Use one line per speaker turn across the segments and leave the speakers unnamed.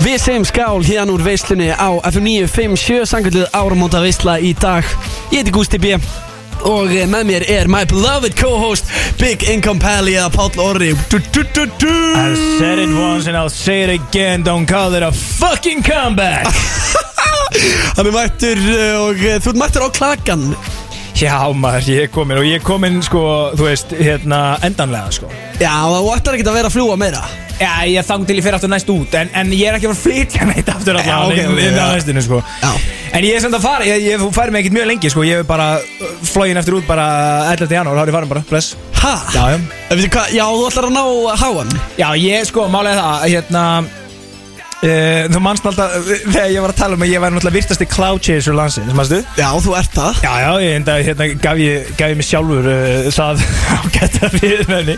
Við segjum skál hérna úr veislunni á FM 957 Sangallið áramóta veisla í dag Ég heiti Gústi B Og eh, með mér er my beloved co-host Big Income Pally eða Páll Orri Du, du, du, du.
I've said it once and I'll say it again Don't call it a fucking comeback
Hann er mættur eh, og eh, þú ert mættur á klakan
Já maður, ég er komin og ég er komin sko, þú veist, hérna, endanlega sko
Já, þú ættar ekki að vera að fljúa meira
Já, ég þang til ég fer aftur næst út En, en ég er ekki að fara að flytja neitt aftur
Já, ok,
allan inn-
ok,
inn á
já.
hestinu, sko.
Já.
En ég er samt að fara, ég, ég fær mig ekkert mjög lengi sko. Ég er bara uh, flogin eftir út bara 11. janúar, þá er ég farin bara, bless
Ha?
Já, já.
Eh, veitu hvað, já, þú ætlar að ná háan
Já, ég sko, málega það, hérna Uh, þú manst alltaf, uh, þegar ég var að tala um að ég væri náttúrulega virtasti cloud chaser landsins, mannstu?
Já, þú ert það
Já, já, ég enda, hérna gaf ég, gaf ég mig sjálfur uh, það ágæta viðmenni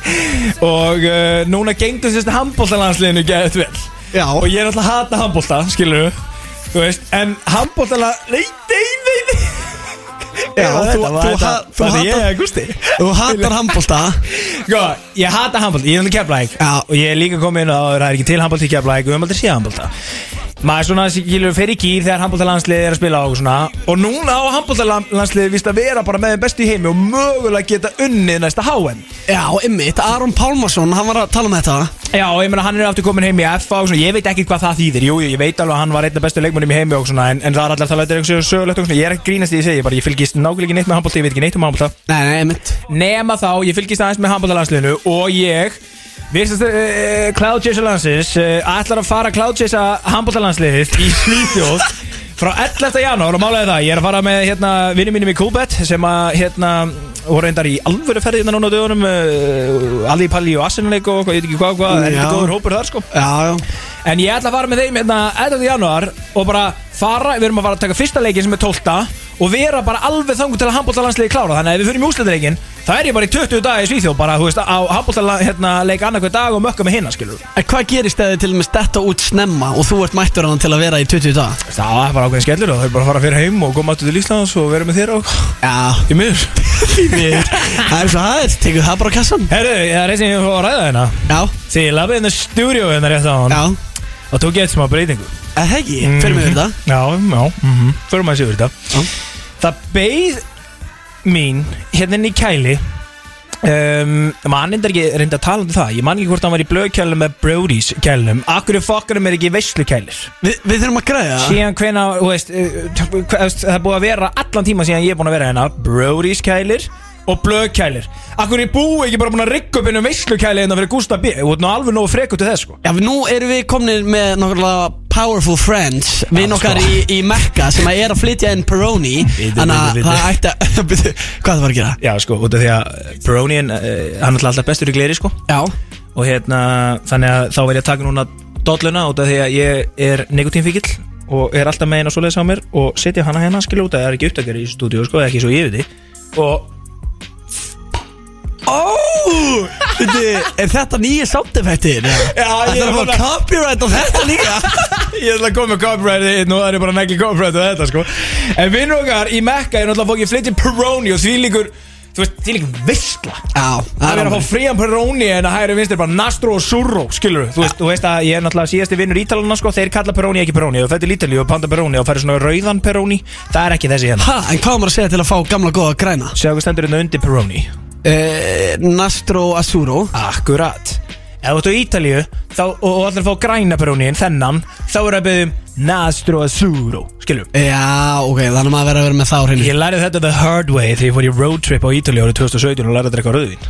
og uh, núna gengdu sérst handbóltalandsliðinu gæðið vel
Já.
og ég er alltaf að hata handbólta, skilur þú veist, en handbóltala, nei, nei, nei, nei
Já, þú-
þetta var
þú
þetta-
ha- þú
þetta er ég
hatar-
að gústi
Þú hatar handbólta
Sko, ég hata handbólta, ég er náttúrulega keflæk
Já.
og ég er líka komið inn á það, það er ekki til handbólta í keflæk og við höfum aldrei séð handbólta maður svona skilur fer í gýr þegar handbóltalandsliðið er að spila og svona og núna á handbóltalandsliðið vist að vera bara með þeim bestu í heimi og mögulega geta unnið næsta HM
Já, ymmit, Aron Pálmarsson, hann var að tala um þetta
Já, og ég meina hann er aftur komin heim í FA og svona, ég veit ekkert hvað það þýðir, jú, jú, ég veit alveg að hann var einn af bestu leikmönnum í heimi og svona, en, en það er allar talað þetta er eitthvað sögulegt og svona, ég er ekki grínast í því að segja, ég bara, ég fylgist nákvæmlega ekki neitt með handbólta, ég veit ekki neitt um handbólta
Nei, nei, ymmit
Nema þá, ég fylgist aðeins með handbóltalansliðinu og ég Vistast uh, Cloud Chaser landsins uh, ætlar að fara Cloud Chaser handbóltalansliðið í Svíþjóð frá 11. janúar og málega það ég er að fara með hérna vinni mínum í Coolbet sem að hérna voru reyndar í alvöru ferði hérna núna á dögunum uh, Aldi Palli og Arsenalleik og hvað, ég veit ekki hvað, hvað, er
Já.
þetta góður hópur þar sko
Já, já
En ég ætla að fara með þeim hérna 11. januar og bara fara, við erum að fara að taka fyrsta leikin sem er 12. og vera bara alveg þangu til að handbóltalandsliði klára þannig að ef við fyrir mjúsleitarleikin þá er ég bara í 20 dag í Svíþjóð bara, þú veist, á handbóltalandsleik hérna, leik annað hver dag og mökka með hinna, skilur
En hvað gerist eða þið til og með stetta út snemma og þú ert mættur hann til að vera í 20 dag?
Það var bara ákveðin skellur og þau bara að fara fyrir heim og koma áttu til Íslands og vera með þér og
Já,
í miður
því miður Það er svo aðeins, tekur það bara á kassan
Herru, ég er reysin að fá að ræða hérna
Já,
Því ég labbaði inn í stúdíó hérna rétt á hann
já,
og tók ég eitt smá breytingu
eða hegji, fyrir mig verið það
Mhm. Já, já, mm -hmm. förum að séu þetta
Já.
Það beigð mín hérna inn í kæli um, Man reyndar ekki reynda að tala um það Ég man ekki hvort hann var í blöðkælum með Brody's kælum Akkur er fokkarum er ekki veislukælir
Vi, Við þurfum að græða það
Síðan hvena, þú veist, uh, t- hva- þú veist, það er búið að vera allan tíma síðan ég er búin að vera hérna Brody's kælir og blöðkælir Akkur er búið ekki bara búin að rigga upp um einu veislukæli en það verið hérna Gústa B Þú ert nú alveg nógu frekur til þess sko
Já, nú erum við komnir með nákvæmlega powerful friends Við nokkar
sko.
í, í Mekka sem að er að flytja inn Peroni
Bíddu,
Þannig að
bíddu, bíddu.
það ætti að Bíddu, Hvað það var að gera?
Já sko, út af því að Bronian, uh, hann er alltaf bestur í gleri sko
Já,
og hérna þannig að þá verð ég að taka núna dolluna út af því að ég er nikotínfíkil og er alltaf með eina svoleiðis á mér og setja hana hérna skilur út að það er ekki upptakar í stúdíu sko, eða ekki svo ég veit því og
ó, veitu, er þetta nýja soundeffektir?
Já, ég
Ætlar
er
að fá
bara-
copyright á þetta líka?
ég ætla að koma með copyright hérna og það er bara negli copyright og þetta sko en vinnur okkar í Mekka er náttúrulega fókið flytjum Peroni og því líkur þú veist, því líkur veistla
Já,
Það er að
alveg.
fá frían Peroni en að hægri vinstir bara Nastro og Surro, skilur þú veist, þú veist að ég er náttúrulega síðasti vinnur ítalana sko, þeir kalla Peroni ekki Peroni, þú fættir Lítali og panta Peroni og færir svona rauðan Peroni, það er ekki þessi hérna
Ha, en hvað á maður að segja til að fá gamla góða græna?
Sjáðu hvað stendur hérna undir Peroni
Eh, Nastro Asuro
Akkurat Ef þú ert á Ítalíu þá, og, og allir fá græna Peroni en þennan, þá er að byggðum Nastro og Surro, skilur
Já, ok, þannig að maður verður að vera með þá hreinu
Ég lærið þetta the hard way þegar ég fór í road trip á Ítalíu árið 2017 og lærið að drekka rauðvin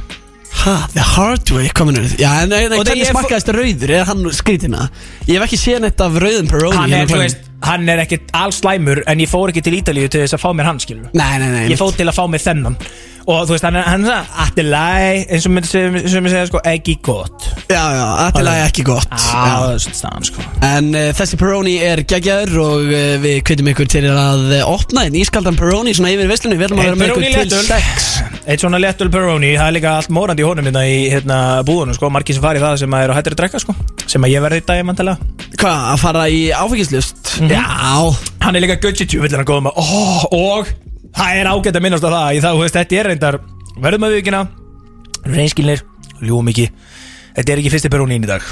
Ha, the hard way komin úr Já, en, en
Og það
hvernig
ég-
smakkaðist rauður? Er hann skrítina? Ég hef ekki séð neitt af rauðum Peroni
Hann
hérna
er, þú
klám.
veist, hann er ekki allslæmur en ég fór ekki til Ítalíu til þess að fá mér hann, skilur
Nei, nei, nei
ég fóð til að fá mig þennan og þú veist, hann er hann er svona allt er læg, eins og myndi sem, sem ég segja sko, ekki gott
Já, já, aðtilega ekki gott
það
já.
er svona staðan sko
En uh, þessi Peroni er geggjaður og uh, við kvittum ykkur til að uh, opna einn ískaldan Peroni svona yfir veslunni Við ætlum að vera
Eitt
með
Eh, Peroni
ykkur til
léttul Eitt svona léttul Peroni, það er líka allt morandi í honum hérna í hérna, búðunum sko, margir sem fari það sem að eru hættir að drekka sko sem að ég verði í dag, mantalega
Hvað, að fara í áfengislust?
Mhm.
Já
Hann er líka gudgetjú, vill hann góðum að oh, og það er ágætt að minnast á það í þá, þú veist, þetta er reyndar verðum að vikina, reynskilnir ljúum ekki, þetta er ekki fyrsti Peroni í dag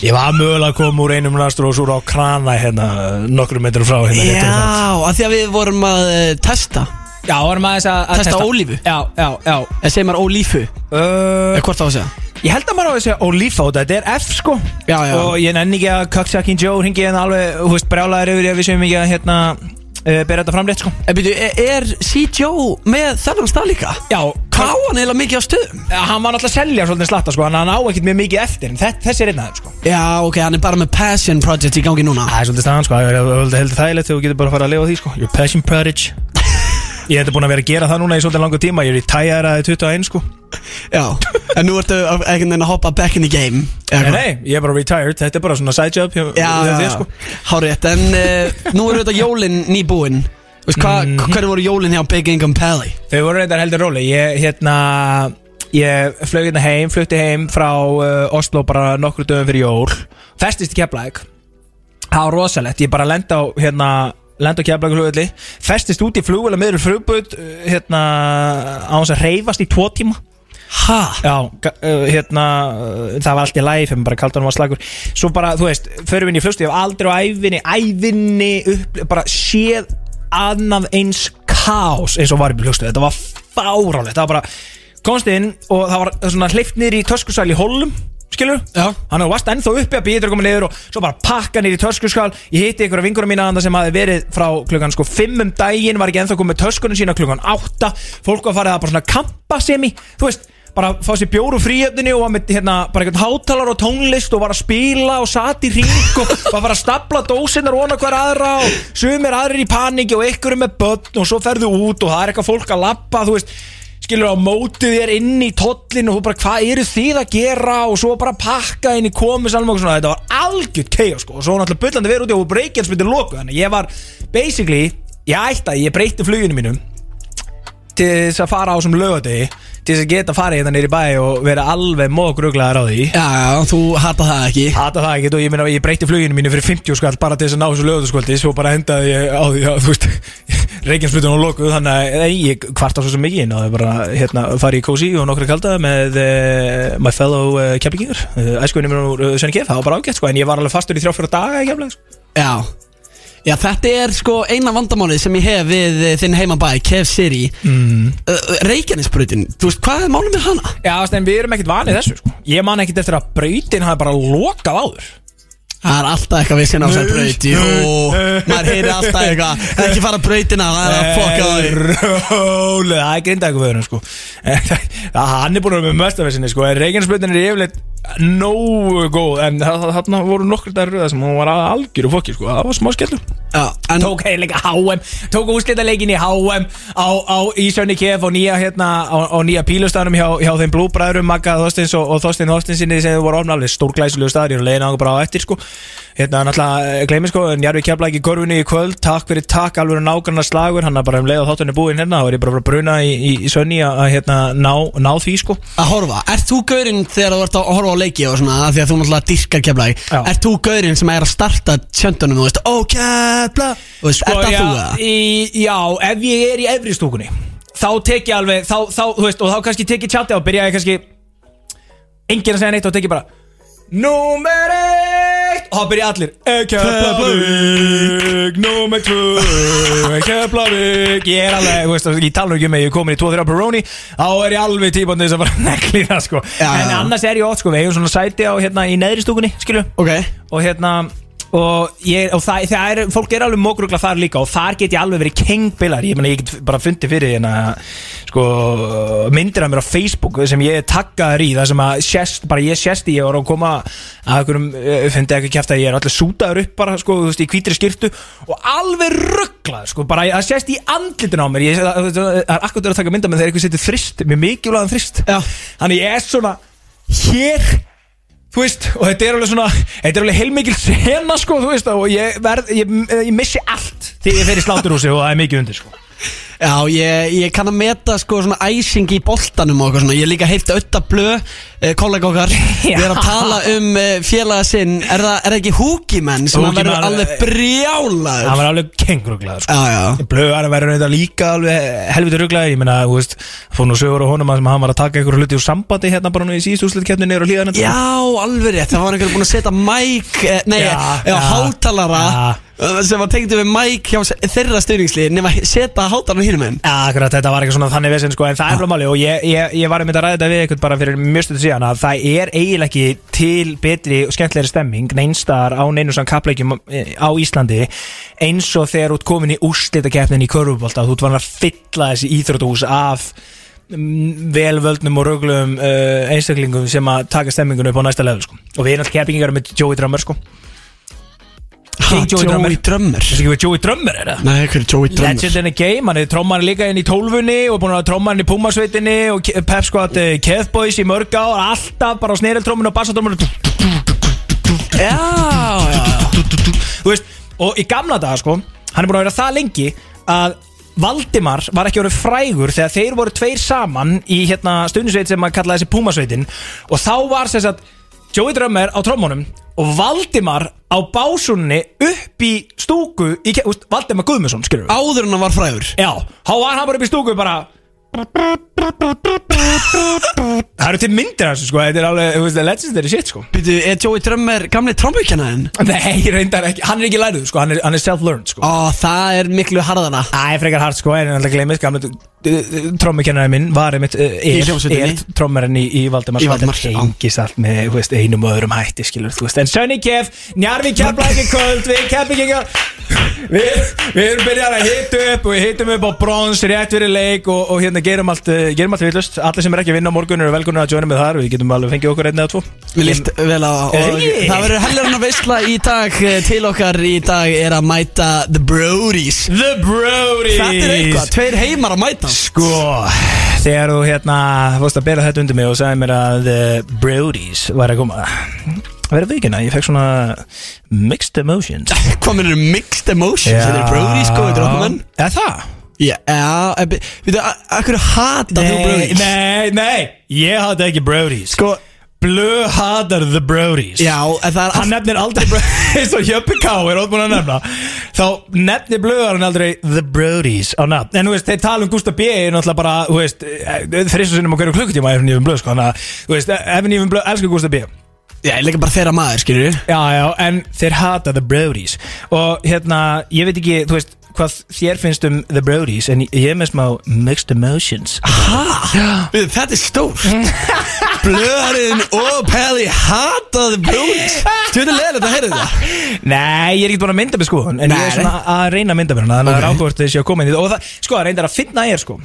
Ég var mögulega að koma úr einum rastur og svo á krana hérna nokkrum metrum frá hérna rétt fyrir þátt.
Já, af því að við vorum að eh, testa
Já, varum aðeins að, að
Testa Eh, ólífu?
Já, já, já
Ég segi maður ólífu
uh,
Eða Eh, hvort þá að segja
Ég held að maður á að segja ólífa á þetta, þetta er F sko
Já, já.
Og ég nenni ekki að Cucksucking Joe ringi hérna alveg, hú veist, brjálaður yfir ég að við séum ekki að hérna uh, bera þetta fram rétt sko
En byrju, er, eh, er C.J. með þennan stað líka?
Já,
Hvað á hann eiginlega mikið á stöðum?
Eh, hann var náttúrulega að selja svolítið slatta sko, en hann á ekkert mjög mikið eftir, en þess, þessi er einn aðeins sko
Já, ok, hann er bara með Passion Project í gangi núna
Það er svolítið staðan sko, það er svolítið heldur þægilegt þegar þú getur bara að fara að lifa á því sko Your passion project Ég hef búin að vera að gera það núna í svolítið langa tíma, ég er í tæjar að 21 sko
Já, en nú ertu að- einhvern veginn að hoppa back in the game eða
Nei,
hvað?
nei, ég er bara retired, þetta er bara svona side job
Já,
hjá- hjá
já,
þér,
já,
sko.
hárétt En uh, nú eru þetta jólin nýbúin Þú veist, hva, hvernig voru jólin hjá Big Income Pally?
Þau voru reyndar heldur róli Ég, hérna, ég flög hérna heim, flutti heim frá uh, Oslo bara nokkru dögum fyrir jól Festist í Keflæk Það var rosalegt, ég bara lenda á, hérna Lenda á Keflæk hlugvelli Festist út í flugvöla meður frugböð Hérna, á þess að reyfast í tvo tíma
Ha?
Já, ga- uh, hérna uh, Það var allt í læf, hefum bara kalt hann var slagur Svo bara, þú veist, förum við inn í flugstu Ég hef aldrei á ævinni, ævinni upp, Bara séð annað eins Kaos eins og var upp í flugstu Þetta var fáránlegt, það var bara Komst inn og það var svona hleyft niður í töskusæl í holum, skilur
Já.
Hann hefur vast ennþá uppi að býður að koma niður og svo bara pakka niður í töskuskál Ég hitti einhverja vingurum mína andan sem hafi verið frá klukkan sko 5 um daginn Var ekki ennþá komið með töskunum sína klukkan 8 Fólk var farið að bara svona kampa semi Þú veist, bara fá sér bjór úr fríöfninu og var með hérna bara einhvern hátalar og tónlist og var að spila og sat í ring og var að fara að stapla dósinnar vona hver aðra og sumir aðrir í paniki og einhverjum með börn og svo ferðu út og það er eitthvað fólk að lappa, þú veist skilur á mótið þér inn í tollin og þú bara hvað eru þið að gera og svo bara pakka inn í komis alveg og svona þetta var algjört keið sko og svo var náttúrulega bullandi verið út og breykjans myndi loku þannig að ég var basically ég ætti ég breyti fluginu mínum til þess að fara á sem lögadegi til þess að geta farið hérna nýri bæ og vera alveg mókruglaðar á því
Já, já, þú hata það ekki
Hata það ekkert og ég meina ég breyti fluginu mínu fyrir 50 skall bara til þess að ná þessu lögðaskvöldi svo bara endaði ég á því að þú veist Reykjanesflutunum og lokuð þannig að nei, ég kvarta svo sem mikið inn og það bara hérna farið í kósi og nokkru kalda með uh, my fellow uh, keflingingur uh, æskuðinu mér úr uh, Svenni Kef það var bara ágætt sko en ég var alveg fastur í þrjá fjóra daga í keflingu sko.
Já Já, þetta er sko eina vandamálið sem ég hef við eh, þinn heimabæ, Kev City mm. uh, Reykjanesbrutin, þú veist, hvað er málum með hana?
Já, en við erum ekkert vanið þessu sko ég man ekkert eftir að brautin hafi bara lokað áður
Það er alltaf eitthvað við sinna á þessar braut Jú, maður heyri alltaf eitthvað Ekki fara brautina, það er að fokka það upp.
Rólega, það er grindækuföðurinn sko En það- Hann er búin að vera með möstavesinni sko En Reykjanesblutin er yfirleitt nógu góð En þarna voru nokkur dagar röða sem hún var að algjöru fokki sko Það var smá skellur
Já, en
Tók heilega HM, tók úrslitaleikin í HM Á, á Ísjönni KF og nýja hérna Á, á nýja pílustanum hjá, hjá þeim blúbræðurum Magga Þorstins og, og Þorstin Þorstinsinni Sem voru orðin alveg stórglæsilegu staðir Ég er leiðin á bara á eftir sko Hérna náttúrulega gleymi sko Njarvi kefla ekki korfinu í kvöld Takk fyrir takk, alveg nákvæmna slagur Hann er bara um leið og þáttunni búinn hérna Það var ég bara að fara að bruna í, í, í Sönni að að, hérna ná, ná því sko
að horfa, ert þú gaurinn þegar þú ert að horfa á leiki og svona af því að þú náttúrulega dyrkar keflag
Já.
ert þú gaurinn sem er að starta tjöndunum og veist, ó kefla og veist, ert það
Sko, já,
þú það?
Í, já, ef ég er í efri stúkunni Þá tek ég alveg, þá, þá, þú veist Og þá kannski tek ég tjaldið og byrja ég kannski Enginn að segja neitt og tek ég bara Númer eitt Og þá byrja allir "Eh, Keflavík Númer tvö eh, Keflavík Ég er alveg, þú veist, ég tala nú ekki um að Ég er komin í 2-3 Peroni Þá er ég alveg típandi þess að bara negli það sko
Já,
En
já.
annars er ég ótt sko Við eigum svona sæti á hérna í neðri stúkunni Skilju
ok,
og hérna og, ég, og það, það er, fólk er alveg mókrugla þar líka og þar get ég alveg verið kengbilar ég meina ég get bara fundið fyrir hérna sko myndir af mér á Facebook sem ég er taggaður í það sem að sérst, bara ég sérst í ég var að koma að einhverjum, eh, fundið ekki kæft að ég er allir sútaður upp bara sko, þú veist, í hvítri skirtu og alveg rugglað sko, bara það sérst í andlitin á mér ég, það, það er akkurat verið að taka mynda með þegar eitthvað setur þrist, mér mikilvæðan þrist
Já.
þannig ég er svona hér Þú veist, og þetta er alveg svona Þetta er alveg heilmikil sena, sko, þú veist Og ég, verð, ég, ég missi allt Þegar ég fer í sláturhúsi og það er mikið undir, sko
Já, ég, ég kann að meta sko svona æsing í boltanum og eitthvað svona Ég hef líka heilt auðta blö, eh, kollega okkar Við erum að tala um eh, félaga sinn Er það, er það ekki húkimenn sem hann
Hookie Man,
verður alveg
eh,
brjálaður
Hann var alveg kenguruglaður sko.
Já, já
Blöðar að vera reynda líka alveg helviti ruglaður Ég meina, þú veist, fór nú sögur á honum að sem hann var að taka einhverju hluti úr sambandi hérna bara nú í síðust úrslitkefni niður á hlíðan
Já, alveg rétt, það var einhver búinn að setja mæk, eh, nei,
Já,
já,
já,
hátalara
já.
eh, sem var tengdu við mæk hjá se- þeirra stuðningslið nema setja hátalara hínum enn
Ja, akkurat, þetta var ekki svona þannig vesen sko, en það er blómáli og ég, ég, ég var um þetta að ræða þetta við eitthvað bara fyrir mjög stundu síðan að það er eiginlega ekki til betri og skemmtlegri stemming neinstar á neinu svona kappleikjum eh, á Íslandi eins og þegar út komin í úrslitakeppnin í Körfubólta þú ert vanlega að fylla þessi íþrótuhús af mm, velvöldnum og röglum uh, einstaklingum sem að taka stemmingun upp á næsta level sko. og við erum alltaf keppingar með Joey Drummer sko. King Joey Drummer.
Drömmur
Þessi ekki við Joey Drummer er það?
Nei, hver er Joey Drömmur?
Legend in the game, hann er trómar líka inn í tólfunni og búin að tróma hann í Pumasveitinni og Ke- Pep Squad eh, Kev Boys í mörg á alltaf bara á sneriltróminu og bassatróminu þú
Já, já, já
veist, og í gamla daga sko hann er búin að vera það lengi að Valdimar var ekki orðið frægur þegar þeir voru tveir saman í hérna stundisveit sem að kalla þessi Pumasveitin og þá var sem sagt Joey Drömmer á trómunum og Valdimar á básunni upp í stúku í, Ke- þú veist, Valdimar Guðmusson skilur við
Áður en hann var frægur
Já, þá var hann bara upp í stúku bara Það eru til myndir af þessu sko Þetta er alveg, þú veist, legendary shit sko
Býtu, er Joey Drömmur gamli trombykjana henn?
Nei, reyndar ekki, hann er ekki læriðu sko Hann er, hann er self-learned sko
Ó, það er miklu harðana
Það er frekar hart sko, en alltaf gleymist gamlega trommukennarinn minn var einmitt uh,
Í
er,
hljómsveitinni.
er trommarinn í, í
Í
Valdemars
Valdemars, já.
hengist allt með þú veist, einum og öðrum hætti skilur þú veist en Sönni Kef, Njarvi Keflæki Köld við Keflingingar við, við erum byrjað að hita upp og við hitum upp á brons rétt fyrir leik og, og hérna gerum allt, uh, gerum allt villust allir sem er ekki að vinna á morgun eru velkunni að joina með þar við getum alveg fengið okkur einn eða tvo
Mér líst vel á og
Hey.
Það verður helgar hann að veistla í dag eh, Til okkar í dag er að mæta The Brodies
The Brodies
Þetta er eitthvað, tveir heimar að mæta
Sko, þegar þú hérna fórst að bera þetta undir mig og sagði mér að uh, Brody's var að koma verið vikina, ég fekk svona mixed emotions
Hvað minn eru mixed emotions? Þetta er Brodies, sko, þetta er okkur menn
Er það?
Já, já, við þú, akkur hata þú
Nei,
Brodies?
nei, nei, ég hata ekki Brody's
Sko,
Blue hatar the Brody's
já, en það er
Hann nefnir aldrei Brody's eins og Hjöppi Ká er ótt búin að nefna Þá nefnir blöðarinn aldrei The Brody's á nafn En þú veist, þeir tala um Gustaf B er náttúrulega bara, þú veist Þrissu sinnum á hverju klukkutíma Efn Ífum Blöð, sko Þannig að, þú veist, Efn Ífum Blöð elskar Gustaf B
Já, ég leika bara þeirra maður, skilur
Já, já, en þeir hata The Brodies Og hérna, ég veit ekki, þú veist Hvað þér finnst um The Brodies En ég er með smá mixed emotions
Hæ? Þetta er stórt Blöðarinn og Pelli hataði Brodies Tjóðin leðilegt að heyra þetta
Nei, ég er ekki búin að mynda með sko En ég
Nei.
er svona að reyna að mynda með hana Þannig að
Ok.
okay. rákvort þessi að koma inn í þetta Og það, sko, reyndar að finna ég er sko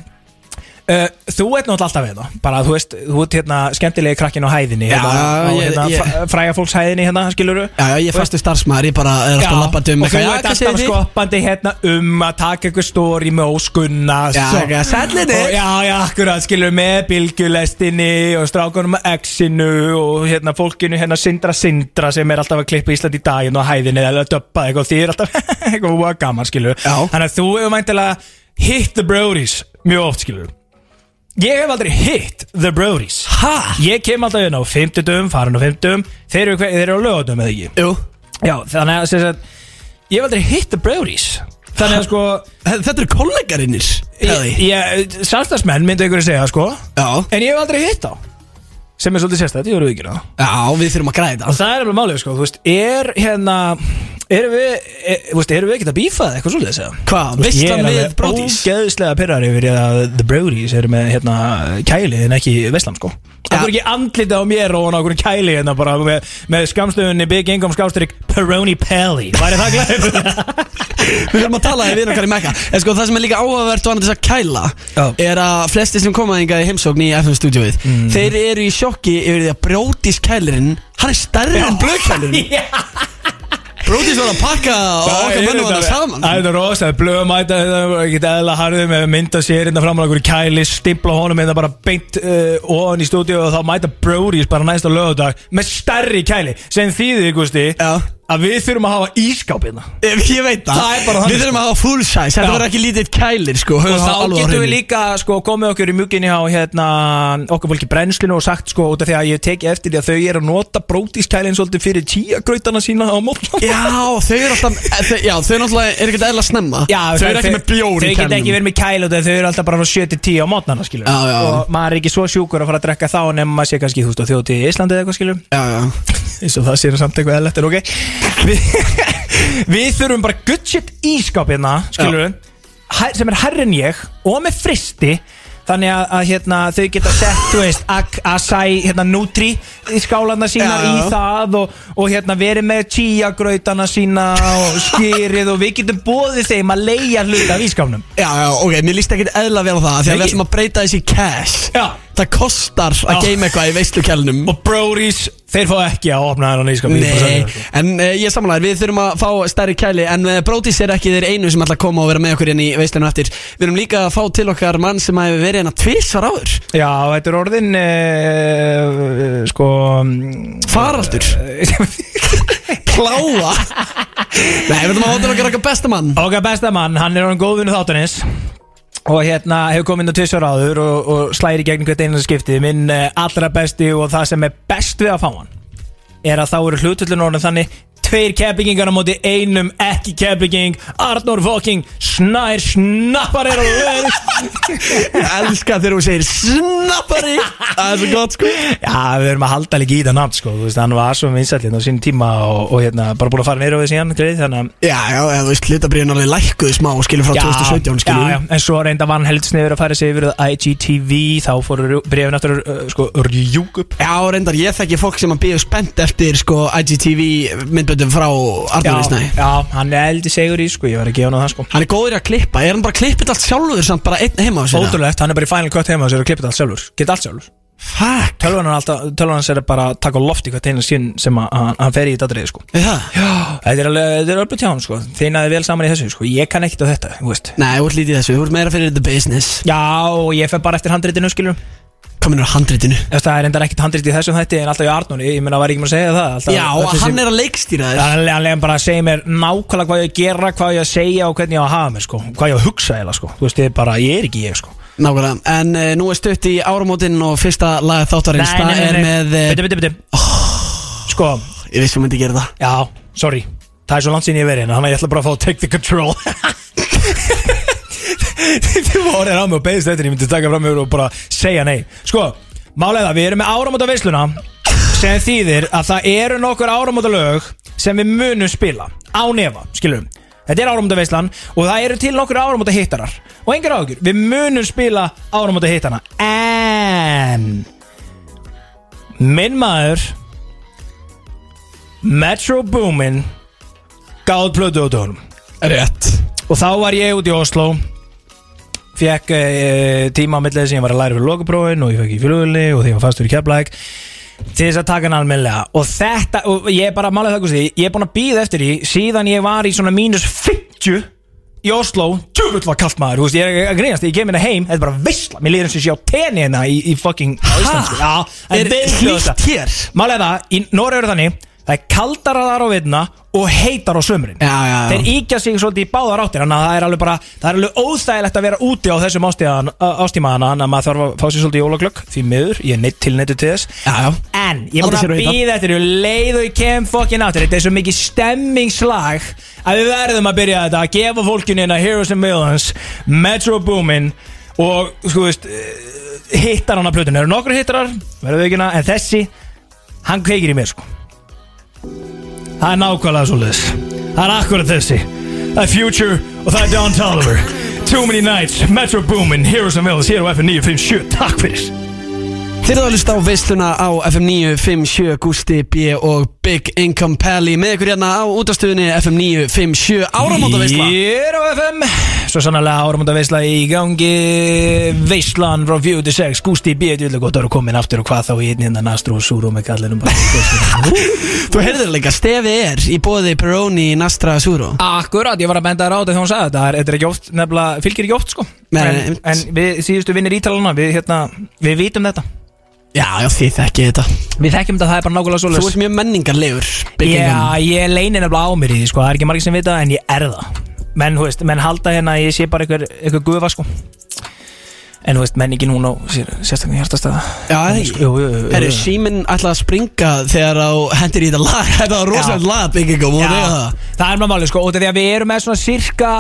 Uh, þú ert náttúrulega alltaf við það bara þú veist, þú ert hérna skemmtilegi krakkin á hæðinni
Já,
hérna, á,
ég-
hérna,
ég-
fr- fræga fólks hæðinni hérna, skilurðu
Já, já, ég er fastu starfsmæður, ég bara er alltaf lappandi um
og þú
eitthvað, já,
ert
hvað segir
alltaf
þið?
skoppandi hérna um að taka eitthvað stóri með óskunna
Já, já, sællirni.
Já, já, akkurat, skilur með bylgjulestinni og strákunum að exinu og hérna fólkinu hérna Sindra Sindra sem er alltaf að klippa Ísland í daginn og hæðinni eða að döppa eitthvað og þið er alltaf eitthvað voða gaman, skilur
Já.
Þannig að þú hefur mæntilega hit the brodies mjög oft, skilur Ég hef aldrei hit the brodies
Hæ?
Ég kem alltaf hérna á 50 dögum, farin á 50 Þeir eru, hver, þeir eru á lögatum eða ekki
Jú,
Já, þannig að sem sagt, ég hef aldrei hitt the brodies Þannig að sko
þetta eru kollegarinnir,
ég-
Pelli
ég- Samstagsmenn myndi einhverju segja sko
Já,
En ég hef aldrei hitt á Sem er svolítið sérstætt, ég voru ekki það
já, við þurfum að græða
Og
þetta
það er alveg málið sko, þú veist Er hérna Erum við, er, þú veist, erum við ekkert að bífa það eitthvað svolítið segja
Hvað, veistlan við Brodies?
Ég er alveg ógeðslega pyrrar yfir ég að The Brodies eru með hérna kæli en ekki Vestlam sko Það er ekki andlita á mér og hann á okkur kæli hérna bara með, með skamstöfunni Big Income skástrík Peroni Pelli Væri það glæður?
Við þurfum að tala við vinum okkar í Mekka En sko það sem er líka áhugavert og annað þess að kæla
Já.
Er að flesti sem koma hingað í heimsókn í FM stúdíóið
Mm.
Þeir eru í sjokki yfir því að Brótis kælirinn Hann er stærri en blöðkælirinn
Já.
Brótis var að pakka og okkar mönnum var það saman
Það er þetta rosalega blöðmæta Það var ekkert eðla harðið með að mynda sér innan fram á einhverju kæli Stimpla honum innan bara beint uh, ofan í stúdíu Og þá mæta Brody's bara næsta lögadag Með stærri kæli Sem þýðir, Gusti
Já.
að við þurfum að hafa ískáp hérna
Ég ég veit það,
Það er bara þannig,
Við þurfum
sko.
að hafa full size, þetta
Já.
verður ekki lítið kælir sko höfum
Og
það
þá
alveg á
getum við
hreinu.
líka sko komið okkur í mjúkinni á hérna okkur fólki brennslinu og sagt sko út af því að ég teki eftir því að þau eru að nota brótiskælinn svolítið fyrir tíagrautana sína á mótnum
Já, þau eru alltaf, eh, þau, já, þau náttúrulega eru ekkert eðla snemma Þau eru ekki með bjór í
Þau geta
kælnum
ekki verið með kæl út af því þau eru alltaf bara frá 7 til 10 á mótnana skilur
Já, já.
Og maður er ekki svo sjúkur að fara að drekka þá nema maður sé kannski þú veist á þjóti í Íslandi eða eitthvað skilur
Já, já,
eins og það séum samt eitthvað eðlætt en ok við, við þurfum bara good shit ískap hérna skilur við sem er herri en ég og með fristi þannig að, að hérna, þau geta sett þú veist, ak- acai, hérna, nutri í skálarna sína
Já.
í það og, og hérna, verið með tíagrautana sína og skýrið og við getum bóðið þeim að leigja hluta af ískapnum
já, já, ok, mér líst ekkert eðla vel á það Því að
Nei.
við ætlum að breyta þessi cash
Já.
Það kostar að
Já.
geima eitthvað í veislukælnum
og broris, þeir fá ekki að sko. opna þennan ískap
Nei, en uh, ég samanlægir, við þurfum að fá stærri kæli En uh, Brótis er ekki þeir einu sem ætla að koma og vera með okkur inn í veislunum eftir Við erum líka að fá til okkar mann sem hefur verið hérna tvisvar áður
Já, þetta er orðin e, sko mm,
Faraldur,
Eh,
pláa Nei, við ætlum að fá til okkar okkar bestamann
Okkar besta mann, hann er orðin góðvinni þáttanins og hérna hefur komið inn á tvisvar áður og, og slæri gegn hvert einan skipti minn eh, allra besti og það sem er best við að fá hann er að þá eru hlutullin orðin þannig tveir keppingingar á móti einum ekki keppinging Arnór Fokking snær snappar er á lögur
Ég elska þegar þú segir snappari Það er svo gott sko
Já, við erum að halda líka í það nátt sko, þú veist, hann var svo vinsallinn á sín tíma og, og hérna, bara búin að fara meira á þessi hann, greið, þannig að
Já, já, eða þú veist, hlutabriðin alveg lækkuðu smá skilur frá 2017 skilur
já, já, en svo reynda vann heldsniður að færa sig yfir að IGTV þá fóru brefin aftur uh, sko, rjúk upp
Já, reyndar, ég þekki fólk sem að býðu spennt eftir sko IGTV myndböndum frá
já,
Arnur Ísnæ
já, hann er eldi segur í sko, ég var að gefa hann það sko
Hann er góður í að klippa, er hann bara klippið allt sjálfur samt bara einn heima á sér
Ótrúlegt, hann er bara í Final Cut heima og sér að klippa þetta allt sjálfur Geta allt sjálfur
Fuck,
Tölvan hans tölvan er bara að taka á lofti hvað teina sín sem að, hann, hann fer í þetta atriði sko
er það?
Já, þetta er alveg, þetta er alveg tjá hann sko Þeir næði vel saman í þessu sko, ég kann ekkit á þetta, þú veist
Nei, þú ert lítið í þessu, þú ert meira fyrir the business
Já, og ég fer bara eftir handritinu skilur
Komin úr handritinu
Þess, Það er endar ekkit handrit í þessum þætti en alltaf í Arnóni Ég meina, var ég ekki maður að segja það alltaf,
Já,
öll þessi-
hann er að leikstýra þér
Þannig að hann bara að segja mér nákvæmlega hvað ég á að gera, hvað ég á að segja og hvernig ég á að hafa mér sko Hvað ég á að hugsa eða sko, þú veist, ég er bara, ég er ekki ég sko
Nákvæmlega, en uh, nú er stutt í áramótin og fyrsta lag þáttarins Það er með, eh, Oh.
Bitti, bitti, bitti Sko,
ég veist sem myndi gera það
já, sorry, það er svo langt sín ég verið hérna, þannig að ég ætla bara að fá að take the control Þið voru á mig og beðist þetta, ég myndi taka fram yfir og bara segja nei Sko, málega það, við erum með áramóta sem þýðir að það eru nokkur áramóta sem við munum spila á nefa, skilum Þetta er áramóta og það eru til nokkur áramóta hittarar og engar áhugur, við munum spila áramóta hittana en minn maður Metro Boomin gáð plötu á dögunum
Rétt
Og þá var ég út í Oslo Fekk uh, tíma á millið þess að ég var að læra fyrir lokaprófin og ég fekk í flugulni og því ég var fastur í keflæk til þess að taka hann almennilega og þetta, og ég er bara að mála það kosti ég er búin að býða eftir því síðan ég var í svona mínus 50 í Oslo, tjúfull var kallt maður þú veist, ég er ekki að grínast, ég kem hérna heim þetta er bara veistla, mér líður eins og ég sé á tenni hérna í, í fucking á Íslandsku Já, það
Er
veistlust
hlýtt hér?
Málega það, í Nóri eru þannig það er kaldara þar á veitna og heitar á sömurinn
Já, já, já.
þeir íkja sig svolítið í báðar áttir þannig að það er alveg bara, það er alveg óþægilegt að vera úti á þessum ástíðan, ástímaðana þannig að maður þarf að fá sér svolítið jólaglögg því miður, ég er neitt tilneittu til þess
Já, já
en ég er
Aldrei sér
búin
að
að
vita.
býða eftir og leið og ég kem fokkin áttir þetta er svo mikið stemmingslag að við verðum að byrja þetta að gefa fólkinu hérna Heroes and Villains Metro Boomin og sko veist eh, hittar hann að plötun eru nokkur hittarar, verðum við ekki hérna en þessi, hann kveikir í mér sko Það er nákvæmlega svo liðs Það er akkurat þessi Það er Future og það er Don Tolliver Too Many Nights, Metro Boomin, Heroes and Villains Hér á FM 957, takk fyrir
Þeir eru að hlusta á veisluna á FM 957 Gusti B og Big Income Pally með ykkur hérna á útastöðunni FM 957 áramóta veisla
Hér á FM Svo sannarlega áramóta veisla í gangi Veislan frá 46 Gústi B. Djúlega gott að vera komin aftur og hvað þá í einnig en astro og súru með kallinum bara
Þú heyrður líka, stefi er í bóði Peroni Nastra Suro
Akkurat, ég var að benda þér á þetta þegar hún sagði þetta Þetta er ekki oft, nefnilega, fylgir ekki oft sko
Nei,
en,
einmitt.
en við síðustu vinnir ítalana, við hérna, við vitum þetta
Já, já, þið þekki þetta
Við þekkjum þetta, það er bara nákvæmlega
Þú
svoleiðis
ert mjög menningarlegur
Já, ég leini nefnilega á mér í því, sko, það er ekki margir sem vita það, en ég er það Menn, þú veist, menn halda hérna að ég sé bara einhver, einhver gufa, sko En þú veist, menningin hún á sér, sérstaklega hjartastæða
Já, það er ekki
Jú, jú, jú,
Herri,
jú.
síminn ætlaði að springa þegar á hendir í þetta lag Þetta var rosalega lag, bygging og
Já,
móðu
það. er maður máli, sko, út af því að við erum með svona cirka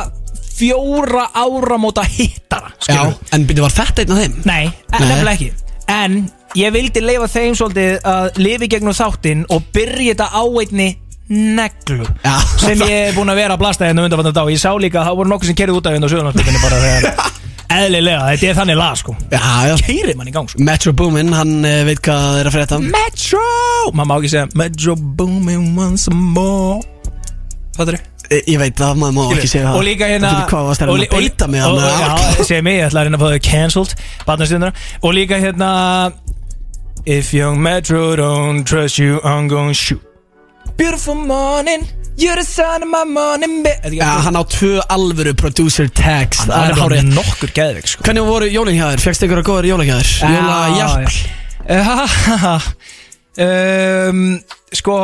fjóra áramóta hittara,
Já,
skilur
en byrju, var þetta einn af þeim?
Nei, en-
Nei.
nefnilega ekki En ég vildi leifa þeim svolítið að lifi gegnum þáttinn og byrja þetta á einni neglu
Já.
sem ég er búin að vera að blasta hérna undanfændan dag ég sá líka að það voru nokkuð sem kerði út af hérna á söðunarspilinu bara þegar eðlilega, þetta er þannig lag sko
Já, já
Heyri mann í gang sko
Metro Boomin, hann eh, veit hvað það er að frétta
Metro Maður má ekki segja Metro booming once more Fattur þau?
Eh, Ég ég veit það, maður má ekki segja það
og líka hérna
Þú veit hvað varst að
og
reyna
lí-
að beita mig
og-
hann
og-
að-
já, segir mig, ég ætla að reyna að fá þau cancelled barnastunduna og líka hérna if young metro don't trust you I'm gonna shoot beautiful morning you're the sun of my morning ba- Er þetta ekki-
Já, hann á tvö alvöru producer tags Það er hárið
nokkur geðvik sko
Hvernig voru jólin hjá þér? Fjöxt ykkur að góður jólin hjá þér? Jóla, já
um, sko,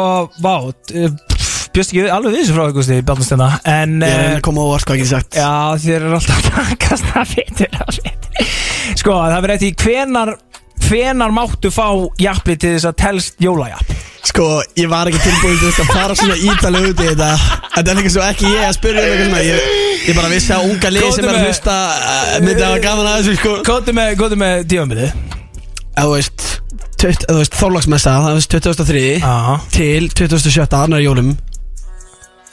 vá eh, pff, bjóst ekki við- alveg við þessu frá ykkur stið barnastunduna en
Ég er að
eh,
reyna að koma á óvart hvað ég get sagt
Já, þér er alltaf að takast það fitur að fitur Sko, það verður eftir hvenar hvenar máttu fá jafnli til þess að telst jólajapp
Sko, ég var ekki tilbúin til þess að fara svona ítalega út í þetta Þetta er líka svo ekki ég að spyrja um eitthvað svona Ég, ég bara vissi að unga lið sem er að
Komdu með-
hlusta uh, myndi hafa gaman að þessu sko
Kóttu með, kóttu með tífambilið
Eða Þú veist, tutt- eða þú veist þorlagsmessa, það veist 2003
Já
til 2017, annar jólum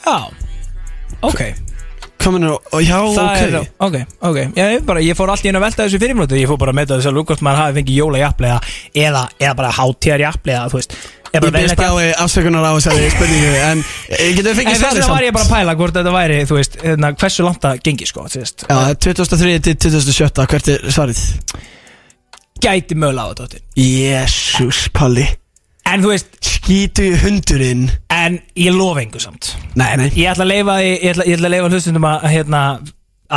Já Ok,
Komin og, og já,
það
ok
er, ok, ok Já, ég, bara, ég fór alltaf inn að velta þessu fyrir mínútu Ég fór bara að meta þessu alveg hvort maður hafi fengið jólajappli eða, eða, eða bara hátíðarjappli eða, þú veist eða bara
Ég byrst
venjulegt
á afsökunar á þessari spurningu En eh, getum við fengið
En þess
svarið
vegna var
samt
ég bara að pæla hvort þetta væri, þú veist, hérna, hversu langt það gengi, sko, þú veist
Já, 2003 til 2017, hvert er svarið?
Gæti mögulega á þetta, dóttir.
Jésús, Palli
en þú veist,
Skítu í hundurinn
en ég lofa engu samt
Nei, nei
ég ætla að leifa því- ég ætla, ég ætla að leifa hlustundum að að, hérna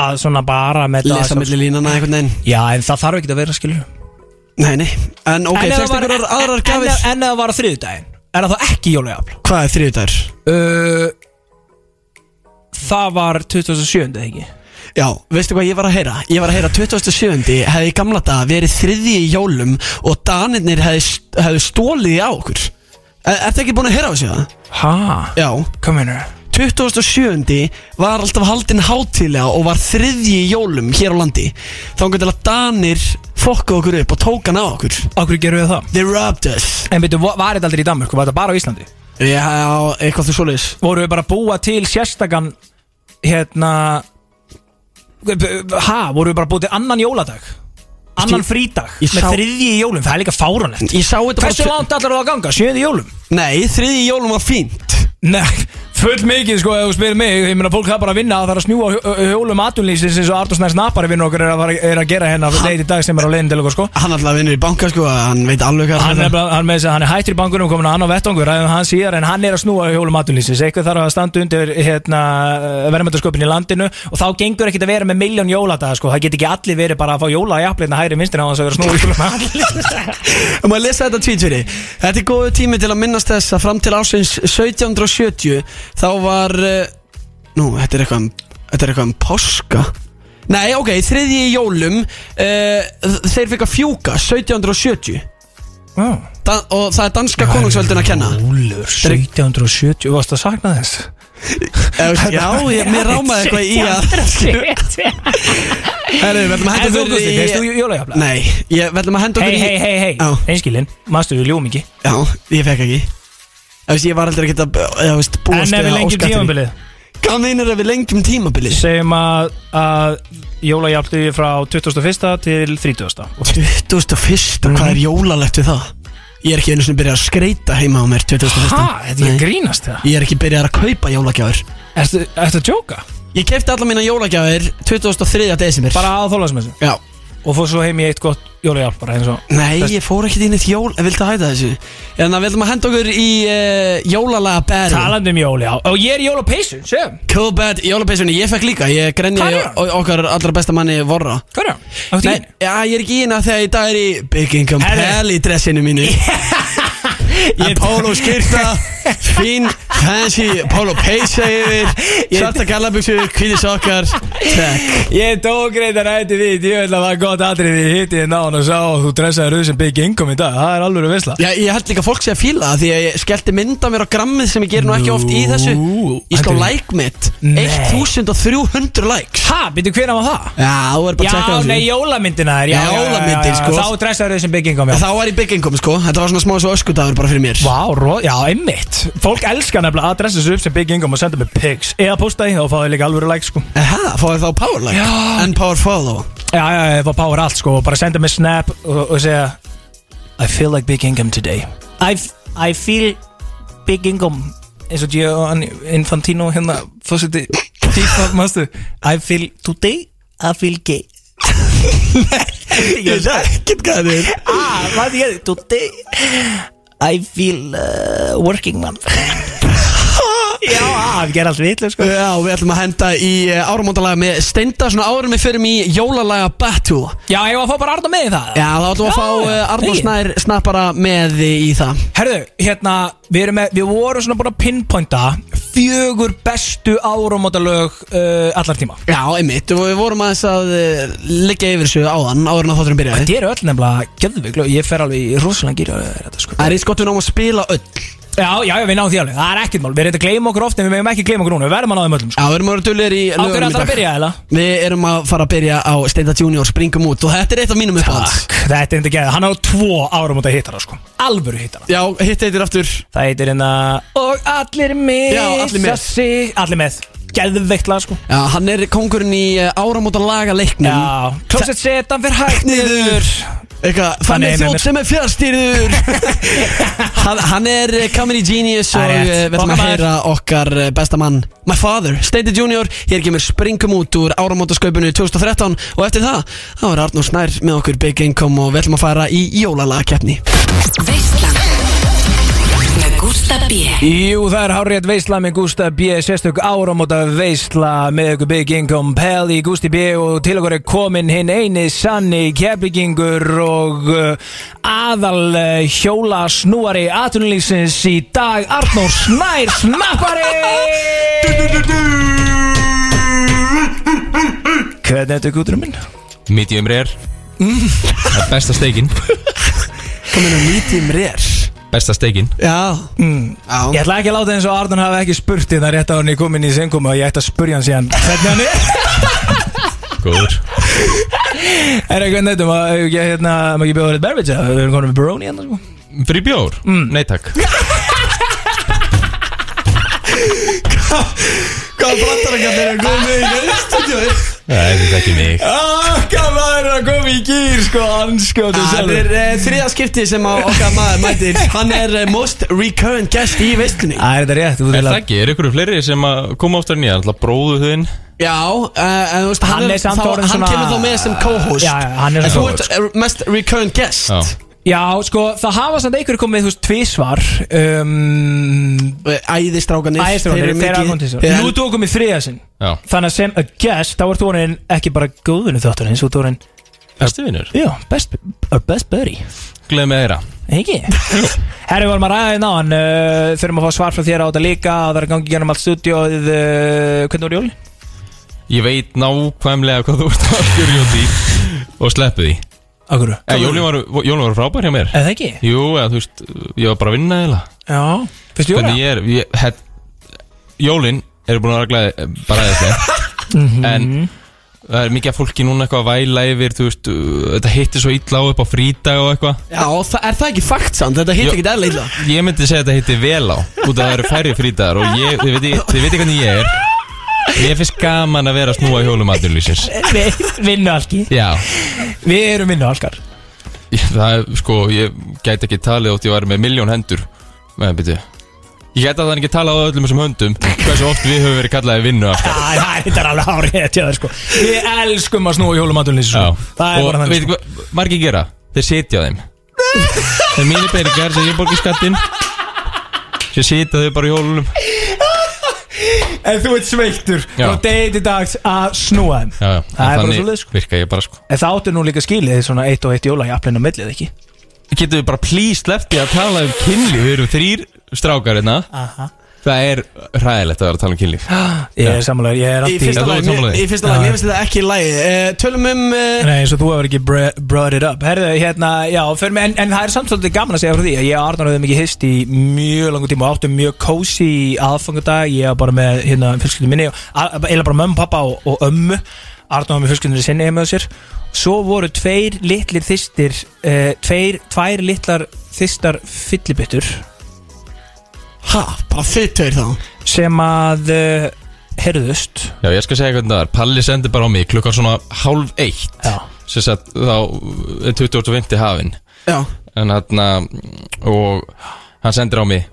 að svona bara með þetta-
Lesa milli línana einhvern veginn
já en það þarf ekki að vera skilur
Nei, nei, en ok,
en
fyrst
ef það var-
ykkur
en-
aðrar
en-
gafir
en en ef það var á þriðudaginn er það þá ekki jólajafl
Hvað er þriðdagur?
uh, það var 27. eða ekki
Já, veistu hvað ég var að heyra? Ég var að heyra 27. hefði í gamla daga verið þriði í jólum og danirnir hefði, hefði stólið á okkur Er, Ertu ekki búin að heyra á þessu það?
ha
Já
hvað mennur
27. var alltaf haldin hátíðlega og var þriði í jólum hér á landi Þá hann til að danir fokka okkur upp og tók hann á okkur
okkur gerum við það
They robbed us
en byrju var var þetta aldrei í Danmörku var þetta bara á Íslandi
Já, eitthvað þú svoleiðis
voru við bara að búa til sérstakan hérna ha, voru við bara að búa til annan jóladag annan frídag
ég
með
sá-
þriðji í jólum, það er líka fáránlegt
Ég sá þetta
hversu
bara
langt allar það að ganga, sjöði í jólum
Nei, þriði í jólum var fínt
Nei, full mikið sko ef þú spyrir mig, ég meina fólk það bara að vinna það þarf að snjúa hjó- hjólum atunlýsins eins og Artur Snærs Napari vinnur okkar er að, fara- er að gera hérna
Hann-
degi í dag sem er á leiðin til okkur sko
Hann alltaf vinnur í banka sko Hann veit alveg hvað
Hann er, bara- hann, með, þess að hann er hættur í bankunum komin að annar vettangur ræðum hann síðar en hann er að snúa hjólum atunlýsins eitthvað þarf að standa undir hérna, verðmyndarsköpun í landinu og þá gengur ekkit að vera með miljón jóladaga sko það get ekki allir verið bara að fá jóla í afleitna hægri vinstina á þess að vera að snúa hjólum atunlýsins
Má ég Um lesa þetta tvít fyrir Þetta er góðu tími til að minnast þess að fram til ásins 1770 Þá var eh, Nú, þetta er eitthvað um, Þetta er eitthvað um páska Nei, ok, þriðji í jólum uh, Þeir fikk að fjúka 1770
oh.
Dan Og það er danska konungsvöldin að kenna
Jólur, 1770, þú varst að sakna þess
Eh, Já, ég, mér rámaði eitthvað í að Herru, við ætlum að
En
henda
þú
okkur
Gusti, veist þú
í
jólajafla?
Nei, ég við ætlum að henda
Hei,
okkur í
hei, hei, hei,
Já.
einskilinn, maður við ljóum ekki
Já, ég fekk ekki Þú veist, ég var aldrei ekkert að eða, þú veist,
En
búast
ef við lengjum tímambilið
Hvað meinar að við lengjum tímabilið?
Segjum að, að jólajafli frá 21. til 30.
2001,
Mhm.
hvað er jólalegt við það? Ég er ekki einu sinni byrjað að skreita heima á mér 2001
Hæ, þetta er
Nei.
grínast það
Ég er ekki byrjað að kaupa jólagjafir
Ertu ertu að djóka?
Ég kefti alla mína jólagjafir 2003. desember
Bara að þólaðsmessu
Já
og fór svo heim í eitt gott jólajál bara eins og
Nei,
Best-
ég fór ekkert inn eitt jól En viltu hætta þessu? En það viljum að henda okkur í uh, jólalaga battle
talandi um jólajál og ég er í jólapeysu, séum
Cool bad jólapeysunni Ég fekk líka Ég grenja
Hvað er
o- okkar allra besta manni Vorra
hvað er það? Áttu í
Nei,
henni?
já, ég er ekki í hérna þegar í dag er í Big Income
Herre.
Pell í dressinu mínu
Ég-
En polo skyrta Fín, fancy, polo peysa yfir Svarta gallabuksu, kvíði sokkar Takk
Ég tók reyndar eftir því, ég veit að það var gott atrið því hitti þið náðan og sá að þú dressaði rauð sem byggi ingum í dag, það er alveg að visla
Já, ég held líka fólk sé að fíla það Því að ég skellti mynda mér á grammið sem ég ger nú ekki oft í þessu
Nú,
Ég ská
heldur-
like mitt
Nei.
1300 likes
Ha, býttu hverja var það?
Já, þú er bara að checka
Já,
á
nei,
því
jólamyndina þær, já,
Já,
já, já,
jólamyndin,
já, já,
sko.
Þá dressaði rauð sem byggi ingum, já
Þá var ég Big Income sko Þetta var svona smá svo öskudagur bara fyrir mér
Vá, ró, já, einmitt Fólk elskar nefnilega að dressa sig upp sem Big Income og senda mig pics Eða posta því, þá fáið líka alvöru like, sko
Aha, fáið þá power like
Já.
En power follow
Já, já, já, það power allt, sko, og bara senda mig snap og, og segja I feel like Big Income today I, I feel Big Income eins og Giovanni Infantino hérna fórseti FIFA, mástu I feel today, I feel gay
Ég veit ekkert hvað það er
Ah, hvað ég, today I feel uh, working man Já, ah, við gerum allt vitlega, sko
Já, við ætlum að henda í árumóndalaga með Steinda svona árum við fyrir í jólalaga battle
Já, ég var að fá bara Arna með í það
Já, þá ætlum við að
Já,
fá
já,
eh, Arnór
þegi.
Snær snappara með í það
Herðu, hérna, við, erum með, við vorum svona búin að pinpointa fjögur bestu áramótalög uh, allar tíma
Já, einmitt, og við vorum aðeins að eh, liggja yfir þessu áðan áður en að þátturum byrjaði
Þetta eru öll nefnilega gjöðvig Ég fer alveg í rosalega gýra þetta, sko.
Það er í skottunum að spila öll
Já, já, já, við náum því alveg Það er ekkert mál, við erum að gleyma okkur oft en við meðum ekki gleyma okkur núna Við verðum að náðum öllum sko.
Já, við erum að vera dullir í
Á
lögum um í
hverju allar að
dag
byrja, eða?
Við erum að fara að byrja á Steinda Junior springum út og þetta er eitt af mínum uppáhalds
Takk, þetta er enda geðið Hann á tvo áramóta hittara, sko Alvöru hittara
Já, hitt eitir aftur
Það heitir hérna Og allir með
Já, allir með.
Allir með Geðveikt lag, sko
Já, hann er kongurinn í áramóta laga leiknum
Já Closet set, hann fer hægt niður
Eitthvað,
Hann
þannig
er
þjótt
með-
sem er fjárstýrður hann, hann er eh, comedy genius og
Það er
eh,
rétt.
við ætlum að
Okkar maður.
heyra okkar eh, besta mann My father, Steindi Junior, hér kemur springum út úr áramótasköpunni 2013 og eftir það, þá er Arnur Snær með okkur Big Income og við ætlum að fara í jólalagakeppni
Veislan Með Gústa B
Jú, það er Hárétt Veisla með Gústa B Sérstök áramóta Veisla með ykkur Big Income Pell í Gústi B og til okkur er komin hinn eini sanni keflingingur og uh, aðal uh, hjóla snúari atunlýsins í dag Arnór Snær Snappari Hvernig er þetta gúturum minn?
Medium rare Það er besta steikin
Komin að medium rare
Besta steikin
Já,
Ég
Mm. já.
ætla ekki að láta eins og Arnón hafi ekki spurt hérna rétt á hann ég kom inn í sengum og ég ætti að spurja hann síðan hvernig hann er
Góður
Er eitthvað neitt um að ég hérna maður ekki bjóða rétt beverage eða? við erum komin með Baroni hérna sko
Fyrir bjór? Nei takk
Hvað brattar ekki að þeirra komið í stúdíu?
Nei, þetta er ekki mig
Ah, hvað maður er að koma í gýr sko anskjóti
Það er uh, þriða skipti sem að okkar maður mætir Hann er uh, most recurrent guest í veistlunni
Það er þetta rétt þú
Er
vil
það
að
ekki? Er ykkur fleiri sem að koma oftar nýja? Alltaf bróðu þinn
Já, uh, en þú veist
Hann er samt
þá,
orðinn
Hann
svona-
kemur þá með sem co-host
Já, já, hann er
En þú
svona-
ert eh, mest recurrent guest
Já
Já sko það hafa samt einhverju komið þú veist tvísvar um,
Eh, Æðistrákanir
Æðistrónir þeirra komið tvísvar Nú tókum við þriða sinn
Já
Þannig að sem a guest þá ert þú orðin ekki bara góðunum þátturinn Þú ert orðin
Besti vinnur
já best, our best buddy
Gleð með þeirra
Ekki? Herri, við vorum að ræða þið náðan uh, Þurfum að fá svar frá þér á þetta líka og Það er að gangi gennum allt stúdíóð uh, Hvernig voru jólin?
Ég veit nákvæmlega hvað þú ert að gjörja út í Og sleppu því
Akkur
Eh, Jólin var, jólin var frábær hjá mér
Eða ekki?
Jú, eða þú veist Ég var bara að vinna eða
Já Fyrst jóla?
Hvernig ég er ég, het, Jólin eru búin að vera glæði Bara eða En það er mikið af fólki núna eitthvað að væla yfir þú veist, uh, þetta hittir svo illa á upp á frídag og eitthvað
Já, þa er það ekki fakt samt? Þetta hitt
Jú.
ekki eðla illa
ég myndi segja að þetta hittir vel á út af það eru færri frídagar og ég, þið veit, þið veit hvernig ég er ég finnst gaman að vera að snúa í hjólum aðurlýsins
Eh, Við vinnualki
já,
Við erum vinnualkar
ég, það er sko ég gæti ekki talið ótt ég var með miljón hendur með byrju Ég gæti að þannig ekki tala á öllum þessum höndum Hversu oft við höfum verið kallaði vinnu aftur
Það er þetta alveg árið tjáður sko Við elskum að snúa hjólum aðdunlýsins
Já
Það er
Og
bara þannig sko.
veitir hvað margir gera? Þeir sitja á þeim Þeir mínir peningar sem ég borgi skattinn Sér sitja þau bara í hólunum
sko. En þú ert sveittur
Já.
og deiti dags að snúa þeim
Já, já
Það er bara
Þannig
svoleiðis, sko.
Virka ég bara sko
En það áttu nú líka skilið svona eitt og eitt jóla í aflinu millið ekki
Getum við bara please lefti að tala um kynlíf Við erum þrýr strákar hérna
Aha.
Það er hræðilegt að vera að tala um kynlíf
Ég er sammálaður, ég er
Í
alltaf
fyrsta
þú ert
lagi,
sammála
mér-
því?
í fyrsta lagi, mér finnst þetta ekki í lagi Eh, Tölum um eh,
Nei, eins og þú hefur ekki bre- brought it up Herðu, hérna, já, fyrir mig en, en það er samt svolítið gaman að segja frá því að Ég og Arnar höfum ekki hist í mjög langu tíma Og áttum mjög kósi aðfangadag Ég var bara með, hérna, fjölskyldum minni og- a- Eiginlega bara mömmu, pappa og, og ömmu Arnar var með fjölskyldunni sinni heima á sér Svo voru tveir litlir þistir uh, tveir, Tvær litlar þistar fyllibittur
Ha, bara þið tveir þá
Sem að uh, herðust
Já, ég skal segja hvernig það er Palli sendi bara á mig klukkan svona hálf eitt
Já,
Sér satt þá er 20.50 hafin
Já,
En hann Og hann sendir á mig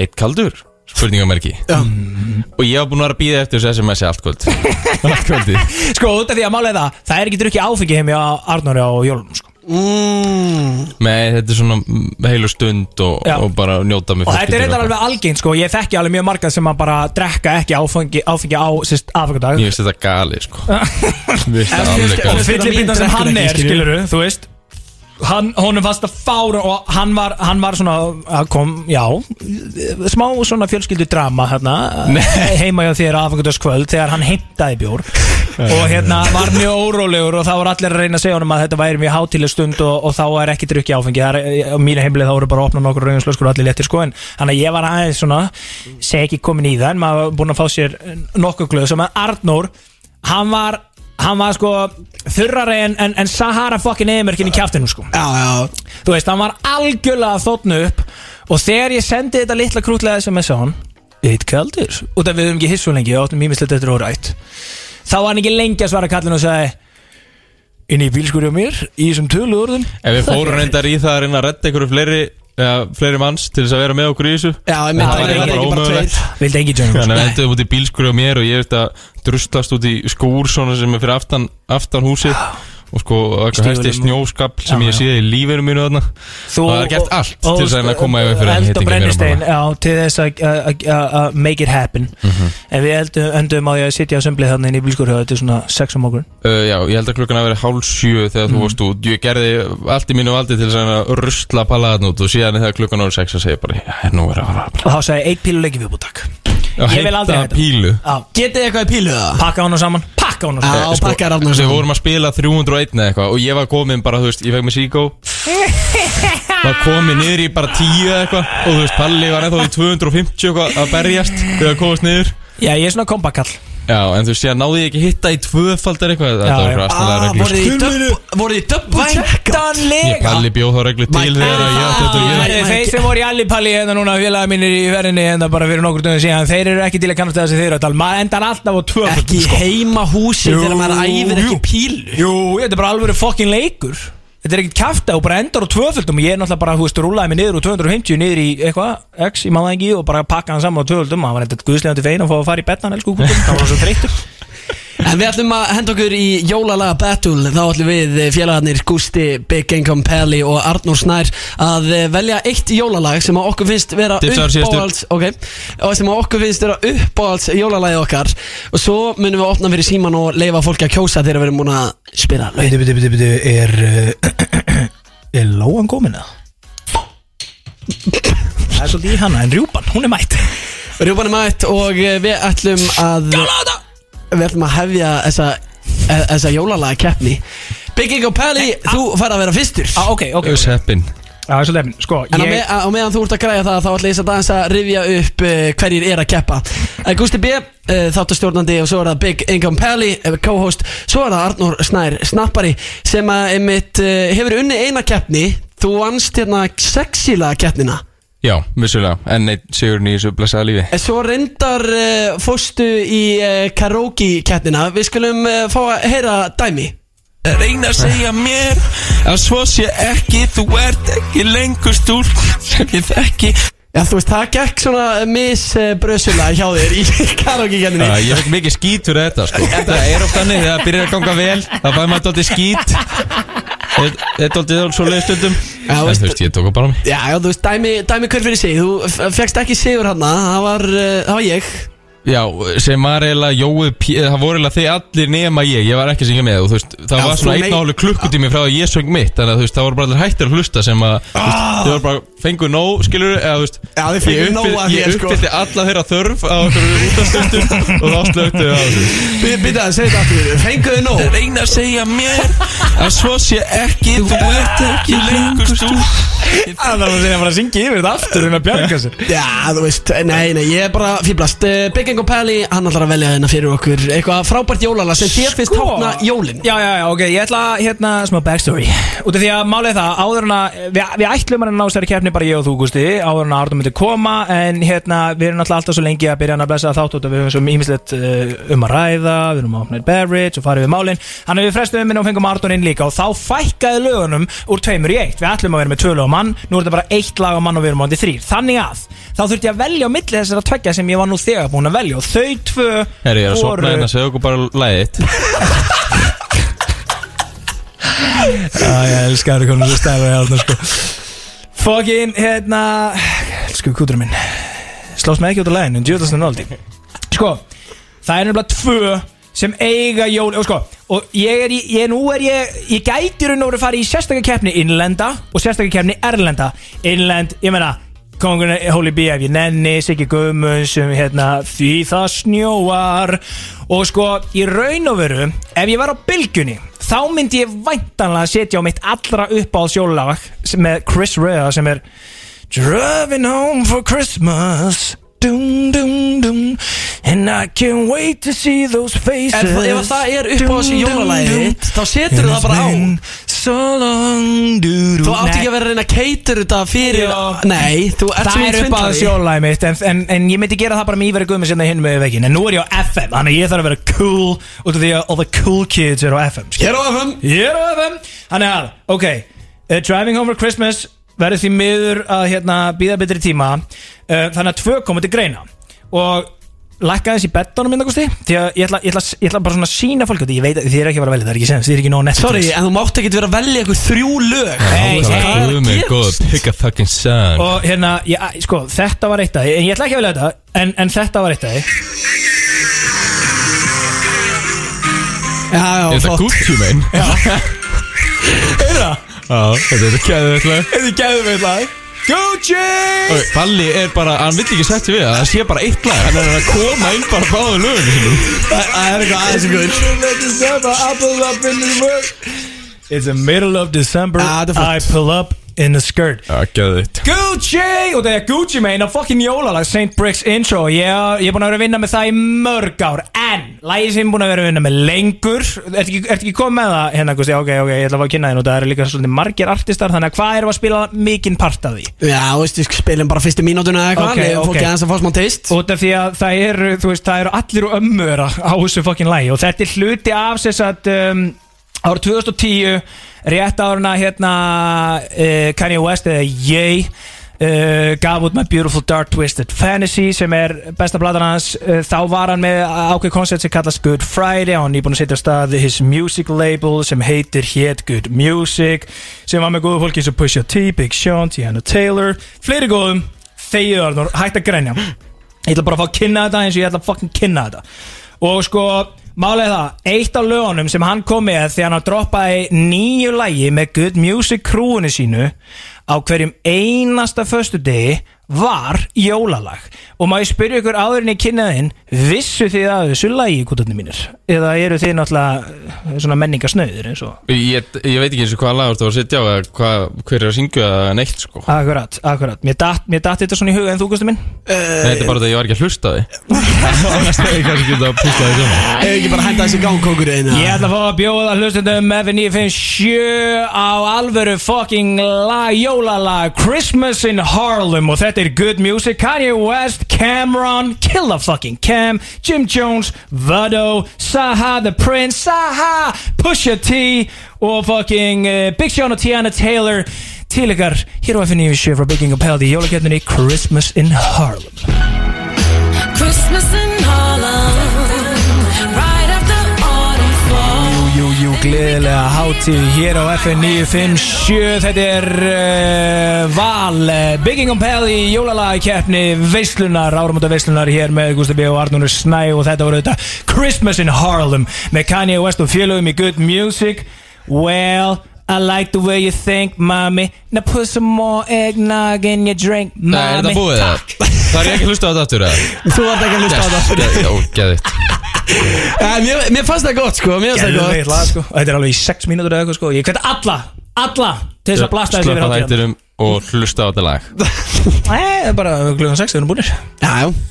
Eitt kaldur? um Spurningamerki
já
Mm.
Og ég var búin að vera að býða eftir þessu SMS-i allt kvöld Allt kvöldi
sko, út af því að málega það Það er ekki drukki áfengi heim hjá Arnar á jólunum, sko
Mm.
Með þetta er svona mm, heilu stund og,
Já.
og bara njóta með
Og þetta er
fjölskyldunni
reyndar
okkar.
alveg algengt sko, ég þekki alveg mjög marga sem að bara drekka ekki áfengi, áfengi á sérst aðfangadag
Ég veist þetta gali sko Mér finnst þetta
En-
alveg
og-
gali
Fyllibýtan sem
Drekkur
hann
ekki,
er,
skilur.
skilur þú veist hann, honum fannst að fára og hann var, hann var svona, að kom, já smá svona fjölskyldudrama hérna, heima hjá þér aðfangadagskvöld þegar hann heimtaði bjór og hérna var mjög órólegur og þá var allir að reyna að segja honum að þetta væri mjög hátileg stund og, og þá er ekki drukki áfengi það er, á mínu heimlið þá voru bara að opna nokkur rauðinslöskur og allir léttir sko en þannig að ég var aðeins svona segi ekki komin í það en maður var búin að fá sér nokkur glöð sem að Arnór hann var hann var sko þurrari en, en, en Sahara fucking eðmerkin í kjáftinu sko
Já, já
þú veist, hann var algjörlega að þóttnu upp og þegar ég sendi þetta litla krútlega sms á hann eitt kaldur, út af við höfum ekki hissu lengi og áttum ímislegt eftir órætt þá var hann ekki lengi að svara kallinu og sagði inn í bílskur hjá mér í þessum tölu orðum
Ef við fórum reyndar í það að reyna að redda einhverju fleiri eða fleiri manns til þess að vera með okkur í þessu
Já, ég myndi
Það
að
er
það er
bara
ekki bara tveir
ómögulegt.
vildi engi tjónum
Þannig að við endum út í bílskur á mér og ég veist að druslast út í skúr svona sem er fyrir aftan, aftan húsið og sko eitthvað
Stígvélum
hæsti
og-
snjóskapl sem
Já,
ég
já.
sé í lífinu mínu þarna
Þú,
Það er gert allt til þess að reyna að koma í veg fyrir
Eld og
hittingu mér á
brennistein, já, til þess að- að að- að- að make it happen En við eldum, endum á því að sitja á sömblið þarna inn í bílskurhjóðu til svona 6 um okkur
uh, Já, ég held að klukkan að vera hálf sjö þegar þú varst út Ég gerði allt í mínu valdi til þess að reyna að rusla palaðan út og síðan þegar klukkan ára sex að segja bara "Já, Nú er að fara að
Og þá sagði eitt pílu leikið viðbúttak
að
Ég vil aldrei
heita
hætta.
pílu
Getið þið eitthvað í pílu það?
Pakka honum saman, pakka honum saman
Já, pakkar
Sko,
Arnar
Við
saman
vorum að spila 301 eða eitthvað og ég var komin bara, þú veist, ég fekk mig síkó var komin niður í bara 10 eða eitthvað og þú veist, Palli var ennþá í 250 eitthvað að berjast þegar komast niður
Já, ég er svona kompakall
Já, en þú veist, ég náði ég ekki hitta í tvöfaldar eitthvað
Já,
Þetta var
já.
eitthvað aðstæðlega
Ah,
reglur
voruð þið í dub- voruð þið í double check?
Ég
Væntanlega
Palli bjóð þá reglu til
Mæ-
þegar að ég átti þetta að
Ah,
gera
ég-
Þeir sem voru í allipalli hérna núna félagar mínir í verðinni hérna bara fyrir nokkur dögum síðan þeir eru ekki til að kannast þessi þeirra tal maður endar alltaf á tvö
Ekki í heimahúsi
Jú,
þegar maður æfir ekki
jú.
pílu
Jú, þetta er bara alveg fokkin leikur Þetta er ekkert kæfta og bara endar á tvöföldum og ég er náttúrulega bara, þú veist, rúlaði mig niður úr 250 niður í eitthvað, x, ég maður það ekki og bara pakkaði hann saman á tvöföldum hann var eitthvað guðslegandi fein að fá að fara í betnan, elsku kúkum það var svo þreytur
En við ætlum að henda okkur í jólalaga battle Þá ætlum við eh, félagarnir Gusti, Big Income Pally og Arnór Snær Að eh, velja eitt jólalag sem að okkur finnst vera
Dipsaður síðastur.
uppáhalds okay, Og sem að okkur finnst vera uppáhalds jólalagi okkar Og svo munum við opna fyrir síman og leifa fólki að kjósa þegar við erum búin að spila lögin
Bíti, bíti, bíti, bíti, er er lóan komin að? Það er svolítið í hana, en rjúpan, hún er mætt
Rjúpan er mætt og eh, við ætlum að Við ætlum að hefja þessa, eh, þessa jólalaga keppni Bygging og Pally, þú fær að vera fyrstur
ah, Ok, ok,
Öss heppin
það er svolítið, sko
En á,
ég,
me á meðan þú ert að græja það þá ætla ég samt aðeins að rifja upp uh, hverjir er að keppa uh, Gusti B, uh, þáttastjórnandi og svo er það Big Income Pally, uh, co-host svo er það Arnór Snær Snappari sem að einmitt uh, hefur unni eina keppni þú vannst hérna sexila keppnina
Já, vissulega, enn eitt sigurinn í þessu blessaða lífi
en svo reyndar uh, fóstu í uh, karaoke keppnina við skulum uh, fá að heyra dæmi
Reyna að segja mér að svo sé ekki Þú ert ekki lengur stúl sem ég þekki
Já, þú veist, það gekk svona misbrösula hjá þér í karaoke-kenninni
Já, ég fekk mikið skít fyrir þetta sko. Þetta er oft þannig, þegar það byrjar að ganga vel þá fæði maður dóttið skít Þetta er dóttið svo leiðstundum
Já,
En
veist-
þú veist, ég tók á bara á mig
Já, já, þú veist, dæmi, dæmi hver fyrir sig Þú f- fékkst ekki sigur hann það var, uh, það var ég
Já, sem var eiginlega Jói, P- það voru eiginlega þið allir nema ég Ég var ekki að syngja með þú veist, Það
Já,
var
þú
svona
nei-
einn og hálfu klukkutími frá að ég söng mitt Þannig að þú veist, það voru bara allir hættir að hlusta sem að þú veist, Þið voru bara, fengu nóg, skilur eða, þú veist,
Ah. Já, þið
Ég
fengu nóg
uppfyll-
af
ég
þér, sko.
uppfyllti alla þeirra þörf á einhverju útastundum og þá slöktu þau á þessu
Býta að segja þetta aftur, fenguðu nóg
reyna að segja mér að svo sé ekki, þú ert ekki lengur stúl
Ah, Það var að segja bara að syngja yfir þetta aftur en að bjarga sér
Já, þú veist, nei, nei, ég er bara fýblast uh, Bygging og Pæli, hann ætlar að velja hérna fyrir okkur Eitthvað frábært jólala sem þér finnst
Sko.
tákna jólin
Já, já, já, ok, ég ætla að, hérna, smá backstory Út af því að málið er það, áður en að Við, við ætlum að ná sér keppni bara ég og þú, Gusti Áður en að Arnum myndi koma En hérna, við erum náttúrulega alltaf svo lengi að byrja hann að blessa þátt Út af við erum svo ímislegt uh, um að ræða Við erum að opna eitt beverage og farið við málin Þannig að við frestum um og fengum Arnum inn líka Og þá fækkaði lögunum úr tveimur í eitt Við ætlum að vera með tvö lög á mann Nú er þetta bara eitt lag á mann og við erum á þetta þrýr Þannig að, þá þurfti ég að velja á milli þessara tveggja sem ég var nú þegar búin að velja Og þau tvö
Herri, ég er að sopna hérna, segja okkur bara læðið
Já, ég elskar það hvernig þú stæður að hérna sko Fokkin, hérna Elsku kúturinn minn Slóst mig ekki út af læginu, en djúðast en aldi Sko, það er nefnilega tvö sem eiga jól og sko, og ég er í, ég, nú er ég ég gæti í raun og verið að fara í sérstakar keppni innlenda og sérstakar keppni erlenda innlend, ég meina kongurinn Holy B ef ég nenni, Siggi Guðmunds sem hérna, því það snjóar og sko, í raun og veru ef ég var á bylgjunni þá myndi ég væntanlega setja á mitt allra uppáhalds jólalag sem- með Chris Rea sem er Driving home for Christmas Dum, dum, dum And I can't wait to see those
Ef,
faces
ef það er upp á þessu jólalagið þitt, þá setur það bara á
So long du, du.
Þú átt ekki að vera að reyna að cater þetta fyrir
Jó.
Nei, þú ert
Það
svo mikill
er upp á
svindlari.
þessu jólalagið mitt en, en, en ég myndi gera það bara með Ívari Guðmund sem það hinn með veginn En nú er ég á FM Þannig að ég þarf að vera cool Út af því að all the cool kids eru á FM skilur.
Ég er á FM
Ég er á FM Þannig að, ok uh, Driving home for Christmas verður því miður að hérna býða betri tíma uh, Þannig að tvö komið til greina Og lækka þess í bettanum minna gústi Því að ég ætla, ég ætla, ég ætla bara svona að sína fólk Því ég veit að þið er ekki að vera velið, það er ekki sens Þið er ekki nóg Netflix
Sorry, en þú mátt ekki vera að velja ykkur þrjú lög Þú
Hey,
veist,
hey,
hvað er að
Guð mig
gerast?
góð, pick a fucking song
Og hérna, ég, sko, þetta var eitt af því En ég ætla ekki að velja þetta En, en þetta var eitt af því
Já, já,
Er þetta
flott
Gucci mein? Já, þetta er kæðið eitthvað
Þið gæðum við það Gucci
Balli er bara, hann vill ekki setja við það, það sé bara eitt lag Hann er að koma inn bara báðu lögum sínum
Það það er eitthvað aðeins ykkur
It's the middle of December
Ah, þetta er flott.
I pull up in a skirt
Já, gæðið
Gucci Og það er Gucci meina fucking jólalag St. Bricks intro Ég, ég er búin að vera að vinna með það í mörg ár En Lægi sem ég er búin að vera að vinna með lengur Ertu ekki, ert ekki komið með það hérna Gusti Ok, ok, ég ætla að fá að kynna þín Og það eru líka svolítið margir artistar Þannig að hvað erum við að spila mikinn part af því
Já, þú veist, við spilum bara fyrstu mínútuna eða
Ok,
eitthvað Leifum
ok.
fólki aðeins að fá smá teist
Út af því að það eru, þú veist, það eru allir og ömmur á á þessu fokkin lægi og þetta er hluti af sér satt um, ára 2010 rétt áruna hérna uh, Kanye West eða Ye uh, gaf út með Beautiful Dark Twisted Fantasy sem er besta bladan hans uh, þá var hann með ákveð koncept sem kallast Good Friday hann er búin að setja af stað his music label sem heitir Hét Good Music sem var með góðu fólki eins og Pusha T, Big Sean, Tiana Taylor fleiri góðum þegið Arnur, hætt að grænja ég ætla bara að fá að kynna þetta eins og ég ætla að fucking kynna þetta og sko, málega það eitt af lögunum sem hann kom með þegar hann droppaði nýju lægi með Good Music krúinu sínu á hverjum einasta föstu degi var jólalag og má ég spyrja ykkur áður en ég kynna þinn vissu þið að þessu lægi kútarnir mínir eða eru þið náttúrulega eh, svona menningasnöður eins og
Ég, ég veit ekki eins og hvað lag þú var að setja á eða hvað, hver er að syngja það neitt
Eh.
sko
akkurat, akkurat, mér datt, mér datt þetta svona í huga en þú gústu minn
Nei, þetta er bara þetta að ég var ekki að hlusta á því Annars hefði ég kannski getað að púsla því saman
Ef ekki bara henda þessi gangkókurinn
Ég ætla að fá að bjóða hlustendum F957 á alvöru fucking lag, jólalag Christmas in Harlem og þetta er Good Music Kanye West, Cameron, Killa fucking Cam, Jim Jones, Vado, Saha the Prince, eh, Saha, Pusha T og fucking uh, Big Sean og Tiana Taylor til ykkar hér á FN97 frá Bygging og Peldi í jólakefninni Christmas in Harlem
Christmas in Harlem, right after autumn falls.
Jú, jú, gleðilega hátíð hér á FN957 Þetta er uh, Val eh, Bygging on Pell í jólalagakeppni Veislunar, áramönda Veislunar hér með Gustaf B. og Arnur Snæ og þetta voru þetta Christmas in Harlem með Kanye West og félögum í Good Music Well, I like the way you think, mommy Now put some more eggnog in your drink, mommy
Nei, Eh, er þetta búið það? Það er ég ekki að hlusta á þetta aftur eða?
Þú vart ekki að hlusta á það aftur.
Yes, já, geðvitt
Eh, Mér mér fannst það gott sko, mér fannst það
Geðveikt lag,
gott
sko. Og Þetta er alveg í 6 mínútur eða eitthvað sko Ég hveti alla, alla til þess að blasta þessu
Slöpa
yfir hátíðan
þættinum og hlusta á þetta lag
Nei, það er bara klukkan 6, við erum búinir
Já, já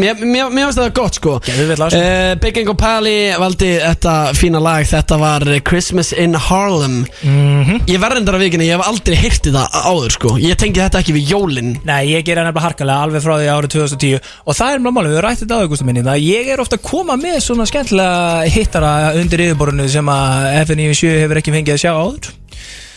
Mér, mér, mér finnst það gott sko
Geðveikt lag, sko.
uh, Bygging og Pali valdi þetta fína lag Þetta var Christmas in Harlem
Mhm.
Ég verður endara vikinni, ég hef aldrei heyrti það áður sko Ég tengi þetta ekki við jólin
Nei, ég gera nefnilega harkalega alveg frá því árið 2010 og það er mjög málum, við höfum rætt þetta á augustum minni það að ég er ofta að koma með svona skemmtilega hittara undir yfirborinu sem að FN97 hefur ekki fengið að sjá áður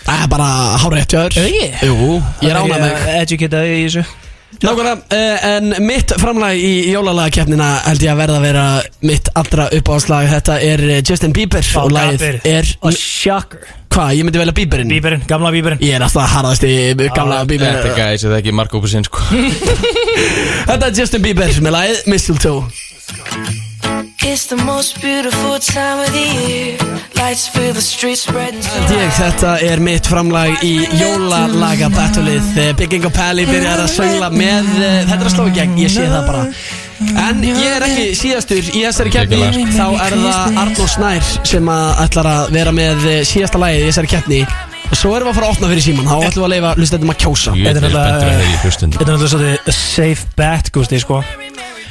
Það er bara hárétt hjá þér
Er ég?
Jú, ég rána mig
Educate í þessu
Nákvæmlega, uh, en mitt framlag í jólalagakeppnina held ég að verða að vera mitt allra uppáðslag Þetta er eh, Justin Bieber og lagið er
Og shocker
Hvað, ég myndi velja Bieberinn?
Bíberinn, gamla bíberinn
Ég er alltaf harðast í gamla Bieber
Þetta gæs, þetta er ekki Marko Pussin sko
Þetta er Justin Bieber með lagið Mistletoe
It's the most beautiful time of the year. Lights fill the streets, spreading
Held Ég, þetta er mitt framlag í jólalaga battlið Bygging og Pally byrjar að söngla með eh, Þetta er að sló í gegn, ég sé það bara En ég er ekki síðastur í þessari keppni
Geggjað
Þá er það Arnór Snær sem að ætlar að vera með eh, síðasta lagið í þessari keppni Og svo erum við að fara að opna fyrir síman Þá ætlum við að leifa hlustendum að kjósa
Ég er
Þetta er
spenntur að
náttúrulega-
heyra í hlustundum
Þetta er náttúrulega svolítið safe bet, gústi, sko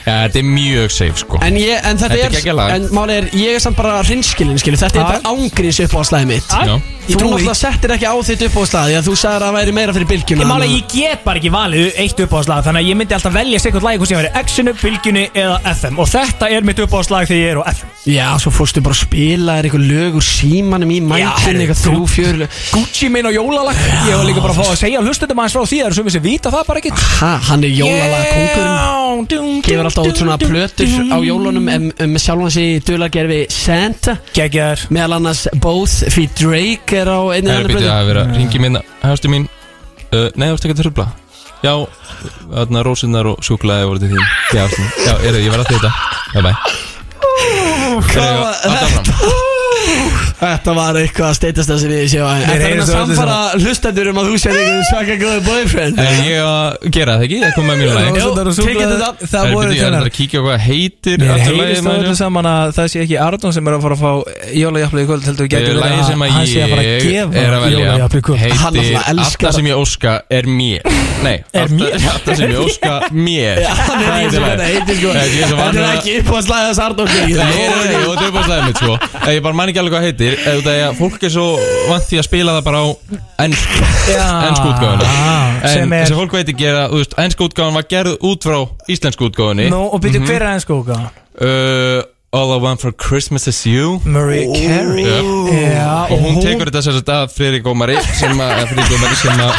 Já, þetta er mjög safe sko
En, ég, en þetta,
Þetta er geggjað lag.
er, en máli er, ég er samt bara hreinskilin skilu Þetta er
Já.
bara ángriðs upp á slæði mitt Þú
Já.
Ég trúi því.
náttúrulega settir ekki á þitt upp á slæði Þú sagðir að það væri meira fyrir bylgjuna
Ég mála, ég get bara ekki valið eitt uppáðslag Þannig að ég myndi alltaf velja sikkert lag Hvort sem verið X-inu, Bylgjunni eða FM Og þetta er mitt uppáðslag þegar ég er á FM
Já, svo fórstu bara að spila þér eitthvað lög úr símanum í mækinn,
herru,
eitthvað
þú-
þrjú, fjör lög
Gucci minn og jólalag Ég var líka bara að fá að segja hlustundum aðeins frá því Það eru sumir sem vita það bara ekki
Ha, hann er jólalaga kongurinn
kongurinn
Gefur alltaf út svona plötur á jólunum em- em- með sjálfan sig í dulargerfi Santa
Gægjar
Meðal annars Both fyrir Drake er á einni
Það er
annað
býtið
blötu
að vera Ringi minna, hægstu hérna. mín uh, Nei, þú ert ekki að tröfla Já, þarna rósinnar og sjúklaði voru til þín Já, svona. já er ég verð að þetta Bye bye
hvað var
þetta?
Þetta var eitthvað að steitast það sem ég sé á Þetta er að
heyrist það öllu
samfara hlustendur um að þú sér eitthvað svaka góðu boyfriend
Er ég að gera það ekki? Ég kom með mínu lag
Jó,
Rósirnar og
tekið
súkkulaði.
þetta upp.
Það
Það
er
voru
býtið, ég er að
þennan
kíkja á hvað það heitir
Mér
aftur lagið,
heyrist það
maður.
öllu saman að það sé ekki Arnón sem er að fara að fá jólajafli í kvöld heldur
Það
gæti
er lagið sem að
hann sé að fara að
ég
gefa
er að velja
jólajafli í kvöld
Hann
heitir
náttúrulega elskar
Alltaf sem ég óska er mér Nei,
Er mér?
alltaf sem ég óska mér
Hann er ekki
heitir
svo hvað það heitir sko Þetta
lagið. Nei, ég er svo
er
vanur að-
ekki upp á að slæða sko.
Nei,
sartókning
nei, nei, og þetta er bara slæðið mitt sko Eh, Ég bara man ekki alveg hvað það heitir eh, út af því að Fólk er svo vant því að spila það bara á ennsku
Já. Ah,
Ennsku útgáfuna En
Sem er-
sem fólk veit ekki er að þú veist, Ennsku útgáfun var gerð út frá íslensku útgáfunni
Nú, og
Mhm.
byrju hver er hans góka?
Uh, All I want for Christmas is you
Murray Carey
Jöp.
Já,
Og hún tekur þetta sér að Friðrik Ómari sem að eða Friðrik Ómari sem að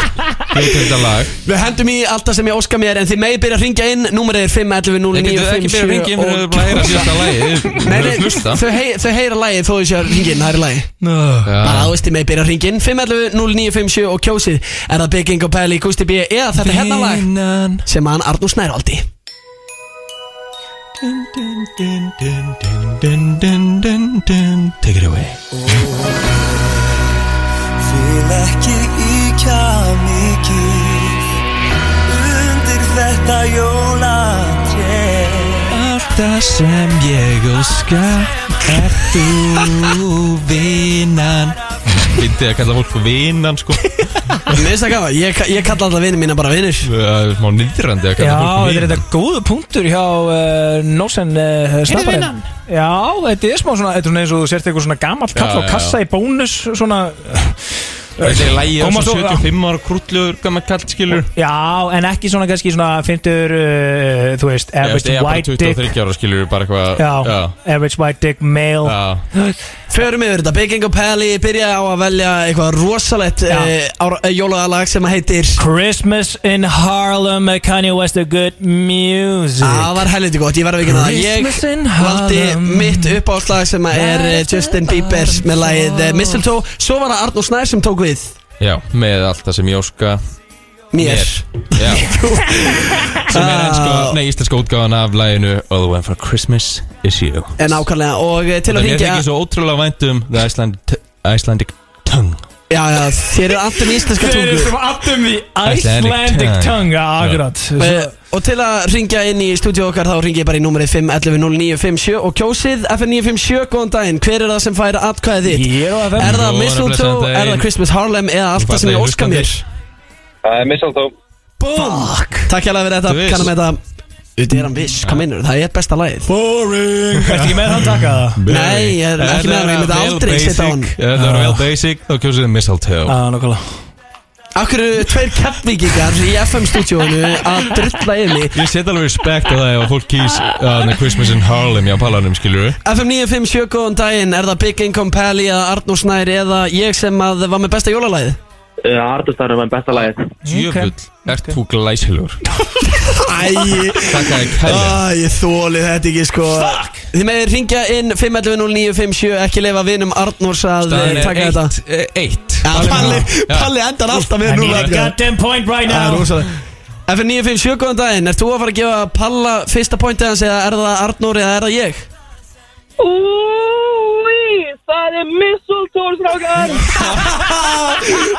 heitir þetta lag
Við hendum í alltaf sem ég óska mér En þið megið byrja að ringja inn Númerið er 5, 11, 0,
Ég
9,
getur
5,
ekki byrjað að
7
ringi inn fyrir að bara heyra síðasta lagi
Nei,
Nei,
nei,
hlusta
þau, hei, þau heyra lagið þó þau séu að ringja inn, það er í lagi
Nú.
Ah.
Bara þú veist, þið megið byrja að ringja inn 5, 11, 0, 9, 5, 7 og kjósið Er það Big Ingo Pæli, Gusti B Eða þetta hérna lag
Vinnan
Sem hann Arnúr Snærvaldi
Take it away
Vil ekki íkja mikið Undir þetta jólatré
Allt það sem ég óska Er þú vinnan
Fyndið að kalla fólk fyrir vinnan sko Það
Mér finnst það gaman, ég, ég kalla alltaf vinni mína bara vinnir
er eh, smá nýðrandi að
Já,
kalla fólk
þetta
fyrir
er þetta
vinnan
góðu punktur hjá uh, Nósen uh, Snapparinn
vinnan?
Já, þetta er smá svona Þetta er svona eins og þú sért eitthvað svona gamall kall
Já,
á
já,
kassa í bónus Svona
Þessi lægi er
Koma
svo
svo-
75 ára krúllur Gammal kall skilur
Já, en ekki svona kannski svona 50, uh, þú veist,
Ég
average
veist, ég er bara
white dick
23 ára skilur Bara eitthvað
já, average white dick male
Já.
Förum yfir þetta, Big Ingo Pally byrjaði á að velja eitthvað rosalett
Já.
e, jólagalag sem að heitir
Christmas in Harlem uh, Kanye West a good music
Það var helviti gott, ég verði ekki það
Christmas in
Ég valdi
Harlem.
mitt uppáðslag sem að er eh, Justin Bieber með lagið eh, Mistletoe Svo var það Arnó Snær sem tók við
Já, með allt það sem ég óska
mér
Já Sem er enska, nei, íslenska útgáðan af læginu All the way for Oh, Christmas is you
En ákvæmlega og eh, til
Það
að
mér
ringja
þykir svo ótrúlega vænt um The Icelandic, Icelandic tongue
Já, já, þér eru alltaf í íslenska
Þeir eru
tungu
sem aftum í
Icelandic
Icelandic
tongue.
tongue, ja, akkurat
Eh, Og til að ringja inn í stúdíu okkar þá ringi ég bara í númerið 5110957 og kjósið FN957, góðan daginn Hver er það sem fær atkvæðið þitt?
Ég er á FM
Er
Góðan
það
og blessaðan
Mistletoe,
daginn.
er það Christmas Harlem eða allt það sem ég óska mér?
Það er misaldó
Búm! Takk hérlega fyrir
Þú
þetta,
veist.
kannum við þetta Þetta er hann viss, hvað minnur, það er besta lagið
Boring Ertu ekki með hann taka það?
Nei, ég er ekki með hann, ég myndi aldrei setja á hann
Ef það er vel basic, þá kjósið þið mistletoe
Já, nokkala
Akkur eru tveir keppvíkingar í FM-stúdíónu að drulla yfir mig
Ég setja alveg respekt á það ef fólk kýs uh, Christmas in Harlem, já, palanum, skilur við
FM 957, góðan daginn, er það Big Income Pally eða Arnúr Snær eða ég sem að var með besta jólalagið?
Artustar er maður besta lagið
Jöfull, ert þú glæsilur
Æ,
Takk að ég kæli
ég þóli þetta ekki sko Fuck! Þið meðir ringja inn 511-0957, ekki leifa vinum Arnúrs að eh,
Staðan
taka
er
þetta
1-1
Ja, Palli,
Já.
Palli endar alltaf með
I
nú
need a goddamn point right
Það er
now
rosalega FM 957, góðan daginn, ert þú að fara að gefa Palla fyrsta pointið hans eða er það Arnúr eða er það ég?
Úi, það er mistlutól, strákar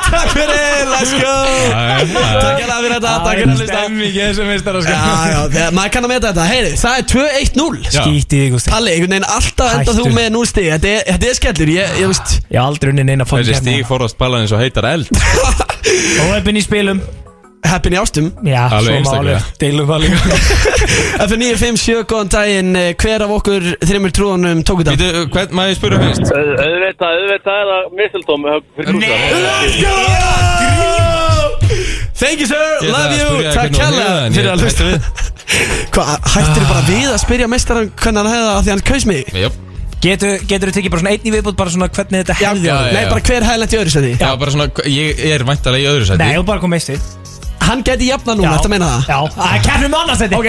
Takk fyrir, let's go
Ah,
Takk hérna fyrir þetta, takk fyrir að hlusta
Stemmi ekki þessu meistara
Já, já, þegar maður kann að meta þetta Heyri, það er 2-1-0
Já.
Skítið, Gusti
Palli, einhvern veginn alltaf enda
Hættu.
þú með 0 stig Þetta er, þetta er skellur, ég, ég veist
Ég hef aldrei unni neina hérna. fólk
Þessi stíg forðast ballan eins og heitar eld
Óöppin í spilum
Heppin í ástum
Já,
Alveg
svo
einstaklega.
málið Deilum það líka
F957, góðan daginn eh, Hver af okkur þreymur trúanum tók þetta?
Vítu, hvern maður spyrja um fyrst?
Auðvitað, auðvitað er það misaldó fyrir krúsar
Thank you sir, love
Ég ætlaði að
you
spyrja
Takk
hvernig
hella fyrir
hún hefði það, en ég
að
hætti
hlusta Hvað, hættir bara við að spyrja mestaran hvernig hann hefði það af því hann kaus mig?
Jöp
Getur þú tekið bara svona einn í viðbútt bara svona hvernig þetta
Já,
hefði
já,
Nei,
já.
bara hver hefði lent í öðru seti?
Já, bara svona, ég er væntalega í öðru sæti
Nei, þú bara kom meistið
Hann geti jafna núna, þetta meina það?
Já, að kennum annars þetta
Ok,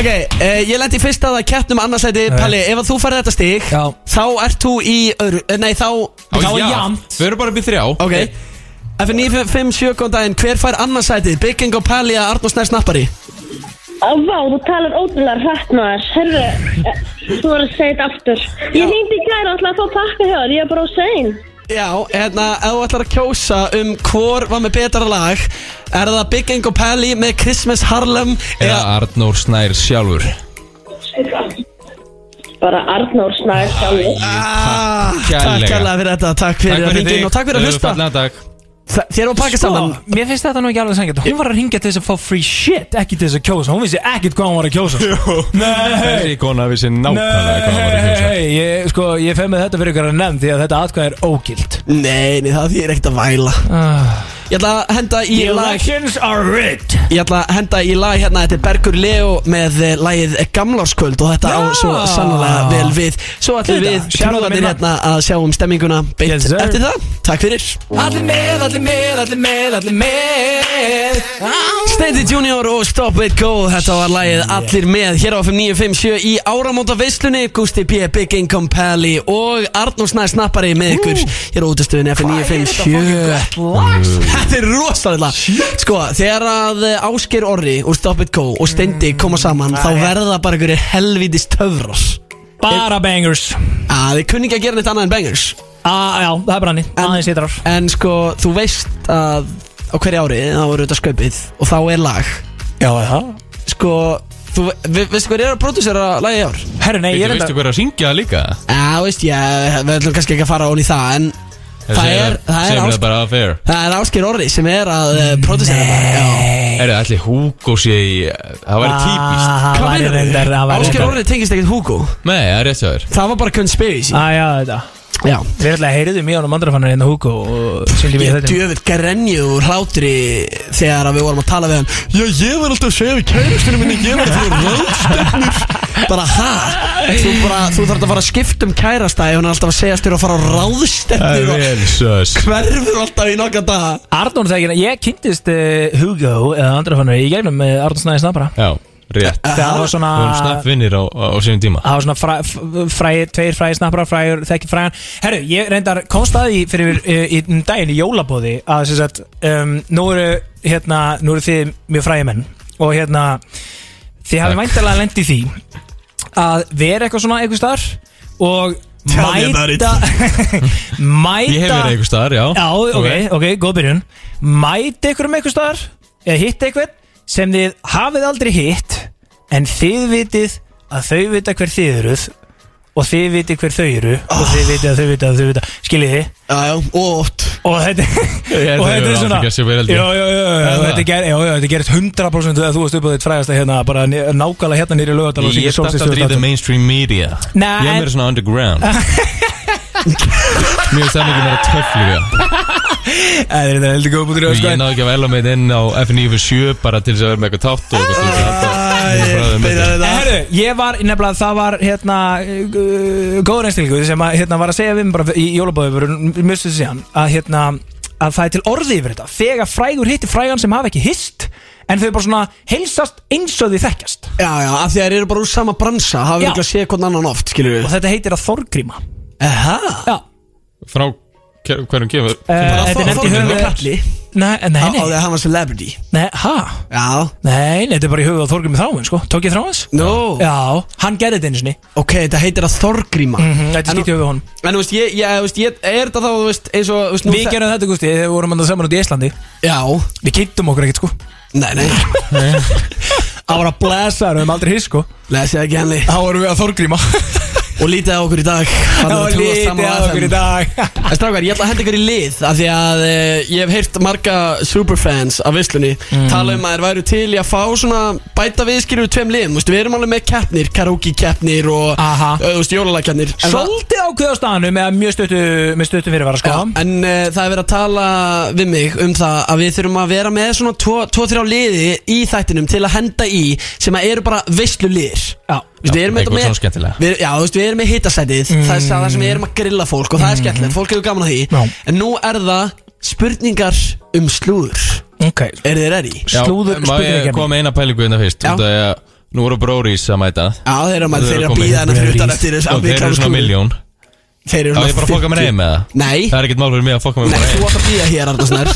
ok, uh, ég lendi í fyrsta að keppnum annarsæti Palli, ef að þú færði þetta stig
Já.
Þá ert þú í öðru, eh, nei þá
Á,
þá er
já,
jafnt.
Við erum bara upp í þrjá
Ok F957 góðan daginn, hver fær annarsætið? Bygging og Palli að Arnur Snær snappari
Á vá, þú talar ótrúlega hratt maður Herru, eh, þú voru að segja þetta aftur Ég hindi í gæra alltaf að fá pakka hjá þér Ég er bara á sein
Já, hérna, ef þú ætlar að kjósa um hvor var með betra lag Er það Bygging og Palli með Christmas Harlem
Eða Arnór Snær sjálfur
Bara Arnór snæði sjálfur
Ah, Takk
kærlega.
kærlega fyrir þetta, takk fyrir að ringin og takk fyrir að hlusta
Fallega dag
Þa- Þér var að pakka saman
Sko, mér finnst þetta nú ekki alveg sangjart Hún var að ringja til þess að fá free shit Ekki til þess að kjósa, hún vissi ekkit hvað hún var að kjósa Nei,
Þessi kona vissi nákvæmlega hvað hann var að hugsa
nei, ég, sko, ég feg með þetta fyrir ykkur að nefn Því að þetta atkvæð er ógild
Nei, nei, það þýr ekkert að væla Ah. Ég ætla að henda í lag
are rigged
Ég ætla að henda í lag hérna, þetta er Bergur Leo með eh, lagið Gamlarskvöld og þetta á svo
Já.
sannlega vel við Svo ætlum
Þetta,
við
shout out
trúðanir
minna.
hérna að sjá um stemminguna beint
Yes, sir.
eftir það Takk fyrir
Allir með, allir með, allir með, allir með
Steindi Junior og Stop It Go Þetta var lagið Allir með hér á 5957 í áramóta veislunni Gusti P. Big Income Pally og Arnús Næ Snappari með ykkur hér á útastöðunni F957 Mm. Þetta er rosalega Sko, þegar að eh, Ásgeir Orri og Stop It Go og Steindi koma saman þá verða bara einhverjir helvítis töfrar
Bara bangers
að þið kunni ekki að gera neitt annað en bangers
Ah, Já, það er branni, aðeins hittar
en sko, þú veist að á hverju ári þá eru þetta sköpið og þá er lag
Já, það
sko, þú ve veistu hver er að prodúsera lagið í ár?
Herru, nei, ég er
Þú veistu
enda
hver er að syngja líka?
Já, veist, ég, við ætlum kannski ekki að fara án í það en það er, það er,
Segum
ás
það bara að fair
það er Ásgeir Orri sem er að uh, prodúsera þetta já.
Er það allir Hugo sé í Það væri típist
Ah, Það væri
meinarðu?
reyndar, það væri
Ásgeir
reyndar
Orri tengist ekkert Hugo
Nei, það er rétt hjá þér
það var bara conspiracy
Ah, já, þetta
Já
Við ætla að heyriðum í honum andrafannar hérna Hugo og syngdi við
Ég
þetta
djöfitt grenju úr hlátri þegar að við vorum að tala við hann Já, ég var alltaf að segja við kæristinu minni Ég var að því ráðstefnur Bara ha Þú, bara, þú þarf að fara að skipta um kærasta Ef hann er alltaf að segja styrir að fara á ráðstefnur Og
Jesus
hverfur alltaf í nokkað daga
Arnón þegar ég kynntist uh, Hugo eða andrafannar í gegnum með Arnón Snæði Snappara
Já, rétt
Þegar það var svona
Við erum snappvinnir á, á, á sínum tíma
það var svona fræ, f- fræ, tveir fræði snapparar, fræður, þekki fræðan Herru, ég reyndar komst að því fyrir uh, í um daginn í jólabóði að sem sagt, um, nú eru hérna, nú eru þið mjög fræði menn og hérna, þið hafið
Takk.
væntalega lent í því að vera eitthvað svona eitthvað starf og
Tell me about it.
mæta mæta
Ég hef verið einhver staðar, já
Já, ok, ok, góð byrjun Mæti ykkur um eitthvað staðar eða hitt eitthvað sem þið hafið aldrei hitt en þið vitið að þau vita hver þið eruð og þið vitið hver þau eru og
Ah.
þið vitið að þau vita að þau vita skiljið þið
Já, já, og oft
og þetta
Ég er
og
það
þetta
yfir
er svona
Áfríka sem ég held ég.
já, já, já, já,
Er það?
þetta ger- já, já, þetta gerist 100% þegar þú varst upp á þitt fræðasta hérna bara né- nákvæmlega hérna nýri lögadal
Ég er dætt aldrei í the mainstream media
Nei.
Ég er meira svona underground Mér finnst það mikið meira töff líka
Það er heldur góð bútur í
Ég náðu ekki að væla með inn á FNF7 bara til þess að vera með eitthvað tátt og eitthvað til þess að halda- bræða með þetta.
En herru, ég var nefnilega, það var hérna uh, góður einstilgu sem að hérna var að segja við mig bara í jólabóðið mjög stuð síðan að hérna að það er til orði yfir þetta þegar frægur hittir frægan sem hafa ekki hist en þau bara svona heilsast eins og því þekkjast
Já, já, af því að þeir eru bara úr sama bransa Hafa
Já.
ykkur að segja hvern annan oft, skilur
og
við
þetta heitir að þorgríma
Aha
Já,
Frá hver- hverjum kemur
Eh, þetta er nefnt í höfuð
Kalli
Nei, nei,
Á á því
nei,
að hann var celebrity
nei, ha?
Já
Nei, nei, þetta er bara í höfuð á þorgrími þráin, sko Tók ég þráins?
No
Já, hann gerði þetta einu sinni
Ok, þetta heitir að Þorgríma
Mhm, Þetta
En-
skýtti höfuð honum
En þú veist, ég, ég, þú veist, ég, er þetta þá, þú veist, eins og, þú veist, nú
Við
þe-
gerðum þetta, Gusti, þegar við vorum að saman út í Íslandi
Já,
Við kynntum okkur ekkert, sko
nei, nei,
Það voru að blessa, við höfum aldrei hitt, sko
lesið ekki henni
Þá vorum við að þorgríma
Og lítið á okkur í dag
Það
Þannig að
var
trúa
lítið
saman á
að okkur í
FM.
dag
En strákar, ég ætla að henda ykkur í lið Af því að e, ég hef heyrt marga superfans af vislunni Tala um að þeir væru til í að fá svona Bæta viðskilur við tveim liðum, þú veist, við erum alveg með keppnir Karaoke keppnir og,
Aha.
ö, þú veist, jólalagkeppnir Ah. En það-
Svolítið ákveð á staðanum með mjög stöttu, með stöttu fyrirvara sko
Já, en uh, það er verið að tala við mig um það að við þurfum að vera með svona 2-3 liði í þættinum til að henda í sem að eru bara veistlu liðir
Já.
Vist, við erum þetta
Já, eitthvað
með,
svona skemmtilega.
við, já, þú veist, við erum með hittasætið það er það sem við erum að grilla fólk og það
Mhm.
er skemmtilegt, fólk hefur gaman að því
Já.
en nú er það spurningar um slúður
Ok
eru þið ready?
Já,
Slúður
Má ég
spurningakeppni
koma með eina pælingu innan fyrst
Já.
Út af því að Nú eru brórís að mæta
Já, þeir eru að,
Þeir
þeir
eru
eru að
komin.
býða hennar fyrir utan eftir þess
Og
að
þeir
við
eru svona miljón
Þeir eru
Já, ég bara að fokka mér
50.
heim með það
Nei.
Það er ekkert mál fyrir mig að fokka mér
Nei,
bara
þú
heim
átt að býða hér, Arnarsnær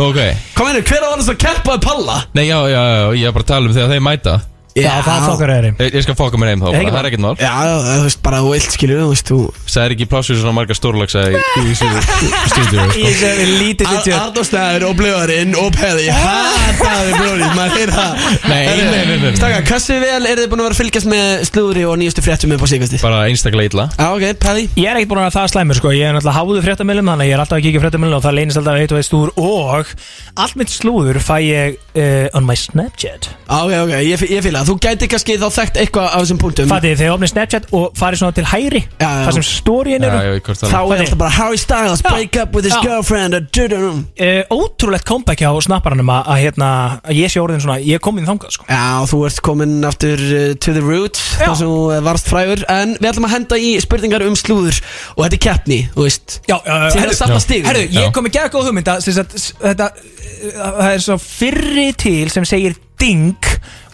Ok
Kom einu, hver á annars að keppa við palla?
Nei, já, já, já, ég er bara að tala um þegar þeir mæta
Já, það fokkar er þeim
Ég, ég skal fokka mér heim þá, bara,
ekki
það er ekkert mál
Já, þú veist, bara þú vilt skilur, þú veist, þú
Það er ekki plássur svona marga stórlöksa í í þessu stúdíu sko.
Ég sem er lítið til tjörn
Arnóstæður og blöðarinn og peði Hataði blóðið, maður heyrði það
Nei, nei, nei, nei, nei.
Staka, hversu vel eru þið búin að vera að fylgjast með slúðri og nýjustu fréttum upp á síkvæsti?
Bara einstaklega illa
Já, ok, peði
Ég er ekkert búin að vera það slæmur sko, ég er náttúrulega háðu fréttamilum þannig að ég er alltaf að kíkja fréttamilum og það leynist alltaf eitt og eitt stúr og allt mitt slúður fæ ég uh, on my Snapchat
Ah, Ok, ok, ég, fí- ég fíla það. Þú gæti kannski þá þekkt eitthvað af þessum punktum
Fatið, þegar ég opnið Snapchat og farið svona til hæri
Já, já.
þar sem storyin
Já,
eru
ég veit hvort
Þá
það
er alltaf bara Harry Styles,
Já.
break up with his
Já.
girlfriend og du-du-dum.
uh, ótrúlegt comeback hjá snapparanum að, að, hérna, að ég sé orðin svona, ég kom inn þangað sko.
Já, þú ert komin aftur uh, to the roots
Já.
þar sem þú eh, varst frægur En við ætlum að henda í spurningar um slúður Og þetta er keppni, þú veist
Já, já, já,
Þið er að safna stigum.
herru,
Já.
ég kom ekki að góð hugmynd að, sem sagt, s- þetta, eh, það er svo fyrri til sem segir ding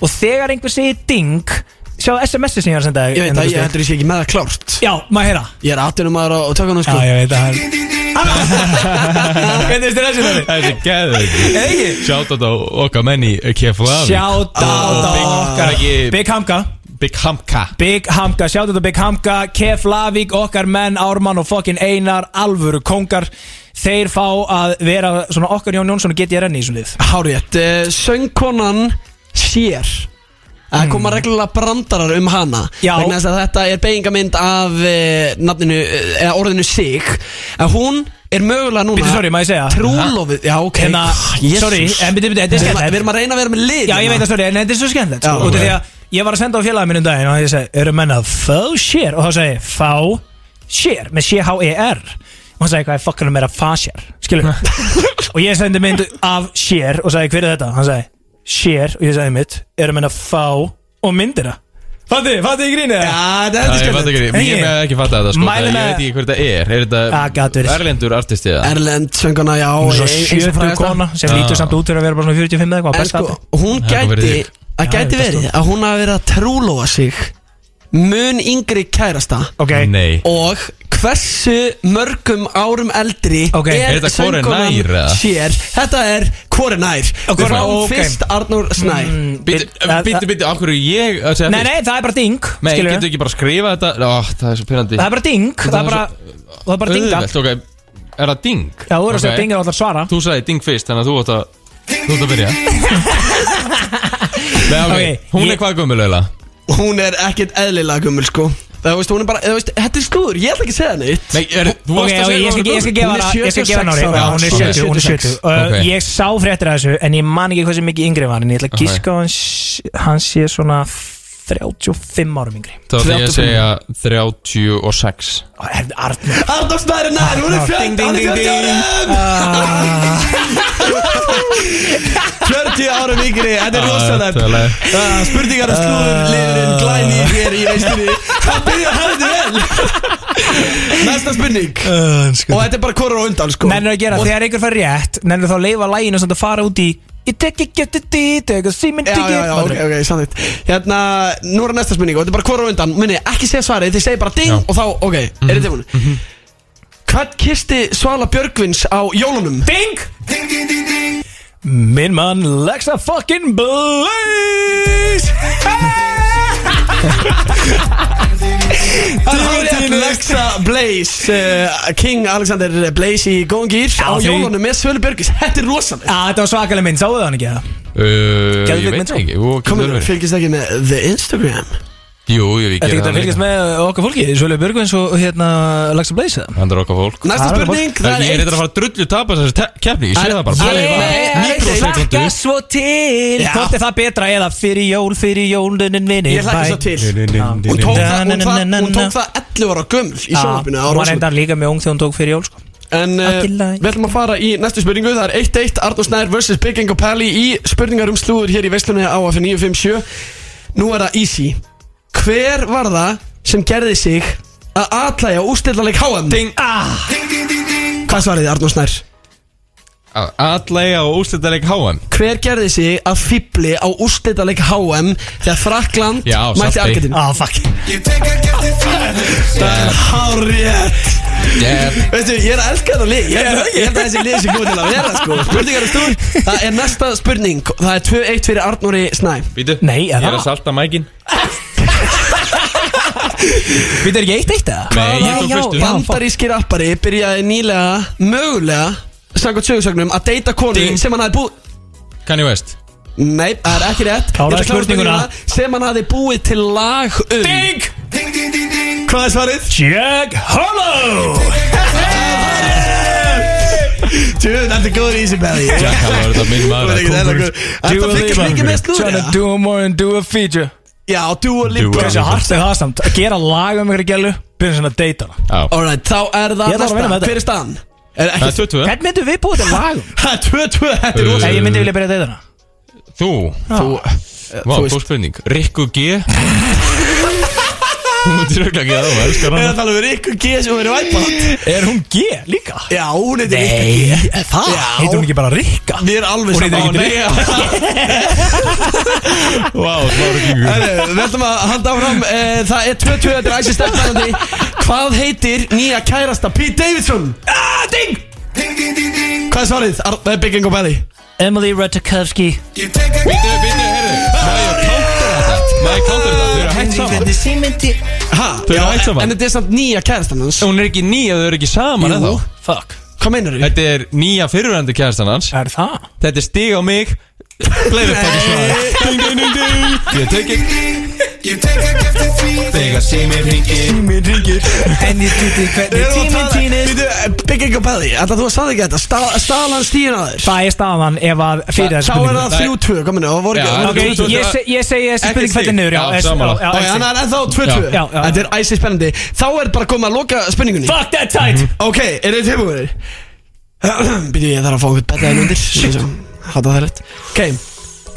og þegar einhver segir ding sjá SMS-ið sem ég var að senda
Ég veit
hérna,
að ég
veistu.
heldur ég sé ekki með það klárt
Já, maður heyra
Ég er 18 maður á, á tökunum sko
Já, ég veit að hann Hvernig veist þér þessi það?
Þessi geður
Ekki?
Sjátt á þetta okkar menn í KFLAV
Shout out á okkar
Big-
Big Hamka
Big Hamka
Big Hamka, sjáttu þetta Big Hamka Kef Lavík, okkar menn, Ármann og fokkin Einar Alvöru kongar Þeir fá að vera svona okkar Jón Jónsson og get ég renni í svona lið
Hárétt, uh, söngkonan sér Það koma reglulega brandarar um hana
Mm. Já.
vegna þess að þetta er beigingamynd af uh, nafninu, eh, eða orðinu sig en hún er mögulega núna
Býttu, sorry, má ég segja?
Trúlofið, já ok
Hérna,
Jesus.
sorry, en byrju, byrju, þetta er
Við erum að- Við
skemmtilegt
erum að reyna að vera með lið hérna.
Já, ég veit að sorry, en þetta er svo skemmtilegt
Já,
sko, Út af
ok.
því að ég var að senda á félagin minn um daginn og ég segi, eru menn að fá sér? Og þá segi, ég, fá Share með C-H-E-R og hann sagði hvað er fokkanum er að fasher skilur og ég sendi mynd af Share og sagði hver er þetta hann sagði Share og ég sagði mitt erum henn að fá og myndina Fatti, fatti í grínið
Já,
eða?
Æ,
Ah, þetta
ég fatt ekki,
Nei.
ég með ekki fatta þetta sko,
Mæli
það-
með-
Ég veit ekki hver þetta er, er
Ah, gat verið.
þetta erlendur artisti eða?
Erlend sönguna, já
Hún er svo
ein- eins og
sjötu
frægasta.
kona sem lítur samt út fyrir að vera bara svona 45 eða eitthvað
En
best
sko,
sko,
hún
Það verður
gæti
þig.
Það gæti
Já, ég
verið að hún hafi verið að trúlóa sig Mun yngri kærasta
ok,
Nei,
Og hversu mörgum árum eldri
Ok.
Er,
Er þetta hvor er
söngkonan
nær, eða?
sér Þetta er hvori nær
Og hvor
Við
er-
fáum
ok. Mm.
fyrst Arnur Snær
Bíddu,
það-
bíddu, bíddu, af hverju ég að segja
nei,
fyrst?
nei, það er bara ding
Nei,
skilurðu.
getur ekki bara að skrifa þetta Ó, Það er svo pyrrandi
það er bara ding, það
er
er bara það er bara dinga
Auðvelt, ok, er það ding?
Já, þú verður að segja
Ok.
ding og allar svara
Þú sagði ding fyrst, þannig að þú átt að Þú átt að byrja Nei, ok,
Ok,
hún
ég-
er hvað gömulega
Hún er ekkert eðlilega gummul sko Það veist, hún er bara, þú veist, þetta er slúður, ég ætla ekki að segja neitt
Nei, er, þú
Ok,
varst að
ok,
segja
ég skal,
hvað
ég skal gefa
Hún er
hana Ég skal
76
gefa hana ári
ára.
Já, Hún er
Ok.
70, hún er 70 uh,
Ok.
Ég sá fréttir af þessu En ég man ekki hversu mikið yngri var En ég ætla að
Ok.
gíska á hans Hann sé svona 35 árum yngri
Þá ætla ég að segja 36
Ó, herðu, Arnur
Arnur Snær er nær, hún er
Ding, ding,
40 Hún
ding,
er 40 árum 40 árum yngri, þetta er rosalegt
rosalega
Ah, Spurningar og slúður, liðurinn, glæni hér í veistinni Það byrja að hafa þetta vel Næsta spurning Og þetta er bara korur og undan sko
Nennir að gera,
Og-
þegar einhver fær rétt Nennir þá að leifa læginu samt að fara út í Ég tek ekki eftir því, tek að síminn
Já,
tiki
já, já, ok, ok, samþýtt Hérna, nú er næsta spurning og þetta er bara hvora á undan Minni, ekki segja svarið, þið segja bara ding
Já.
og þá, ok, mm -hmm. er þetta hún Hvað kisti Svala Björgvins á jólunum?
Ding! Minn mann Lexa fucking Blaze
Dýrtinn Lexa Blaze uh, King Alexander Blaze í góðan gýr á
því-
jólunum með Svölu Björgvins Þetta er rosalega
Ah, þetta var svakalega mynd, sáðu það hann ekki það?
Uh,
Geðveik
ég veit
mynd,
það ekki, jú, getur
Komum,
verið
fylgist ekki með The Instagram
Jú, jú, ég
Þetta
gerir
getur að
það
fylgjast
líka
með okkar fólki Svölu Björgvins og hérna Laxa Blaze eða?
Hann er okkar fólk
Næsta
Það er
spurning,
Það er
það er
Ég er eitthvað að fara að drullu tapa þessari te- keppni, ég sé
Æ,
það bara
ég-
Bara-
ég-
Mikrosekundu
svo til
Já.
Hvort er það betra eða fyrir jól, fyrir jólunin vinni
Ég hlakka svo til Hún tók það, hún það, hún tók það 11 ára gömul í sjónvarpinu það var
Ah, Hún var
rosalegt.
reyndar líka mjög ung þegar hún tók fyrir jól sko.
En uh,
Ekki læk.
við ætlum að fara í næstu spurningu Það er 1-1 Arnur Snær vs. Big Ingo Pally Í spurningar um slúður hér í Vestlunni á AF 957 Nú er það easy Hver var það sem gerði sig að atlæja úrstillarleik HM? Ding.
ah,
Hvað svarið þið Arnur Snær?
Allega og úrslitaðleik HM
Hver gerði sig að fýbli á úrstillarleik HM þegar Frakland
Já,
mætti
Saltvík.
Argentínu?
ah, fuck
Það er hárið
Jep.
Veistu, ég er að elska þetta lið Ég held- ég held að þessi lið sem komið til að vera sko. Spurningar er stúr Það er næsta spurning Það er 2-1 fyrir Arnóri Snæ
Býtu,
Nei,
ég
er
er
það?
að salta mækin
Við erum ekki eitt eitt eða?
Nei, ég tók
já,
fyrstu.
já, fuck.
Bandaríski rappari byrjaði nýlega Mögulega Sannkvæmt sögursögnum Að deyta konu
Ding.
Sem hann hafði búið
Kanye West
Nei, það er ekki rétt Ég
Kláraði
ætla að klára
spurninguna.
spurninguna. Sem hann hafði búið til lag um
Ding!
Hvað er svarið?
Jack Hollow
Tjóð, þetta er góður easy belly
Jack Harlow er þetta minn maður að koma úr.
Þetta fylgir mikið með
Tryna
slúður
do more and do a feature
Já, Dua
Dua
Lipa
Lipa.
Hversu hart er það samt? Að gera lag um ykkur gælu Byrja svona að deyta hana
Já.
Alright, þá er
Ég
það
þarf að vinna
næsta
með þetta.
Hver er staðan? Er
Það
ekki
er 22
Hvernig myndum við búið til lag um?
Það er 2-2, þetta er
Uh,
rosa
Nei, ég myndi vilja byrja að deyta hana
Þú,
Þú,
vá,
þú
góð
veist
spurning Rikku G Hún myndir auðvitað ekki að það, elskar
Er
hana
það talað um Rikku G sem verið væpað?
Er hún G líka?
Já, hún heitir Rikku G
er það?
Já.
Heitir hún ekki bara Rikka?
Við erum alveg saman
heitir ekki
Vá, smáru klingur
Við ætlum að halda áfram eh, Það er 2-2, þetta er æsir stefnandi Hvað heitir nýja kærasta Pete Davidson? Ah, ding! Hvað er svarið? Ar- eh, Big Ingo Belly
Emily Ratajkowski
Býtu, býtu, herru Má ég counter þetta? Má ég counter þetta? Þau eru hægt saman
Ha?
Þau eru
Já,
hætt saman.
En þetta er samt nýja kærastan hans
Hún er ekki nýja, þau eru ekki saman eða
Fuck
Hvað meinar þið?
Þetta er nýja fyrirvændi kæðastan hans
Er það?
Þetta er stig á mig Playback takk svar Ding ding ding ding Ég tek ekki Ég tek ekki eftir því Þegar símir ringir Símir ringir
En ég tuti hvernig tíminn týnist
eh, Bygging og Pelli, ætla þú að staða ekki þetta Stál- Stal hans tíun á þér
Það er staðan ef að
Sá
fyrir þessu
er
spurningu
það þrjú tvö, kominu, það voru
Já,
ekki
Ok,
Þú- þú-
ég se- ég segi þessi
Ekki
spurning
stig.
fætti niður já,
Já,
þessi-
sammála.
já,
Ok,
já,
hann er ennþá tvö tvö
Já, já, já.
Þetta er æsir spennandi Þá er bara komið að loka spurningunni
Fuck that tight
Ok, er þið tilbúinir? Býtu, ég þarf að fá einhvern bettaðin undir Hátta það rétt Ok,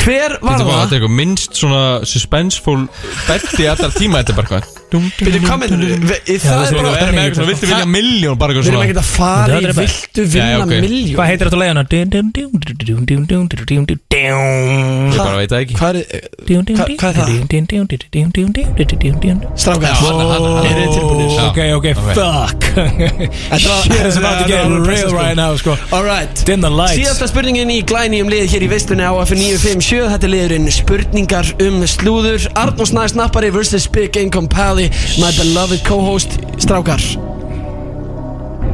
hver var
Þetta
það?
var þetta eitthvað minnst svona suspenseful betti allar tíma þetta er bara eitthvað Dum, dum,
Býtu, hvað með þetta? Það er
Þú
bara
erum með eitthvað svona, viltu vilja miljón bara eitthvað
Við erum ekkert
svona
að fara í
Þetta er bara-
viltu
Já,
vinna
ok.
Hvað
miljón
heitir þetta leiðina? Hvað
Ég bara veit það ekki
Hvað er, Hva- hvað er það?
það?
strákar? Er þið tilbúinir?
Já.
Ok, ok, fuck
var-
Shit is about to
Þetta var
get real
pressa, sko.
right now, sko
Alright
Dim the lights
Síðasta spurningin í glæni um liðið hér í veistunni á F957 Þetta er liðurinn spurningar um slúður Arnús Snæs Nappari vs. Big Income Pally My beloved co-host Strákar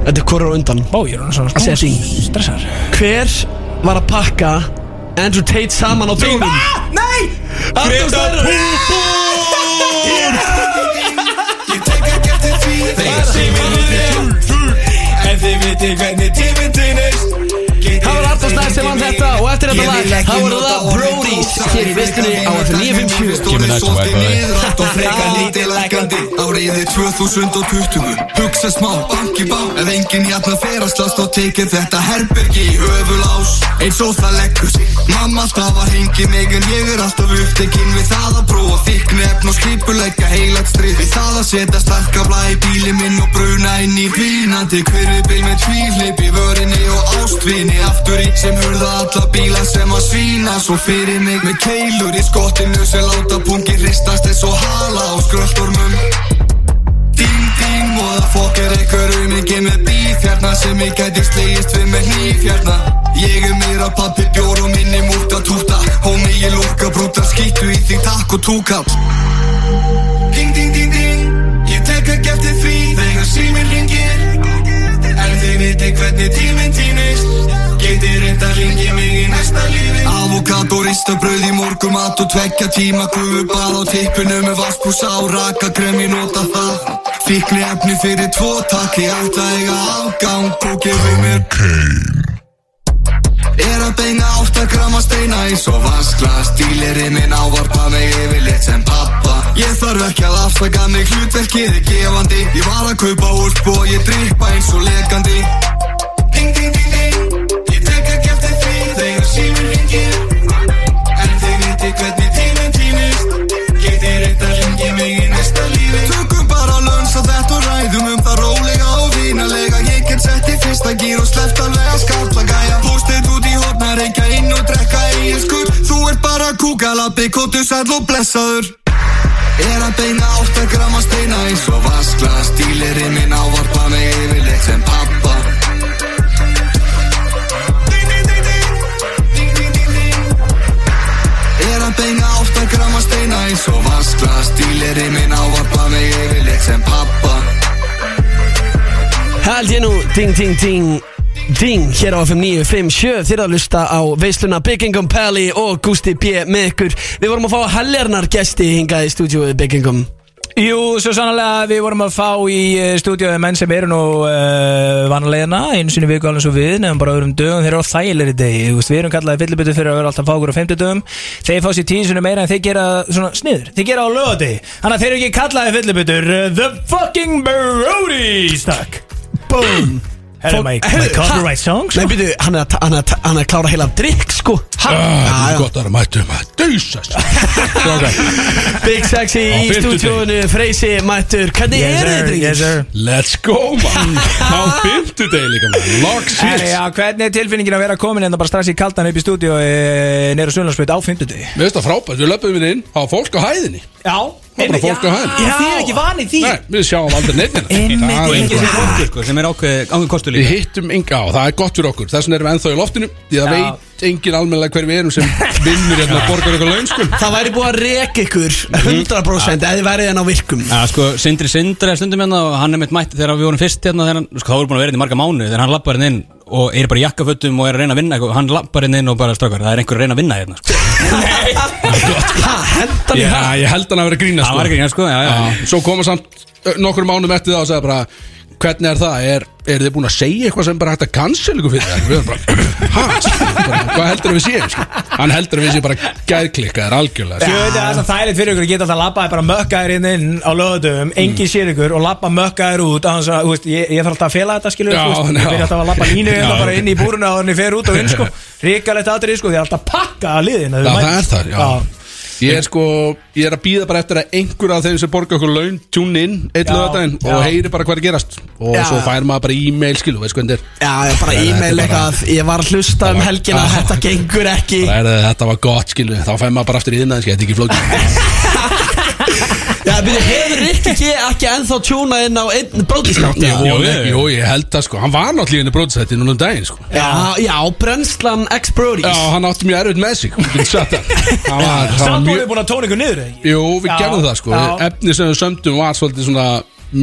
Þetta er hvorur á undan
Ó, ég er hann svona
Sett í.
stressar
Hver var að pakka Andrew Tate saman á bílum?
Nei!
Arnús Snæs
Ég tek ekki eftir því Þegar síminn er En þið viti hvernig tíminn týnist
Það var Arnús Snæs sem vann þetta og eftir þetta lag þá voru það Brody's hér í veistunni á F957
Give me that swag, brother.
Rátt og freka lítið lækandi
Áriði 2020 Hugsa smá, banki bá Ef enginn hjarna fer að slast og tekið þetta herbergi í höfulás Eins og það leggur sig Mamma alltaf að hengi mig en ég er alltaf upptekinn Við það að prófa fíknefn og skipuleika heilagt stríð Við það að setja starkabla í bíli minn og bruna inn í vínandi Hverjubil með tvíhlip í vörinni og ástvinni Aftur í sem hurða alla bíla sem að svína Svo fyrir mig með keilur í skottinu sem láta pungi hristast eins og hala á skröldormum Ding ding og það fokkar einhver um ekki með bíf hérna sem ég gæti slegist við með hníf hérna Ég er meira pappi bjór og minni múta túta Hómi ég lúka brúta skýttu í þig takk og túkall Ding ding ding ding Ég tek ekki eftir því þegar síminn ringir En þið viti hvernig tíminn týnist Getið reynd að ringi mig í næsta lífi Avokat og ristabrauð í morgumat og tvekja tíma Guðubað á tippinu með vaskbúsa og raka krem ég nota það Fíkni efni fyrir tvo takk Ég ætla að eiga afgang Kókið við mér Er að beina átt að grama steina eins og vaskla Stíleri minn ávarpa mig yfirleitt sem pappa Ég þarf ekki að afsaka mig hlutverkið er gefandi Ég var að kaupa úlp og ég drippa eins og lekandi Ding ding ding ding Ég tek ekki eftir því þegar síminn ringir En þið viti hvernig tíminn týnist Getið reynt að ringi mig í næsta lífi Tökum bara lönns á þetta og ræðum um það rólega og vínalega Ég get sett í fyrsta gýr og sleppt alveg að skalla gæja Póstið út í hotna, reykja inn og drekka eigilskur Þú ert bara kúkalabbi, kóttu sæll og blessaður Er að beina átt að grama steina eins og vaskla Stílerinn minn ávarpa mig yfirleitt sem pappa Ding, ding, ding, ding. Ding, ding, ding, ding. Er að beina átt að grama steina eins og vaskla Stílerinn minn ávarpa mig yfirleitt sem pappa
Held ég nú, ding, ding, ding Ding, hér á FM 957 Þið er að lusta á veisluna Byggingum Pally og Gusti B. með ykkur Við vorum að fá heljarnar gesti hingað í stúdíóið Byggingum
Jú, svo sannlega við vorum að fá í stúdíóði menn sem eru nú uh, vanalegina, einu sinni í viku alveg svo við nefnum bara öðrum dögum, þeir eru á þægilegri degi þú veist, við erum kallaði fyllibutu fyrir að vera alltaf fákur á fimmtudögum, þeir fá sér tíu sinni meira en þeir gera svona sniður, þeir gera á lögadegi þannig að þeir eru ekki kallaði fyllibutur uh, The fucking Brody Takk
Boom
Herru,
Fólk-
my, my
Heyrðu, ha-
copyright song
Nei, byrju, hann er að, ta- hann er að, ta- hann er að klára heila drikk, sko Ha? Já, já.
Gott að mættu maður, dýsast
Big Sexy
Á
í
fimmtudegi.
stúdíóinu Freysi, Mættur, hvernig
Yes,
eru
sir,
þið,
yes, sir.
Let's go maður Á fymtudegi líka maður,
Herru, já, hvernig er tilfinningin að vera komin en það bara strax í kaldan upp í stúdíu e, neyru Sunnlandsbyrð á fimmtudegi
Mér finnst það frábært, við löpum við inn á fólk á hæðinni
Já,
bara
einmitt,
fólk á
já,
hæðinni.
já, Þið er ekki vanið því
Nei, við sjáum aldrei neitt
Einmitt, einmitt.
hérna
Fólkur sem er ákveð, ákveð kostur
Við hittum enga á, það er gott fyrir okkur Þess vegna erum við ennþá í loftinu Því það
Já.
veit engin almennilega hver við erum sem vinnur hérna og borgar ykkur laun sko
Það væri búið að reka ykkur 100% eða þið værið hann á virkum
Já, sko, Sindri Sindri er stundum hérna og hann er mitt mætt þegar við vorum fyrst hérna þegar hann, sko, það voru búin að vera hérna í marga mánu þegar hann lappar hérna inn og er bara í jakkafötum og er að reyna að vinna eitthvað, hann lappar hérna inn og bara strákar, það er einhver að reyna að vinna hérna, sko.
Ha, hendan í
Já,
hann
ég held hann að vera að grína
Það var
sko
ekki, hérna, sko, já, já.
Já, Svo koma samt
nokkur mánum eftir það og sagði bara hvernig er það, er, er þið búin að segja eitthvað sem bara hægt að cancel ykkur fyrir það við erum bara, hæ, bara, hvað heldur við séum sko? hann heldur við séum bara gæðklikkaðir algjörlega
Sjöðu þetta er það þægilegt fyrir ykkur Ég get alltaf að labbaði bara mökkaðir inn inn á löðum
Mm.
Engin sér ykkur og labba mökkaðir út án þess að, þú veist, ég, ég þarf alltaf að fela þetta skilur
Já,
þú veist,
já.
Ég byrja alltaf að labba línu
Já.
hérna bara inn í búruna Og hann fer út og inn sko Ríkalegt aðrið sko Því er alltaf að pakka að liðin
Já, það er það, já. Ég er sko, ég er að býða bara eftir að einhver af þeim sem borga okkur laun tune in einn
Já,
lögadaginn og
já.
heyri bara hvað er að gerast og
Já.
svo fær maður bara e-mail sko. skilu, veist hvernig þetta
Já, ég bara
Nei, þetta er
e-mail
bara-
eitthvað Ég var að hlusta um helgina Þetta gengur ekki
er Bara, er, þetta var gott skilu, þá fær maður bara aftur í þinn aðeins, þetta er ekki flókið
Já, byrju, hefur Rikki G ekki ennþá tjúnað inn á einn bróðisnátt?
Jú, ég- Jú, ég held það sko, hann var náttúrulega inn í bróðsætti núna um daginn sko
Já, já, brennslan ex-brodies
Já, hann átti mjög erfitt með sig Þú getur sagt það. Hann var- hann var
Samt voru
mjög-
við búin að tóna ykkur niður ekki?
Jú, við
Já,
gerðum það sko
já.
Efni sem við sömdum var svolítið svona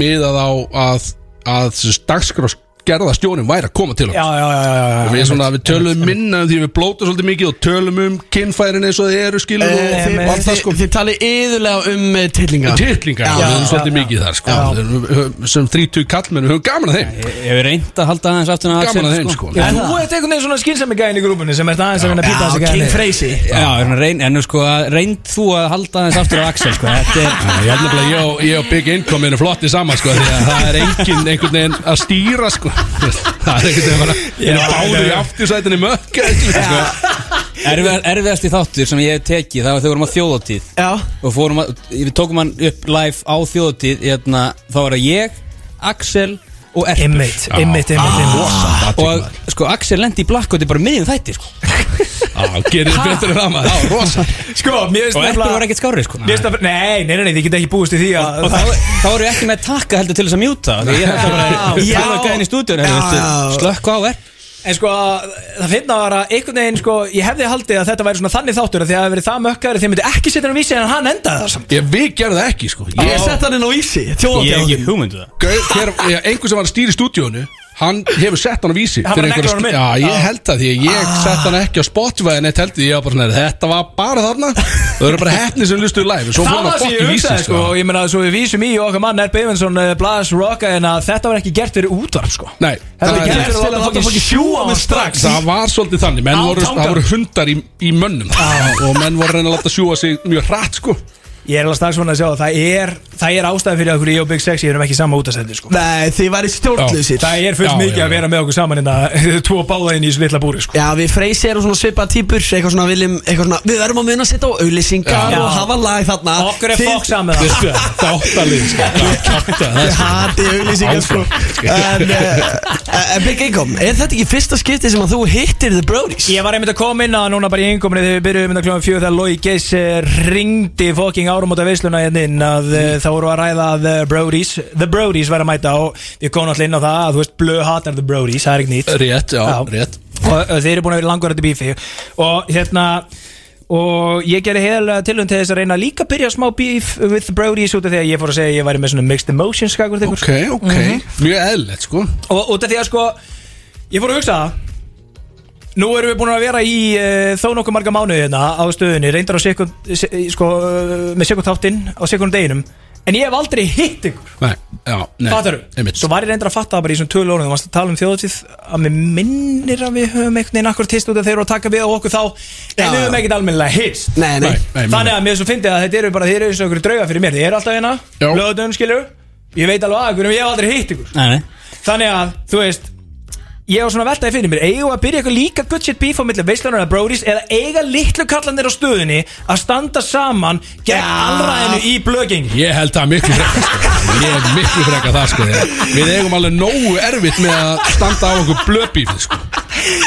miðað á að, að dagskrás gerða stjónum væri að koma til okkur
Já, já, já, já, já.
og við, svona, við tölum minna um því við blóta svolítið mikið og tölum um kynfærin eins og þið eru skilur
Eh,
og
þið-
og allt það
þið-
sko
Þið talið yðurlega um eh, tillinga
Tittlingar,
Já,
við erum
já,
svolítið
já.
mikið þar sko Við erum- við höfum- sem 30 kallmenn, við höfum gaman að þeim
Ég hef reynd að halda aðeins aftur en að
Gaman að
Axel,
þeim, sko.
Já, Þú ert einhvern veginn svona skynsemi gæðin í grúpunni sem ert aðeins að vinna að pýta
Já,
þessi
King
gæðin
Freysi
Já, en reynd, en sko, reynd þú að halda aðeins aftur á Axel, sko, þetta er
Ég held nefnilega, ég og- ég og Big Income erum flotti saman sko því að það er enginn einhvern veginn að stýra sko það er einhvern veginn bara við erum
Já,
báður í
já.
aftursætinni mökka sko.
erfiðar- erfiðasti þáttur sem ég hef tekið, það var þegar við vorum á þjóðatíð
Já,
og fórum að, við tókum hann upp live á þjóðatíð, hérna, þá var það ég, Axel og Erpur
Einmitt, einmitt, einmitt,
Ah,
Ah. einmitt
og sko, Axel lendi í blakkoti bara miðjum þætti, sko,
Já, gerir þið betur en það maður, það var rosa
Sko, mér finnst
og Erpur var
nefnilega-
ekkert skárið, sko
mér finnst að- Nei, nei, nei, nei, þið get ekki búist í því að
og þá, þá eru við ekki með takka heldur til þess að mjúta því ég held að bara,
Já.
ég held að gæðin í stúdíun
Já.
slökk á Erpur
En sko, það finna var að einhvern veginn sko, ég hefði haldið að þetta væri svona þannig þáttur að því að það hefði verið það mökkari þeir myndi ekki setja hann á vísi en hann endaði það samt
Ég, við gerðum það ekki sko
ég sett hann inn á ísi Þjóðatjáðin
hugmyndu um það
Gau- þegar, ja, einhver sem var að stýra í stúdíónu hann hefur sett hann á vísi
Hann
fyrir
var
einhverja-
neglan á
já,
mynd.
ég held það því að ég sett hann ekki á Spotify en eitt heldur ég var bara svona þetta var bara þarna þau eru bara hefni sem lustuðu live en svo fór
Það
hann
var
að
því ég
fokkin vísi
hugsaði sko,
sko.
ég meina svo við vísum í okkar mann Erb Eyvinsson, eh, Blas Rocka en að þetta var ekki gert fyrir útvarp sko
Nei,
Þetta
það
var
er
gert
rétt.
fyrir að láta fólki sjúa mig strax
það var svolítið þannig menn
Á
voru,
tangan.
það voru hundar í, í mönnum og menn voru að reyna að láta sjúa sig mjög hratt sko
Ég er alveg strax svona að sjá að það er, það er ástæði fyrir okkur ég og Big Sexy erum ekki sama útasendir sko
Nei, þið væri stjórnlausir
Það er fullt
Já,
mikið að
já, já.
vera með okkur saman innan tvo báða inn í þessu litla búri sko
Já, við Freysi erum svona svipað týpur Eitthvað svona viljum, eitthvað svona Við verðum að muna að setja á auðlýsingar
Já.
og hafa lag þarna
Okkur er
Þið-
fokk saman það
þáttalið sko
Ég hati auðlýsingar sko En uh, uh, Big Income, er þetta ekki fyrsta skipti sem að þú hittir The Brodies?
Ég var einmitt að koma inn að núna bara í yngumni þegar við byrjuðum inn að kljóðum fjögur þegar Lói Geis ringdi fokking árum út af veisluna hérna inn að mm. þá voru að ræða að The Brodies The Brodies væri að mæta og við komum alltaf inn á það að þú veist blöð hatar The Brodies, það er ekki nýtt
rétt, já,
Já.
rétt
og uh, þeir eru búin að vera langur þetta bífi og hérna og ég gerði heiðalega tilhund til þess að reyna líka að byrja smá bíf with The Brodies út af því að ég fór að segja að ég væri með svona mixed emotions Mhm. skakvart ykkur
ok, ok, Mm. mjög eðlilegt sko
og út af því að sko ég fór að hugsa það nú erum við búin að vera í uh, þó nokkuð marga mánuði hérna á stöðunni reyndar á sekund, se, sko, uh, með sekundtáttinn á sekundeginum en ég hef aldrei hitt ykkur
nei, já, nei,
Fattaru?
einmitt.
Svo var ég reyndar að fatta það bara í svona tölu orðum Þú varst að tala um þjóðatíð Að mér minnir að við höfum einhvern veginn akkur tist út að þeir eru að taka við og okkur þá En
Já,
við höfum
já.
ekkert almennilega hist
Nei, nei,
Nei, nei,
Þannig að mér svo fyndi að þetta eru bara Þeir eru eins og okkur drauga fyrir mér Þeir eru alltaf hérna
Já.
Löðunum skilur Ég veit alveg að ykkur En ég hef aldrei hitt ykkur
Nei, nei
Þannig að, þú veist Ég var svona veltaði fyrir mér Eigum við að byrja eitthvað líka good shit beef á milli veislunar eða brodies Eða eiga litlu kallanir á stöðunni Að standa saman gegn allræðinu í blöggengi
Ég held það miklu frekka sko. Ég er miklu frekka það sko þegar Við eigum alveg nógu erfitt með að standa á okkur blöbífið sko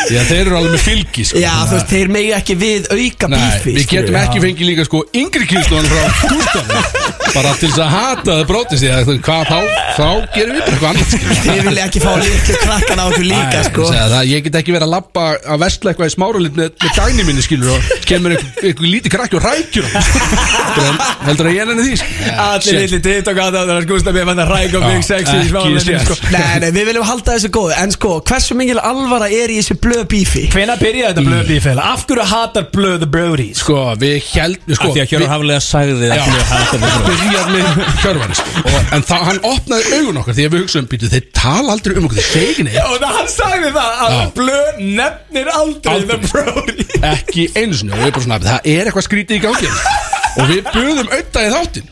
Já, þeir eru alveg með fylgi sko
Já, þú veist, þeir megi ekki við auka
Nei,
bífi
við getum ekki fengið líka sko yngri kynslóðan frá tústanum Bara til þess að hata það brótist því að hvað þá, þá gerum við bara eitthvað annað sko
Þið vilja ekki fá litlu krakkan á okkur líka sko
Segja Það, ég get ekki verið að labba að vestla eitthvað í smárulit með, með dæni minni skilur og kemur einhver, einhver lítið krakki og rækjur hann, sko. Heldur að- heldur að ég nenni því sko.
Allir
Shit.
litli TikTok aðdáðunar Gústa mér fann að ræka og
Já,
big sexy í
ekki
smáðanum
séns.
sko.
Nei, nei, við viljum halda þessu góðu En sko, hversu mingil alvara er í þessu þessi blöð bífi
Hvenær byrjaði þetta blöð bífi? Af hverju hatar blöð the brodies?
Sko, við heldum sko,
Af því að Hjörvar Hafliða sagði þið
Já.
ekki mjög hægt að við
byrjar með Hjörvar sko. Og- En það, hann opnaði augun okkar Því að við hugsaum, býtu, þeir tala aldrei um okkur Þeir segir neitt
Já, það hann sagði það að
Já.
blöð nefnir aldrei,
Aldrei.
the brodies
ekki einu sinni og við bara svona það er eitthvað skrítið í gangi hérna." og við buðum auðvitað í þáttin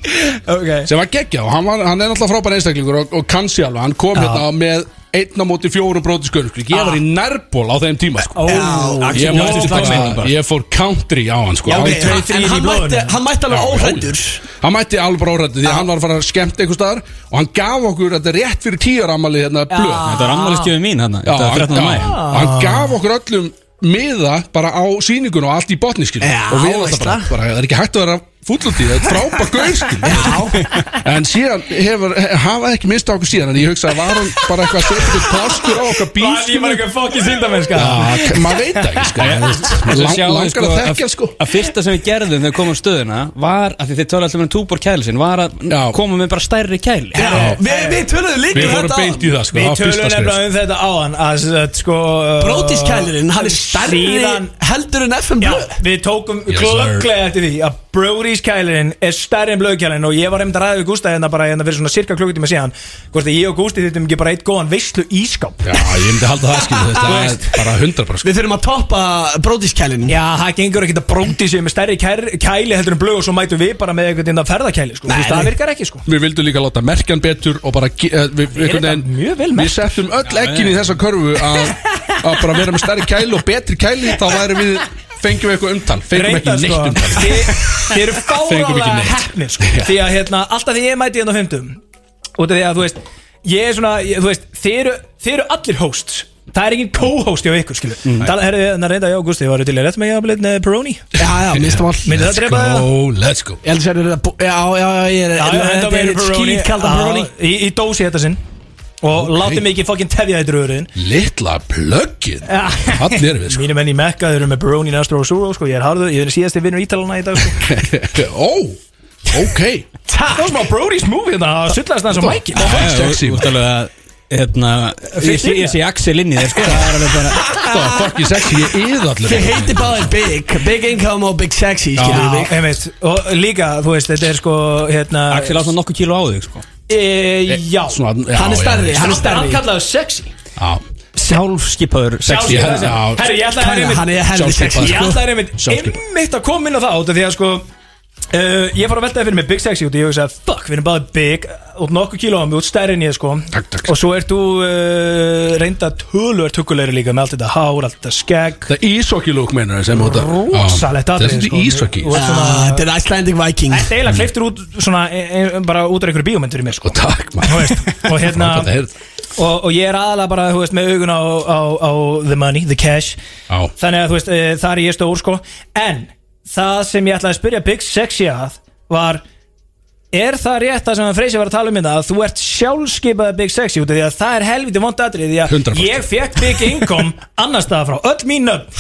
okay.
sem var geggjað og hann, var, hann er náttúrulega frábær einstaklingur og, og kannski alveg, hann kom hérna með einn á móti fjórum brótiskörnur ég var í nærból á þeim tíma sko.
Ó,
ég,
Axel
móti,
Jónsson slagsveinn
bara,
bara.
ég fór country á hann sko.
Já,
Á
ok,
tveir,
en-
þrír
en
í
hann
blóðinu.
mætti- hann mætti alveg
Já,
óhræddur.
hann mætti alveg bara óhrættur því að hann var að fara að skemmta einhver staðar og hann gaf okkur þetta rétt fyrir tíjar ammali hérna blöð
Þetta var ammælistjöfi mín hann
Já,
Þetta var 13.
hann,
mæ
já, hann gaf okkur öllum miða bara á síningun og allt í botni skil
Já,
og við alltaf
veistla.
bara, bara, það er ekki hægt að vera fúllandi það er frábær gaur skil en síðan hefur, hafa ekki minnst á okkur síðan en ég hugsa að var hann bara eitthvað að setja eitthvað plástur á okkar bíl
Var ég
skilur.
var eitthvað fokkin síndamennska
Já, maður veit það ekki sko Lang-
Þess að sjáum við,
langar að
að-
þekkja hann, sko
Að fyrsta sem við gerðum þegar við komum á stöðuna Var, af því þið tölum alltaf með túbor kælisin Var að
Já.
koma með bara stærri kæli
Við við töluðum líka
við
um
fórum
þetta
beint í það sko
Við
það var fyrsta
tölum
skref.
nefnilega um þetta áðan að, að, sko, uh,
Brótiskælirinn, hann er stærri
síðan-
heldur en FM
Já,
blöð
við tókum yes,
Yes,
klögglega eftir því að Brody's kælirinn er stærri en blöðkælirinn og ég var einmitt að ræða við Gústa hérna bara hérna fyrir svona cirka klukkutíma síðan hvort að ég og Gústi þýttum ekki bara eitt góðan veislu ískáp
já, ég myndi halda það skil þetta er bara 100% sko
Við þurfum að toppa brótiskælirinn
Já, það gengur ekkert að Brody sé með stærri kær, kæli heldur en blöð og svo mætum við bara með einhvern veginn að ferðakæli sko, Þú veist, það virkar ekki sko
Við vildum líka láta merkjan betur og bara ge- eh, við, einhvern
þetta
veginn-
mjög vel
Við
merkt.
settum öll ekkin í þessa körfu að, að bara vera með stærri kæli og betri kæli þá væri við, fengjum við eitthvað umtal fengjum ekki
Reyndar,
neitt
um
umtal
sko, þið, þið eru
Fengum ekki
fárálega
neitt.
hefni sko. Því að hérna, alltaf því ég mæti hérna á fimmtum Út af því að þú veist Ég er svona, ég, þú veist, þið eru, þið eru allir hosts Það er engin co-host hjá ykkur, skilu mm. Það er hérna reynda hjá Gusti, varu til að rétt með ég að blitna Peroni
Já, já, minnstum all
Myndi það drepa það?
Go, let's go
Ég held sér að þetta Já, já, já, ég er
Já, já, þetta
Þetta er
verður Peroni
skýtkalda
Já,
Peroni
Í, í dósi þetta sinn Og okay. látið mig ekki fokkin tefja þetta röðurinn
Litla plöggin Allir erum við sko
Mínu menn í Mekka, þeir eru með Peroni, Nastro og Suro sko. Ég er harðu, ég er síðasti vinnur Ítalana í dag sko.
Ó, ok
Það var smá Brody's movie þetta, það sullast það svo mækil
Sexy
Þú
man.
ert alveg að Hérna, ég sé- ég sé Axel inn í þér sko Það er alveg bara
Það var fucking sexy, ég yði allir
Þið heiti báðir Big Big Income og Big Sexy, skilur
Já,
við
einmitt, og líka, þú veist, þetta er sko hérna,
Axel á svona nokkuð kíló á þig sko Eh,
e, Já,
Svona- já,
Hann er
já,
stærri,
já.
hann er
hann
stærri
kallaði sexy
Já,
Sjálfskipaður
Sexy,
Sjálfskipaður
já, já.
sexy. Herri, ég ætlaði að
Hann
reyna
hann er heldur
Sjálfskipaður.
sexy
Ég ætlaði að reyna
sko. Sjálfskipaður.
einmitt að koma inn á það út af því að sko Uh, ég fór að velta það fyrir mig Big Sexy út og ég hugsaði fuck, við erum báðið big út nokkuð kílóðum, út stærri en ég sko
Takk, takk.
og svo ert þú uh, reynda tölvöld huggulegri líka með allt þetta hár, allt þetta skegg
Það ísokki lúk meinar sem þetta
rosalegt
Það er Ah,
atriði, sko.
svona ísokki
Þú ert svona-
Ah, Þetta er Icelandic Viking
Þetta eiginlega kleiftur út svona, e, e, bara út af einhverju bíómyndur í mér sko.
Og takk
Þú
maður
veist, og hérna
Frábært að heyra.
og, og ég er aðalega bara, þú veist, með augun á, á, á the money, the cash
Já.
þannig að, þú veist, e, þar er ég stór sko en, það sem ég ætlaði að spyrja Big Sexy að var er það rétt það sem að Freysi var að tala um þetta að þú ert sjálfskipaði Big Sexy út af því að það er helviti vond atrið því að
100%.
ég fekk Big Income annars staðar frá, öll mín nöfn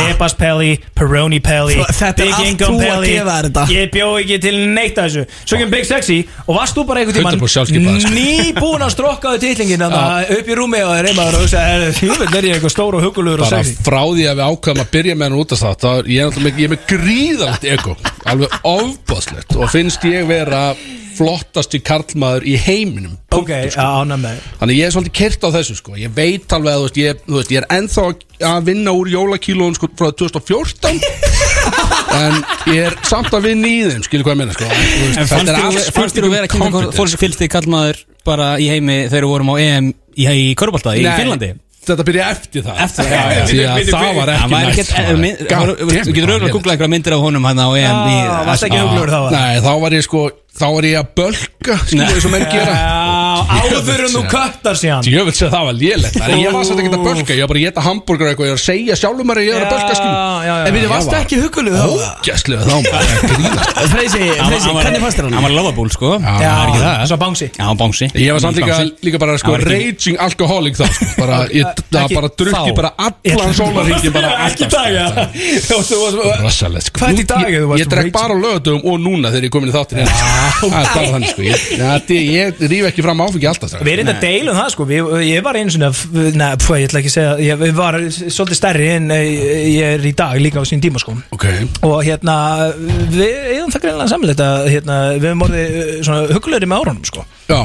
Peppas Pelli, Peroni Pelli
Þú- þetta er
Big
allt
Income
þú að
Pelli.
gefa þér þetta.
Ég bjó ekki til neitt af þessu Svo kemur Big Sexy og varst þú bara einhvern
100% sjálfskipaður,
tímann
sko.
Nýbúin að strokkaðu titlingin Þannig að upp í rúmi og reymaður og hugsa Jöfnveld er ég eitthvað stór og hugulugur og
bara
sexy
frá því að við ákvæðum að byrja með hann út af það, það er- ég er náttúrulega með- ég er með gríðalegt ego, alveg ofbáslegt og finnst ég vera flottasti karlmaður í heiminum sko.
Ok, ána með þig.
þannig ég er svolítið kyrt á þessu sko ég veit alveg að þú veist ég, þú veist, ég er ennþá að vinna úr jólakílóðum sko frá 2014 en ég er samt að vinna í þeim skilu hvað ég meina sko En, þú veist,
En
þetta er allt
fannst- fannst þér að
spurning
vera
um
kynna
confidence.
fólk sem fylgst þig kallmaður bara í heimi þegar við vorum á EM í, í Körbólta í
Nei,
Finnlandi?
þetta byrja eftir það
Eftir það,
Já,
já,
já,
já.
því að
Bíddu,
það
bíddu,
var ekki
hann
næst, maður.
mynd-
God
voru-
damn it,
Þú getur
maður,
auðvitað að
ég-
googla einhverja myndir af honum hann á E EM í
Já, varst ekki hugulugur þá að
Nei, þá var ég sko Þá var ég að bölka Skilja
Nei.
eins og menn gera
Já, áður en þú köttar síðan
Jöfnveld segði það var lélegt Það er ég var svolítið ekki að bölka Ég var bara að geta hambúrgar eitthvað Ég var að segja sjálfum að ég var að bölka
Já, já, já.
skilja
En við varstu
var-
ekki hugulug þá
Gæslega þá maður ég grínast.
Freysi, Freysi, hvernig fannst þér hann?
Hann var lovabúl sko
Já.
Það er ekki það
Svo bánsi
Já, hann bánsi
Ég var samt líka,
Bánsi.
líka bara sko
Hann var ekki-
raging alkoholik þá sko. bara, ég, það
Ekki
bara drukki
þá.
bara allan sólarhingin bara
Ekki
alltaf
dag, já
sko.
Þú veist, þú varst-
Rosalegt sko
Hvað er þetta í dag
Ég,
ef þú varst
ég drek
raging?
bara á lögatum og núna þegar ég er komin í þáttin Það er bara þannig sko Ég, ég, ég rýf ekki fram á áfengi ekki alltaf strax.
Við erum þetta deilum það sko, við, ég var einu svona, neða, pfú, ég ætla ekki að segja, ég, ég var svolítið stærri en eh, ég er í dag líka á sín tíma sko
Ok
Og hérna, við eigum það greinlega samlega, hérna, við hefum orðið eh, svona huggulegri með árunum sko
Já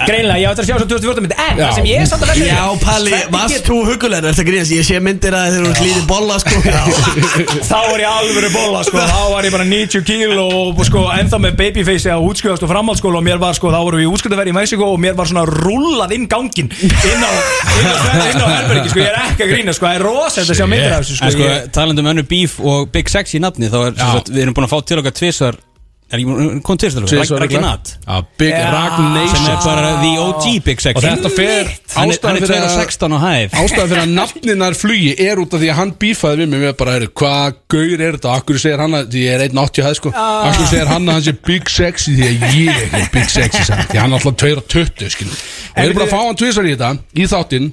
Greinlega, ég ætla að sjá svo 2014 myndi, en það sem ég er samt að
Já, Palli, varst þú hugulegur? Er það gríðast? Ég sé myndir að þeir eru glýði bolla, sko
Þá var ég alvöru bolla sko, þá var ég bara 90 kíl og sko ennþá með babyface að útskjöðast og framhaldsskóla og mér var sko, þá vorum við í útskjöldafæri í Mexiko og mér var svona rullað inn gangin inn á, inn á, inn á herbergi sko, ég er ekki að grína sko, það er rosa þetta að sjá myndir af þessu
En
sko,
sko,
ég,
talandi um önnu bíf og Big Sex í nafni Þá er, sem sagt, við erum búin að fá til okkar tvisvar Er ekki, kom tvisvar
Tvisvar,
Ragnat
Já, Big
Já.
Ragnation.
Sem er bara the OG Big Sex
Og þetta fer
Hann er, hann er 2016 og hæf
Ástæðan fyrir að nafninar flugi er út af því að hann bífaði við mig Við bara, heyrðu, hvað gaur er þetta? Akkur segir hann að, því ég er 1.80 hæð sko Akkur segir hann að hann sé Big Sexy Því að ég er Big Sexy sagði hann. Því hann er alltaf 2.20 skilur Og við erum bara að fá hann tvisar í þetta Í þáttinn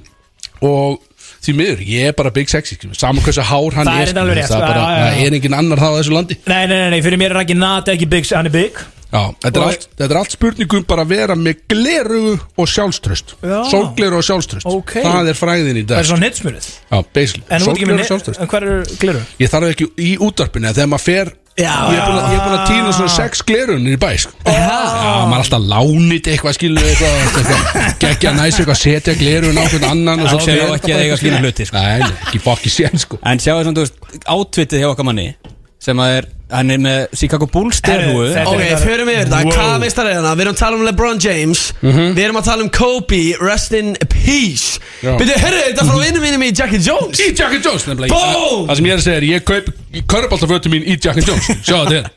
Og því miður, ég er bara Big Sexy skilur. Saman hversu hár hann
Það er
er
þetta alveg rétt,
Það er
sko, já,
bara,
já, já.
það er engin annar þá að þessu landi
nei, nei, nei, nei, fyrir mér er ekki nat ekki big, hann er big
Já, þetta er,
Og-
allt, þetta er allt spurningum bara að vera með glerugu og sjálfströst
Já.
Sólgleru og sjálfströst
Ok.
Það er fræðin í
það
dag
er svona nýtsmjörið
Já, basically
En þú ert ekki
Sólgleru
með
og
neitt,
sjálfströst
en hver eru glirur?
Ég þarf ekki í útvarpinu en Þegar maður fer
Já,
Ég er búin að- ég er búin að týna svona sex glerunir í bæ sko. Já, maður er alltaf lánit eitthvað skilur eitthvað, eitthvað Gekkja næs eitthvað setja glerun á hvern annan og
Hann
svo
sé
fer
á ekki að
þetta
eiga
bara eitthvað,
fína
skilur.
hluti, sko.
Nei, nei, ekki fokki sén sko
En sjáðu svona, þú veist, átvitið hjá okkar manni Sem að er, hann er með Chicago Bulls derhúu
Ok, förum við yfir þetta, hvað veist það reyna? Við erum að tala um LeBron James
Mhm.
Við erum að tala um Kobe, rest in peace
Já.
Byrju, herru, þetta er frá vinnum mínum í Jackie Jones
Í Jack and Jones nefnilega
Bó!
Það sem ég er að segja er ég kaup Körbáltafötu mín í Jack and Jones Sjá þetta er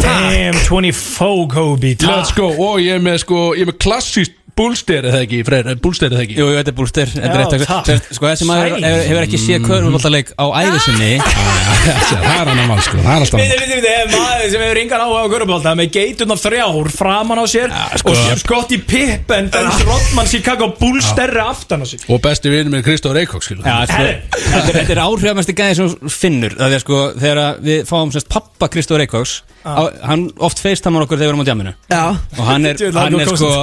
Damn, 24 Kobe takk.
Let's go Og ég er með sko Ég er með klassíst búlsteri það ekki Freyr Búlsteri það ekki
Jú, jú, þetta er búlstir Þetta
Já,
er rétt
takk.
að- Sem- Sko, þessi maður
Sæl.
hefur- hefur ekki séð körfuboltaleik á æðisunni
Það er annar mál sko Það er alltaf
Viti, viti, viti, ef maður sem hefur yngan áhuga á görubólta með geiturna þrjár framan á sér
sko.
og skott í pippen Dennis Rodman Chicago Bulls stærri aftan á sér
Og besti vinur minn Kristóf Reykjók skilur
Já, sko, þetta er- þetta er áhrifamesti gæði sem þú finnur Það er sko, þegar að við fáum sérst pappa Kristó Reykjóks Hann oft feistamar okkur þegar við erum á djaminu
Já
Og hann er,
Djöfull,
hann
hann
er
kom
sko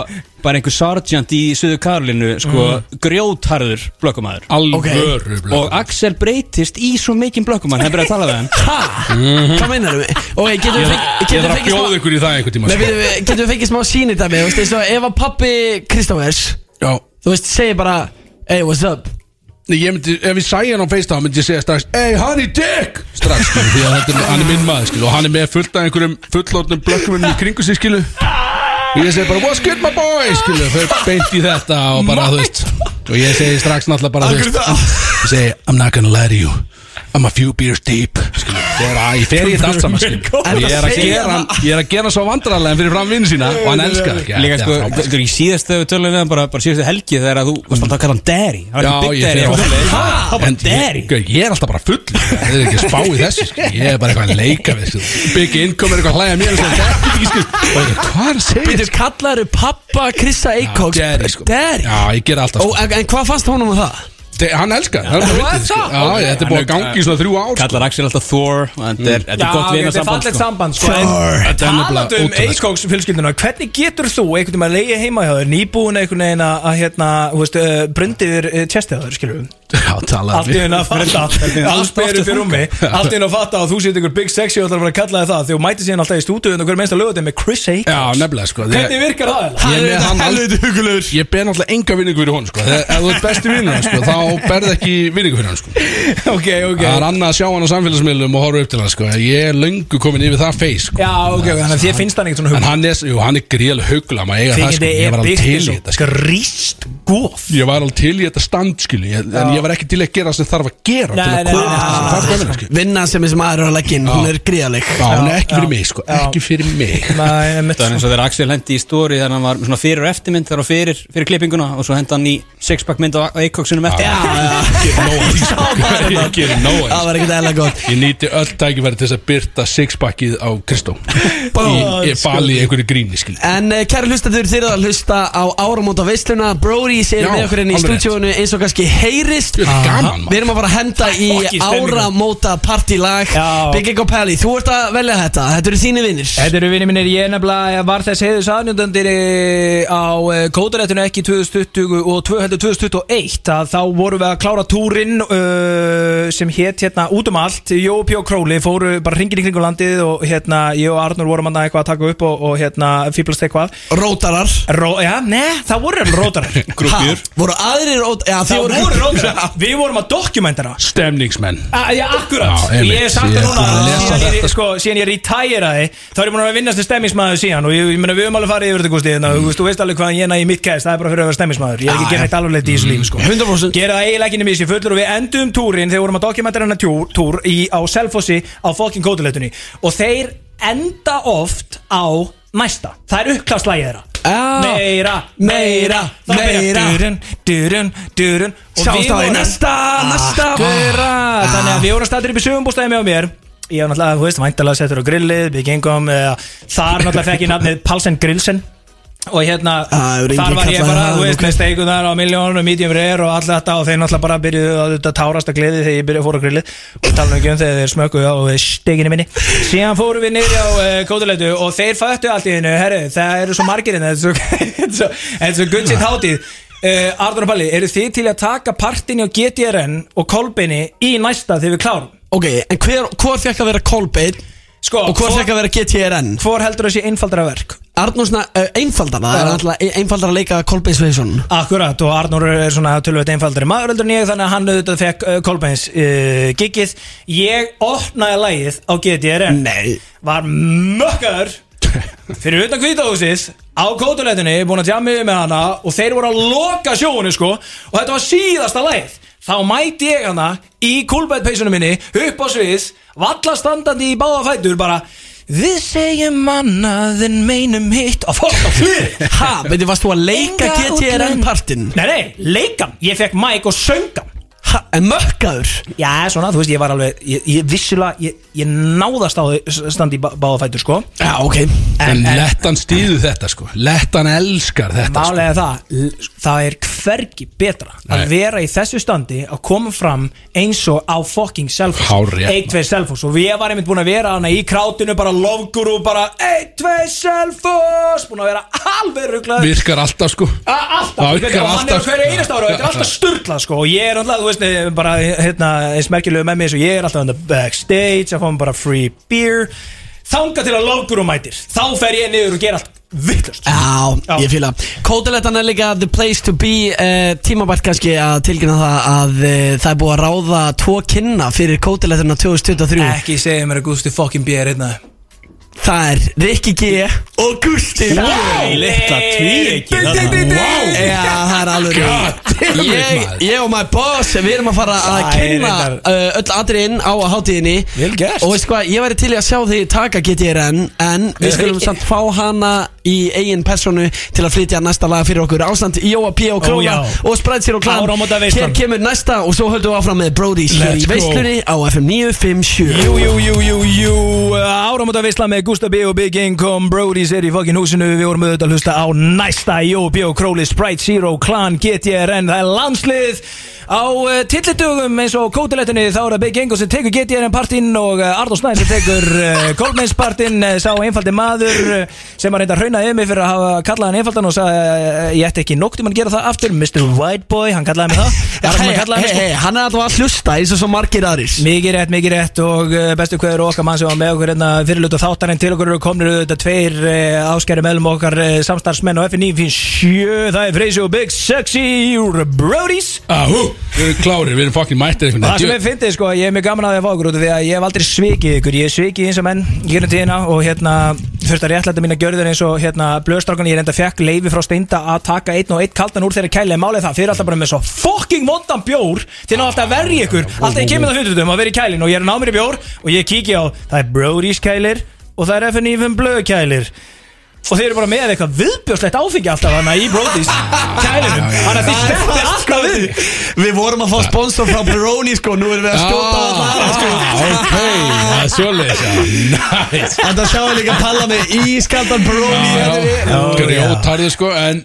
bara einhver sergeant í Suðu Karolínu sko,
Mm.
grjótharður blökkumæður
Alvöru blöð
Og Axel breytist í svo mikinn blökkumæður Hann er byrjað að tala við hann
Ha? Hvað meinar þú? Ok, getum við fengið-
Ég
getum
þarf
við
að
fengið smá
bjóða ykkur í það einhvern tíma
Nei,
sko.
við- við- Getum við fengið smá sín í dæmi, þú veist, eins og ef að pappi Kristófers,
Já
þú veist, segir bara Hey, what's up?
Nei, ég myndi, ef ég sæði hann á FaceTime myndi ég segja strax Ey, hann er dick! Strax, skilu, því að þetta er, hann er minn maður, skilu Og hann er með fullt af einhverjum fullorðnum blökkumennum í kringu sig, skilu Og ég segi bara, what's good my boy, skilu Þau beint í þetta og bara, þú veist Og ég segi strax náttúrulega bara, þú veist Ég segi, I'm not gonna lie to you I'm a few beers deep, skilu Þegar að ég fer í þetta allt saman, skilu Og ég er að gera, hann- ég er að gera hann svo vandrarlega fyrir fram vinnu sína Og hann elskar það ekki
Líka
Þetta
sko,
er frábært.
þetta er ekki síðast þegar við tölum við hann bara, bara síðast helgi þegar að þú varst alltaf að kalla hann Derry Hann var
Já,
ekki
ég
Big Derry
fer á-
Það var
En
bara Derry
ég, ég er alltaf bara full Það er ekki að spá í þessu sko. Ég er bara eitthvað að leika við sko. Big Income er eitthvað að hlæja mér og segja, "Þetta er ekki, sko." Og ég, Hvað er að segja?
Býtu, kallar þú pappa Krista Eikóks?
Daddy, sko.
Daddy?
Já, ég ger alltaf
Ó,
sko.
en, en hvað fannst honum á það?
Þe- Hann elskar það, það er bara
What
vitið, sko.
the-
Já, ég- Þetta er búið að
eh,
gangi í svona þrjú ár sko.
Kallar Axel alltaf Thor Þetta
Já,
er, þetta er gott
ok, þetta er
vinarsamband
fallegt
sko.
samband sko.
Sure.
En
Þetta er nefnilega
Talandi um
ótrúlegt, sko.
Eikóks fjölskylduna Hvernig getur þú einhvern veginn að leiði heima hjá þér nýbúin einhvern veginn að að, hérna, þú veist, uh, brundiður uh, tjestið á þér skilur við
Já, talaðu
Allt í
við
henni að fatta Allt berum fyrir um mig Allt í henni að fatta að þú sétt einhver big sexy og ætlar að fara að kalla þið það Þegar þú mætið síðan alltaf í stúdíu og hver minnst að lögða með Chris
Já,
Eikóks
nefnilega sko. Ég-
Hvernig virkar það? eiginlega?
Ég er með hann helviti
hugulegur
Ég ber náttúrulega enga vinningu fyrir hún sko. Þegar ef þú ert besti vinnur hann sko, þá berð ekki vinningu fyrir hann sko.
Ok, ok
Það er annað að sjá hann á samfélagsmiðlum og horfa upp til hann sko. Ég er löngu komin yfir það feis sko.
Já, ok, ok, þannig að þið finnst hann ekkert svona
En
hugmynd
hann er, jú, hann er gríðlega hugla maður eiga það sko, ég var alveg til í þetta sko.
Gríst góð
Ég var alveg til í þetta stand skilu ég, En ég var ekki til í að gera það sem þarf að gera
Nei,
Til
nei,
að koma
nei,
þetta
nei,
sem þarf að gera
Vinna sem þessi maður er að leggja inn, hún er gríðaleg
Já, hún
Já,
er ekki fyrir
já.
mig sko,
Já.
ekki fyrir mig
Nei, mitt
Það er eins og þegar Axel hendi í stóri þannig að hann var með svona fyrir og eftirmynd þar og fyrir, fyrir klippinguna og svo hendi hann í sixpack mynd á Eikoksunum eftir
Já, já,
Ég er nóg að því, sko. Ég gerir nóg að því,
það
sko.
var ekkert eðla gott
Ég nýti öll tækifæri til þess að byrta sixpackið á Kristó Ég fali í einhverju gríni skil
En eh, kæru hlustendur, þið eru að hlusta á áramóta veisluna Brody Árís er
Já,
með okkur inn í
alveg rétt.
stúdíónu eins og kannski heyrist
Þetta er gaman, maður.
Við erum að fara að henda í
Fucking stemningu.
áramóta partylag Big Egg og Pally, þú ert að velja þetta Þetta eru þínir vinnir
Þetta eru vinni minnir, ég nefnilega var þess heiðus aðnjöndandir á eh, kótaréttinu ekki 2020 og 2 heldur 2021 að þá vorum við að klára túrin uh, sem hétt hérna út um allt Jópi og Króli fóru bara ringin í kringu landið og hérna ég og Arnur vorum að eitthvað að taka upp og, og hérna fýblast eitthvað
Rótarar
Ró, Já, ne, það voru alveg rótarar
Grúppjur.
Ha,
Voru aðrir rótarar Já,
Það
þið voru-
voru rótarar Við vorum að dokumentera
Stemningsmenn
Ah, Já, akkurat,
Já, einmitt.
ég hef sagt það
Ég
núna
ætlaði að lesa
síðan ég,
þetta,
sko, síðan ég retiraði þá er ég búin að vera vinnast stemmismæður síðan og ég, ég meina við höfum alveg farið yfir þetta gústi mm. þú, veist, þú veist alveg hvað ég næði mitt kæst, það er bara fyrir að vera stemmismæður ég er ekki að gera neitt alveg leitt í
Mm,
þessu lífi sko.
100%
Gera það eiginlega ekki nefnir sér fullur og við endum túrin þegar við vorum að dokumentera hennar túr, túr í, á Selfossi á fokkin kótuleitunni og þeir enda oft á næsta, það er uppkláslægið þeirra
Já.
Meira, meira,
Þá byrjar
meira Durun, durun, durun Og
Sjáumst á
við
því
vorum- Ah,
næsta, næsta
Akkurat Þannig að við vorum stættir upp í sögumbústæði með mér Ég var náttúrulega, þú veist, væntalega settur á grillið Við gengum, eða, þar náttúrulega fekk ég nafnið Palsen Grillsen Og hérna,
hefur enginn
þar var ég
kallað
bara,
það,
þú veist,
ok.
með steikunar á miljónum, medium rare og allt þetta og þeir náttúrulega bara byrjuðu að þetta tárast að gleði þegar ég byrjuði að fóra grillið og tala nú ekki um þegar þeir smökuðu á steikinu minni. Síðan fórum við niður á uh, kótuleitu og þeir fættu allt í hennu, herru, það eru svo hérna, margirinn, þetta er svo- þetta er svo, þetta er svo gutt sitt hátíð. Uh, Arður og Palli, eru þið til að taka partin á GTRN og Kolbeini í næsta þegar við klárum?
Ok, en hver, hvor fekk að vera Kolbeinn
Sko,
Og hvor fekk að vera GTRN
Hvor heldur þessi einfaldara verk?
Arnórsna, uh, einfaldara Það er
Já.
alltaf einfaldara að leika Kolbeinn Sveinsson
Akkurat og Arnur er svona tölvöld einfaldari maður heldur en ég þannig að hann auðvitað fekk uh, Kolbeins uh, gigið Ég opnaði lægið á GTRN
Nei
Var mökkar fyrir utan kvítahúsið á kótuleitinni búin að tjá mig með hana og þeir voru að loka sjóinu sko og þetta var síðasta lægið Þá mæti ég hana í kúlbættpeysunum minni upp á svið valla standandi í báða fætur bara Við segjum annað en meinum hitt á fólk á hlið
Ha, veitir, varst þú að leika
Enga útlönd.
GTRN partinn?
Nei, nei, leikan, ég fekk mæk og söngan
Ha, en mökkaður?
Já, svona, þú veist, ég var alveg Ég, ég vissulega, ég, ég náðast á standi í bá- báða fætur, sko
Já, ok
En lettan stýðu þetta sko Lettan elskar þetta sko
Málega það, l- það er hvergi betra
Nei.
Að vera í þessu standi Að koma fram eins og á fucking selfos
Hárrétt,
Eitt, tvei selfos Og ég var einmitt búin að vera hana í krátinu Bara lofguru, bara Eitt, tvei selfos Búin að vera alveg rugglaður
Virkar alltaf sko
A- Alltaf,
Já,
ég veit,
virkar
og hann er á
alltaf.
hverju einast ára og þetta er alltaf sturglað sko og ég er alltaf, þú veist, eh, bara hérna, eins merkilegu með mig eins og ég er alltaf on the backstage að fá mér bara free beer þanga til að lókur og mætir þá fer ég niður og ger allt vittlust
Já, ég fýla Kótalettan er líka the place to be uh, Tímabært kannski að tilkynna það að uh, það er búið að ráða tvo kynna fyrir kótalettina 2023
Ekki segja mér að Gusti fucking beer hérna
Það er Rikki G og Gusti B.
litla tvíreiki
Já, það er alveg rétt. ég, ég og my boss, við erum að fara að
Það er
kynna
reyndar-
uh, öll atriðin á hátíðinni
Vel gert.
Og veistu hvað, ég væri til í að sjá þig taka GTRN En við skulum samt fá hana í eigin personu til að flytja næsta lag fyrir okkur Ástand Jóa P. og
Ó, já.
Króla og Sprite Zero Clan
Áramóta veislan.
Hér kemur næsta og svo höldum við áfram með Brody's hér í
Let's go.
veislunni á FM 957
Jú, jú, jú, jú, jú Áramóta veisla með Gustaf B og Big Income Brody's er í fucking húsinu Við vorum auðvitað að hlusta á næsta Jóbi og Króli Sprite Zero Clan GTRN Það er landslið Á uh, tillitugum eins og kótilettinni Þá er það Big Income sem tekur GTRN partinn Og uh, Arnór Snæð sem tekur uh, Kolmeins partinn uh, Sá einfaldi maður uh, sem að reynda að hrauna yfir Fyrir að hafa kallað hann einfaldan og sagði uh, Ég ætti ekki noktum að gera það aftur Mr. White Boy, hann kallaði mig það Það er það sem hann
hei,
kallaði mig sko
hei, hann er alltaf að hlusta eins og svo margir aðris
Mikið rétt, mikið rétt og eh, bestu hverður okkar mann sem var með okkur hérna fyrirlutu þáttarinn til okkur eru komnir auðvitað tveir uh, áskæri meðlum okkar uh, samstarfsmenn og F957 það er Freysi og Big Sexy úr Brodies
Áhú, við erum klárir, við erum fokkin mættir einhvern
Það sem
veginn.
ég fyndið sko, ég er mjög gaman að því að fá okkur út af því að ég hef aldrei svikið ykkur, ég hef svikið eins og menn í gegnum tíðina og hérna þurft að réttlæta mína gjörður eins og hérna blöðstrákan ég reynda fekk leifi frá steinda að taka einn og einn kaldan úr þeirra kæli en málið það fyrir alltaf bara með svo fucking vondan bjór þeir ná alltaf að verja ykkur, alltaf ég kemur það hundutum að vera í kælin og ég er að ná mér í bjór og ég kíkja á það er Brody's kælir og það er FN blöðkælir og þeir eru bara með eitthvað viðbjörslegt áfengi alltaf hana í Brody's kælinu hann að því sleppir alltaf við því.
sko Við vorum að fá sponsor frá Brony sko Nú erum við að skjóta á allara sko
Ah, Ok, það er svoleiðis já. Nice
Þetta sjáum við líka að palla með ískaldan Brony
Já, já. Grjótarðu sko En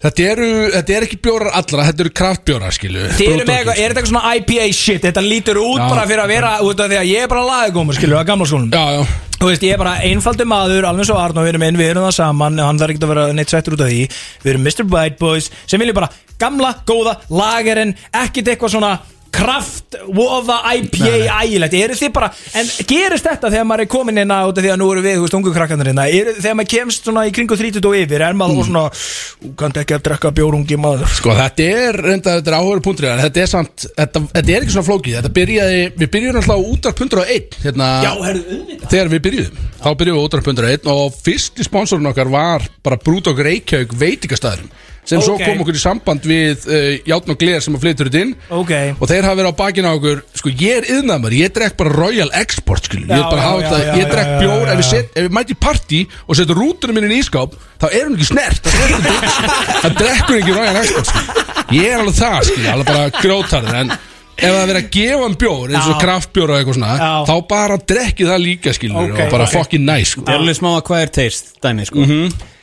Þetta eru, þetta eru ekki bjórar allra, þetta eru kraftbjórar skilu
Þið eru með eitthvað, er þetta eitthvað svona IPA shit Þetta lítur út
Já.
bara fyrir að vera út af því að ég er bara lagagómur, skilur, að gamla skólum
Já, já
Þú veist, ég er bara einfaldur maður, alveg svo Arnó, við erum inn, við erum það saman Hann þarf ekki að vera neitt sættur út af því Við erum Mr. White Boys, sem viljum bara gamla, góða, lagerinn Ekkit eitthvað svona kraft, voða, IPA, ægilegt Eru þið bara, en gerist þetta þegar maður er komin inn á út af því að nú eru við, þú veist, ungu krakkarnir hérna Eru- Þegar maður kemst svona í kringu 30 og yfir, er
Mm.
maður svona "Ú, Kanntu ekki að drekka bjórungi maður
Sko þetta er, reynda þetta er áhverju púntur þetta er samt, þetta, þetta er ekki svona flókið Þetta byrjaði, við byrjuðum alltaf á útarp 101 hérna,
Já, herðu, auðvitað.
Þegar við byrjuðum, þá byrjuðum við á útarp 101 Og fyrsti sponsorinn okkar var bara Brúdók Reykjavík veitingastæðurinn Sem svo
Ok.
kom okkur í samband við uh, Játn og Gler sem að flytur þetta inn
Ok,
Og þeir hafa verið á bakinu á okkur Sko ég er yðnaðmar, ég drekk bara Royal Export skilur. Ég
Já,
er
já,
bara að hafa
já,
þetta,
já,
ég
já,
drekk
já,
bjór
já,
Ef ég,
já.
set, ef ég mæti í partí og setja rútunum minni í ískáp Þá er hún ekki snert Það snertir þetta ekki, skilur. Það drekkur ekki Royal Export skilur. Ég er alveg það, skilur, alveg bara grótarður En ef það er verið að gefa hann bjór Eins og
Já.
kraftbjór og eitthvað svona
Já.
Þá bara drekkið það líka skilur
Ok,
Og bara
ok.
fucking nice sko.
Þetta er alveg smá að hvað er teist, dæmi sko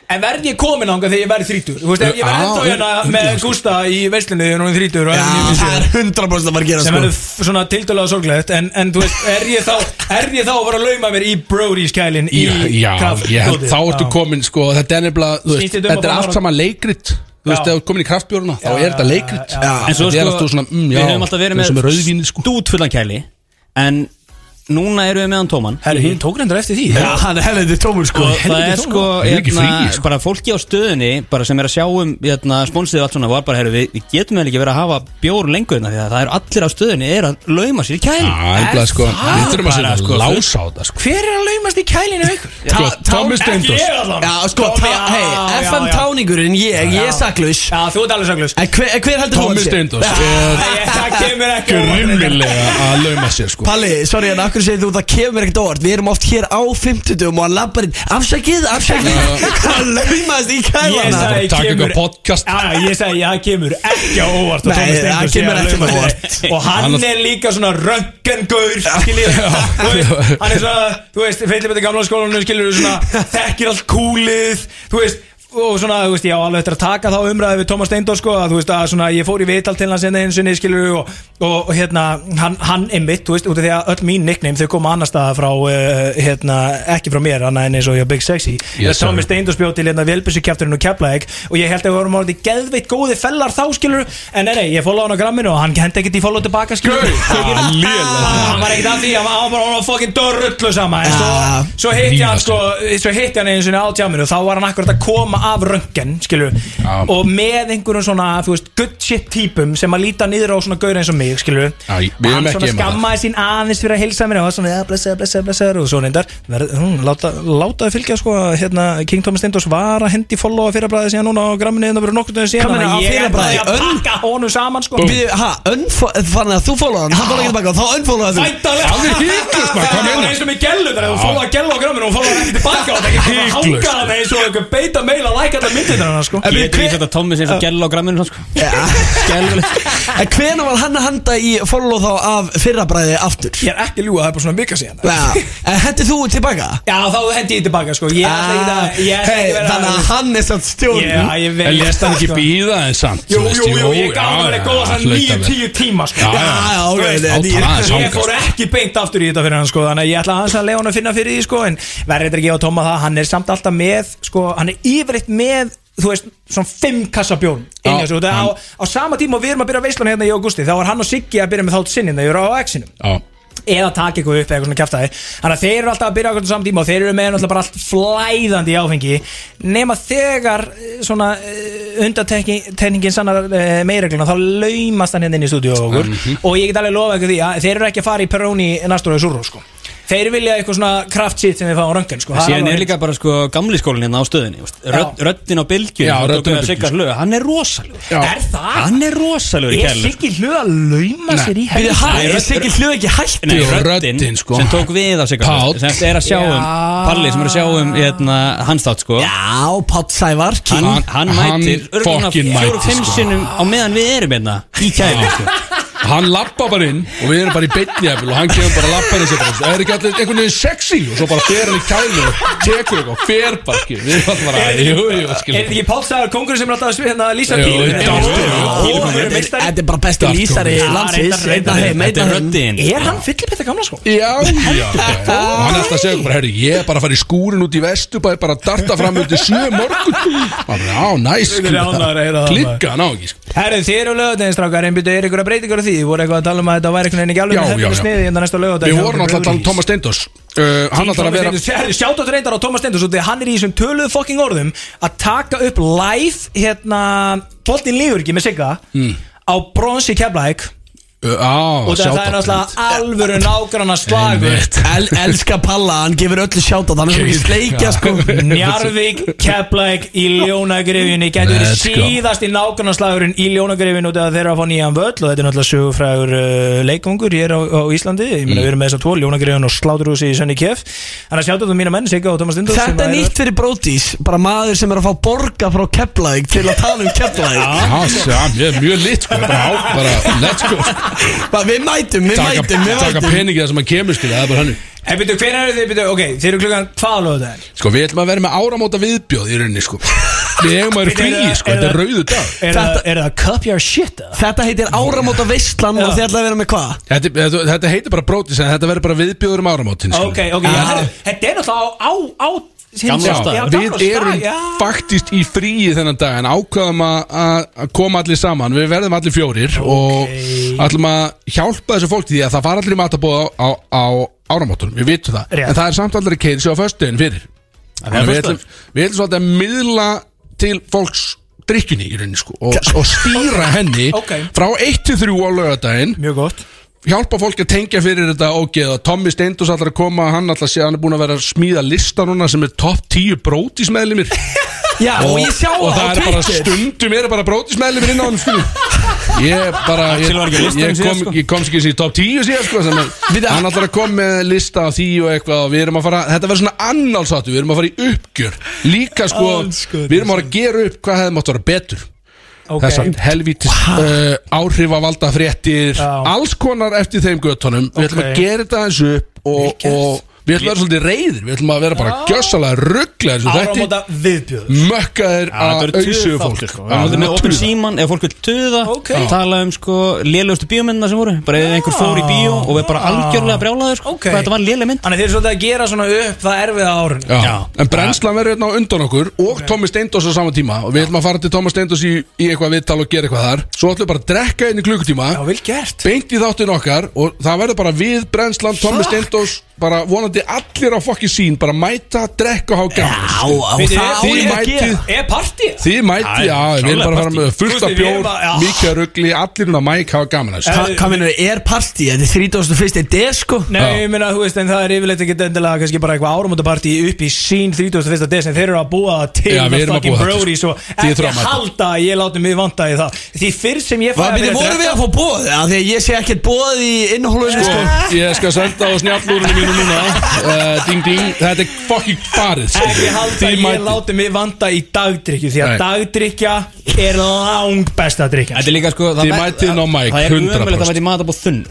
En verð ég komin ánga þegar ég verð 30 Þú veist, ef ég verð
Já,
ennþá hérna með
hundleiðis, sko.
Gústa í veislunni þegar hún er 30 Já, það er 100% að
gera,
Sem
sko.
verður f- svona tildulega sorglegt en, en þú veist, er ég þá Er ég þá að vera að lauma mér í Brody's kælin í
Já, já
kraft-
ég held,
dótið?
þá ertu
Já.
komin sko, Þetta er nefnilega, þú veist,
Snýst þetta um að
þetta er
fá
allt
bara-
saman leikrit Þú
Já.
veist, ef þú ert komin í kraftbjórna þá er þetta leikrit
En svo
Þetta er
sko,
alltaf svona, mm, já,
við höfum alltaf verið
eins og
með
rauðvíni, sko.
stútfullan kæli En núna erum við með hann tóman
Herri, ég tók reyndar eftir því
Já,
hann er helviti tómur
sko Og það
Helviti
er
tómur.
sko,
Það er ekki
hérna,
frí, sko.
bara fólki á stöðunni bara sem er að sjá um hérna, sponsið og allt svona var bara, heyrðu, við, við getum eða ekki verið að hafa bjór lengur hérna því að það eru allir á stöðunni er að lauma sér í kæli
Já, en blað, sko, við þurfum að setja lása á þetta, sko.
Hver er að laumast í kælinu ykkur?
Sko,
Ta- tán-
Tommi Steindórs.
Ekki ég allan. Já, sko, ta- hey, FM táningurinn, ég, ég er saklaus
Já, þú ert alveg saklaus
En hver, en hver heldur
Tommi Steindors
Það kemur ekki
Grimmilega að lauma sér sko
Palli, sorry, en akkur segir þú það kemur ekkert orð Við erum oft hér á 50 og hann lappar inn Afsakið, afsakið Hann laumast í
Ég
kælana
sagði
Taka eitthvað podcast.
Já, já, ég sagði það kemur ekki á óvart að
Nei, það
Thomas
kemur ekki
Steindórs sé að
á
lauma
óvart.
sér. Og hann
Hann-
er líka svona röggengaur Skiljið Þú veist, Hann er svona, þú veist, feillibæti gamla skólanum Skiljið, svona, þekkir allt kúlið Þú veist og svona, þú veist, ég á alveg eftir að taka þá umræði við Thomas Steindor, sko, að þú veist, að svona, ég fór í vital til hans hérna eins og skilur og, og, og hérna, hann, hann einmitt, þú veist, út af því að öll mín nickname, þau koma annar staða frá, uh, hérna, ekki frá mér, annað en eins og ég á Big Sexy,
Yes,
yes,
sir.
Thomas Steindors bjóð til hérna velbísukjæfturinn og keflaðeg og ég held að við vorum orðið geðveitt góði fellar þá skilur en nei, nei, ég fólaði hann á gramminu og hann hendi ekkert í follow tilbaka skilur hann Ah, hann var ekkert að því, hann var hann var bara fokkin dörrullu sama en svo,
Ja.
svo hitti hann sko, svo hitti hann einu sinni á tjáminu og þá var hann akkurat að koma af röngen skilur
Ja.
og með einhverjum svona, þú veist, good shit típum sem að líta niður á svona gaur eins og mig skilur
Já, ég-
og
við erum
hann
ekki
svona
um það
skammaði sín aðeins fyrir að hilsa mér og það var svona, ja, blessaður, blessaður, blessaður og svo reyndar, verð, hún, láta, látaði fylgja sko, að, hérna, King Thomas Stendors var að hendi followa fyrrabræði síðan núna á gramminu en það verið nokkur döðin síðan
Hvað meinar á
þannig að ég
fyrrabræði?
ætlaði að pakka honum saman sko
Við, ha, unfo- þannig að þú fólaði hann, hann fólaði ekki tilbaka og Þá unfólaði þú
Væntanlega
Það er hiklaust, maður, hvað
Það var
meinar?
eins og með gellu þegar þú
Já.
fólaði að gella á gramminu og fólaði ekki tilbaka og það ekki bara
Hiklaust.
hanga það eins og einhver beita meila læka þetta myndir þarna sko
En
Ég
við-
veit ekki þetta Tommi sem fyrir gæla á gramminu sko.
En hvena var hann að handa í follow þá af fyrrabræði aftur?
Ég er ekki að ljúga, það er bara svona vika síðan
Já, en hendi þú tilbaka?
Já, þá hendi ég tilbaka sko Ég ætla ekki
Ah,
að- ég ætla
hey,
ekki að vera-
Þannig að hann er samt stjórn
Já, ég veit
En lest hann ekki
sko.
býða en samt
Jú,
þú veist,
jú, jú, ég gaf
já,
hann verið
já,
góða sann
hlaut að
9-10 tíma sko.
Já, já.
Já, já, ok,
Þú veist,
þetta er-
Átta aðeins
Ég
ángast
fór ekki beint aftur í þetta fyrir hann sko, Þannig að ég ætla aðeins að leiða hann að finna fyrir því sko, En verður þetta ekki á Tóma það Hann er samt alltaf með sko, Hann er yfirleitt með Þú veist, svona fimm kassa bjón
Já,
inni, svo, á,
hann-
á sama tíma og við erum að byrja veislan hérna í augusti Þá var hann og Siggi að byrja með þátt sinni Þegar ég eru á X-inum
Já,
eða taka eitthvað upp eða eitthvað svona kjaftaði þannig að þeir eru alltaf að byrja okkur samtíma og þeir eru með náttúrulega bara allt flæðandi í áfengi nema þegar eh, svona undatenningin sannar eh, meirregluna þá laumast hann hérna inn í stúdíu á okkur og ég get alveg lofa ykkur því að þeir eru ekki að fara í Peroni næstur og Surro sko þeir vilja eitthvað svona kraft shit sem þeir fá á röngan sko Það
Síðan
alveg-
er líka bara sko gamli skólinn hérna á stöðinni veist. Rödd, Röddin á bylgjum
Já,
sem
röddin
tókum við að
á bylgjum,
sigga slög, Hann er rosalegur
já.
er það?
Hann er rosalegur í
er
kæli
Siggi hlug að lauma sér í
Býðu, ha,
helviti?
er Siggi hlug ekki hættur?
Nei,
Jú,
röddin,
röddin, sko.
sem tók við að sigga
Páll.
slög sem er að sjá um
Já.
Palli sem er að sjá um hérna, hans þátt sko
Já, Pátt Sævar, King
Hann, hann
Hann
mætir
fucking mætir,
fjóru-fimm
sko.
sinnum á meðan við erum hérna í kæli sko.
Hann lappa bara inn og við erum bara í beinni efil og hann kemur bara að lappa inn í sér bara, Það er ekki allir einhvern veginn sexy og svo bara fer hann í kælu og tekur eitthvað og fer bara skil Við erum alltaf bara, jú, jú,
Er
skil
þetta ekki pálsaður kongur sem er alltaf að svið hérna að lýsa
Jú,
pílu?
þetta er
Ó, Þetta þetta er bara besti
Dark
lýsari
Comedy.
landsins
Þetta er
Einn af þeim, einn af þeim.
Er hann fyllipetta gamla sko?
Já, já, já. Og hann er alltaf að segja okkur bara, herru, ég er bara að fara í skúrin út í vestu bara, bara að darta fram undir sjö morgun Bara, já, næs
Þetta er ánægður að heyra það, maður.
Klikka hann á ekki, sko
Herru, þið eru lögadeinstrákar, en byrju, er ykkur að breytingar á því? Voru eitthvað að tala um að þetta væri einhvern veginn ekki alveg
Já,
með
já,
helvinu
já.
sniði hérna næsta lögadein
Við vorum alltaf að tala um Thomas Steindors uh, Hann alltaf að vera
Sjáttu reyndar á Thomas Stendur, svo því að hann er í þessum töluðu fokking orðum að taka upp live hérna, boltin lífur ekki með sigga
Mm.
á bronsi keflæk
Uh, Á,
og það er náttúrulega alvöru nágranna slagur
El, elska Palla, hann gefur öllu sjátt Hann er svo ekki sleikja sko
Njarðvík, Keflæk í Ljónagrifjunni Gæti verið
Let's go.
síðast í nákvæmnarslagurinn í Ljónagrifjunni út af að þeirra að fá nýjan völl og þetta er náttúrulega sögufrægur uh, leikungur hér á, á Íslandi, ég
Mm.
meina við erum með þess að tvo Ljónagrifjun og Sláturhúsi í Sönni Kef Þannig að sjáttu þú mína menn, Sigga og Thomas Stindóð
Þetta er nýtt fyrir Brótis Bara maður sem er að fá borga frá Keflavík Til að tala um Keflavík
Já, já, ég er mjög lit, sko Bara, á, bara let's go sko.
Bara, Við mætum, við
Taka,
mætum, við
taka
mætum
peningi það sem að kemur, skilja, það er bara hannu
En byrju, hvenær eru þið, byrju, ok, þið eru klukkan hvað lögðu það er?
Sko, við ætlum að vera með áramóta viðbjóð í rauninni, sko Við eigum að vera í fríi, sko, þetta er rauðu dag
Er það- er það cup your shit? eða?
Þetta heitir áramóta veistlan og þið ætlaði að vera með hvað?
Þetta, þetta, þetta heitir bara brótis en þetta verður bara viðbjóður um áramótin skilur.
Ok, ok, já, herru, þetta er náttúrulega á, á, á
Já, við erum
Já,
faktist í fríi þennan dag en ákvaðum að- að að koma allir saman við verðum allir fjórir og ætlum að hjálpa þessu fólki því að það fara allir í matabóð á, á, á áramótunum, við vitum það
Rétt.
en það er samt allir að keiri sig á föstudin fyrir Þannig að við ætlum, við ætlum svolítið að miðla til fólks drikkjunni í rauninni sko og, og stýra henni
Ok.
frá 1-3 á lögadaginn
mjög gott
hjálpa fólki að tengja fyrir þetta og geða Tommy Steindus allar að koma hann allar sé hann er búin að vera að smíða lista núna sem er topp 10 brótismeðlimir
Já, og, ég sjá
og
það á
það er bara
Twitter
stundum er bara brótismeðlimir inn á hann sko. ég bara ég,
var ekki á
ég,
listanum síðast,
kom,
sko.
ég komst ekki í top 10 síðan sko, sem að- hann allar að koma með lista af því og eitthvað og við erum að fara þetta verður svona annálsáttu við erum að fara í uppgjör líka sko
Andskotinn,
við erum að fara að gera upp hvað hefði mátt að vera betur
Ok.
þessar helvítis uh, áhrifavalda fréttir
Já.
alls konar eftir þeim göttunum við ætlum að
Ok.
gera þetta eins upp og, og við ætlum að vera svolítið reyðir við ætlum að vera bara gjössalega rugglega eins og þetta
Áramóta viðbjöður
mökkaðir að auðsögu fólk
sko.
Ah,
Já,
Við erum með
með
opinn
tuð.
síman Ef fólk vil töða
Ok.
Tala um sko Lélugustu bíómyndina sem voru Bara ef einhver fór í bíó Og við bara algjörlega brjálaður sko
Ok.
Hvað þetta var léleg mynd
Þannig að þið eru svolítið að gera svona upp það erfiða á árunni
Já. En brennslan verður hérna á undan okkur og Tommy Steindós á sama tíma og við ætlum að fara til Tommy Steindós í, í eitthvað viðtal og gera eitthvað þar svo ætlum við bara að drekka inn í klukkutíma
Já, vel gert
beint í þáttin okkar og það verður bara við brennslan, Tommi
Fuck.
Steindós bara vonandi allir á fokki sín bara mæta, drekka og
Á,
hafa gaman sko.
á,
Við
það á
þið
ég að
mætið-
gera
Er partí?
þið mæti, já, við erum bara að fara með fullt af
Þú veist, við erum
bjór,
bara- já.
mikið af rugli allir hún að mæk hafa gaman sko. að þessu.
Hva- Hvað minnur, er partí? Þetta er 31. desko
Nei, ég meina, þú veist, en það er yfirleitt ekki endilega kannski bara eitthvað áramótapartí upp í sín 31. desin, þeir eru að búa það til
Já, við
með
erum að
fucking
búa það til,
Brody, svo
sko. Þið þurfa
ekki
að mæta.
halda að ég láti mig vanda í það Því fyrr sem ég fæ
Hvað minnur,
vera
voru við að
drekka-
fá bóð? Já, því að ég sé ekkert bóð í innhólunni sko
Sko, ég skal senda á snjallúrinu mínu núna uh, ding ding, þetta er fucking farið sko.
Ekki halda að ég láti mig vanda í dagdrykju Því að
Nei.
dagdrykja er lang besta drykja
Þetta er líka sko
Þið mætið inn á mic,
Það er
100%.
umöðulegt að mæti matabóð þunn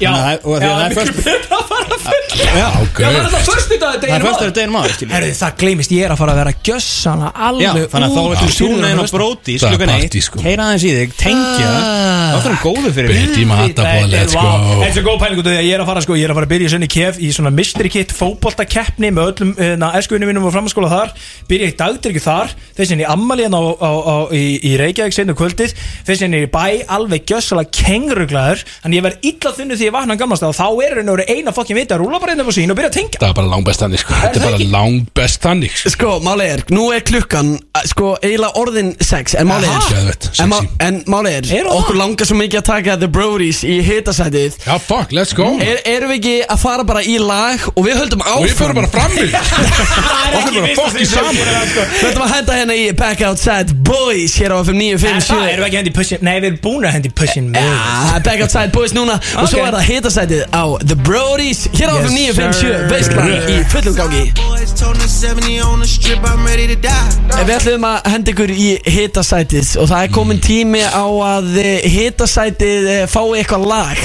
Já, já,
það er
miklu
föst-
betra að fara fulla Já,
ok.
það er alltaf förstu dag
Það er fyrst að deginum aður skilur
Herðu, það gleymist, ég er að fara að vera gjössana
Já,
alveg
þannig að þá veitum súna inn á bróti
Það er
Slukkan eitt,
partí, sko.
heyra aðeins í þig, tengja
Ah.
Það er það góðu fyrir mig
Beitt í matabóð, let's go
Þetta er svo góð pæling út af því að ég er að fara sko, ég er að fara að byrja í sönni kef í svona mystery kit fótboltakeppni með öllum na, eskuvinni mínum og framhanskóla þar byrja í dagdrykju þar, þessin í ammaliðan á, á, á, í, í Reykjavík seinna um kvöldið þessin í bæ, alveg gjössalega kengruglaður, þannig ég verð illa þunnu því ég vakna gamast og þá er raun og veru eina fokkin viti að rúla bara einn upp á sín og byrja að tengja
Það er bara langbest þannig sko. Þetta er bara langbest þannig sko.
Sko, máli er, nú er klukkan að, Sko, eiginlega orðin sex En máli
Aha.
er,
Geðveikt,
en, má,
sexy.
en máli er,
Er hún
Okkur
það?
langar svo mikið að taka The Brodies í hitasætið
Já, fuck, let's go
er, Erum við ekki að fara bara í lag Og við höldum
Og við förum
áfram
bara fram í
Það
Okkur bara
vist að
fokk í
þið séu að
saman.
gera það, sko.
Við höldum að henda hérna í Back Outside Boys Hér á FM
En það erum
957
við ekki að hendi pushin Nei, við erum búin að hendi pushin
Ah, Back Outside Boys núna Og svo
Ok.
er það hitasætið á The Brodies Hér á FM 957 Veistlan í fullum gangi
Boys toting 70 on the strip, I'm ready to die.
En Við ætlum að henda ykkur í hitasætið og það er komin tími á að eh, hitasætið eh, fái eitthvað lag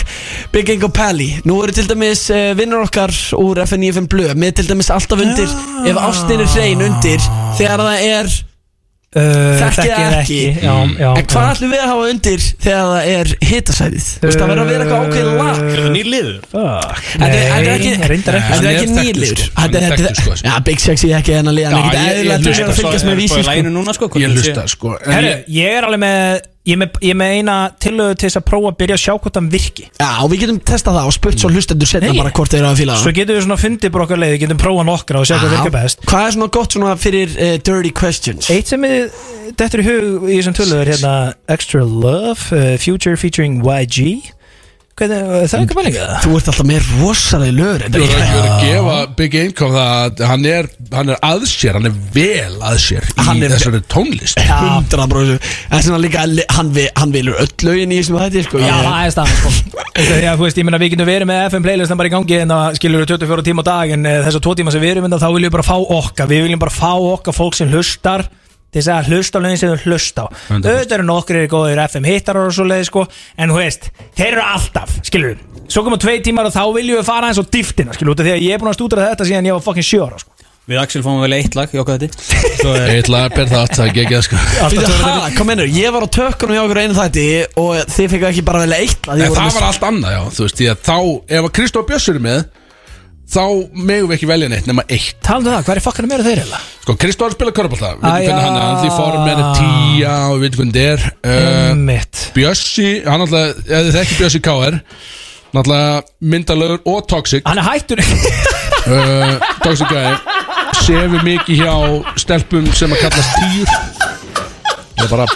Big Ingo Pally Nú eru til dæmis eh, vinnur okkar úr FN95 Blö með til dæmis alltaf undir
Ah.
ef ástin er hrein undir þegar það er
Uh,
Þekki
þekki
það
eða
ekki,
ekki, já, já,
En hvað
já.
ætlum við að hafa undir þegar það er hitasætið? Þú veist, það verður að vera eitthvað ákveðið lag
Nýr liður
Þetta er- þetta er ekki-
Eh, reyndar
Þetta er
ekki. Hann
ekki
er þekktur,
nýliður
sko. Hann
Þetta
er
er
þekktur, sko,
þetta Já, Big Sexy er ekki enn að liða Hann er ekki eðlilega til að fylgjast með vísi sko.
Ég hlusta,
sko
Herru, ég er alveg með Ég er með, ég er með eina tillögu til þess að prófa að byrja að sjá hvort hann virki
Já, og við getum testað það og spurt svo hlustendur setna
Nei.
bara hvort þeir eru að fíla
Svo
það
getum við svona fundið bara okkar leið Við getum prófað nokkra og sjá hvað
Já.
virka best
Hvað er svona gott svona fyrir uh, dirty questions?
Eitt sem er Þetta er í hug í þessum tölur Hérna Extra Love uh, Future featuring YG Hvernig, uh, Það er ekki mælinga
Þú ert alltaf með rosalega lögur
Ég voru að gefa Big Income það að hann er, hann er aðsér, hann er vel aðsér í
Hann er-
þessari tónlist
Hundra bróðsum Það er svona líka li- Hann, vi, hann vilur öll lögin í þessum þetta sko
Já,
Ég-
það er staðan sko Þegar, já, þú veist, ég meina við getum verið með FM playlistan bara í gangi hérna, en það skilur við 24 tíma á dag en eh, þessa tvo tíma sem við erum en þá viljum við bara fá okkar við viljum bara fá okkar fólk sem hlustar til þess að hlusta á lögin sem þau hlusta á auðvitað eru nokkri er góðir FM hittarar og svo leiði sko en þú veist, þeir eru alltaf skilur við, svo koma tvei tímar og þá viljum við fara eins og dýftina skilur við, þegar ég er búin að stúdra þetta síðan ég var fucking sjö ára sko.
Við Axel fáum vel eitt lag í okkar þetta
Eitt lag per þátt, það er ekki að sko
Býttu, ha, Hvað mennur? Ég var á tökkunum hjá okkur á einu þætti og þið fekku ekki bara velja eitt lag,
En
þið voru
það
með-
var allt annað, já, þú veist, því að þá, ef að Kristóf Bjössur er með Þá megum við ekki velja neitt nema eitt
Taldu um það, hvað er fakkana meira þeir eða?
Sko, Kristóf er að spila körbólta, við
Æ,
veitum hvernig hann er, hann er því fórum með tíja og við veitum hvernig
Eh.
það er
Einmitt.
Bjössi, hann alltaf, ef þið þekki Bjössi K.R. Náttúrulega myndalögur og toxic
Hann er hættur
uh, Toxic Guy Sefur mikið hjá stelpum sem að kallast týr Það er bara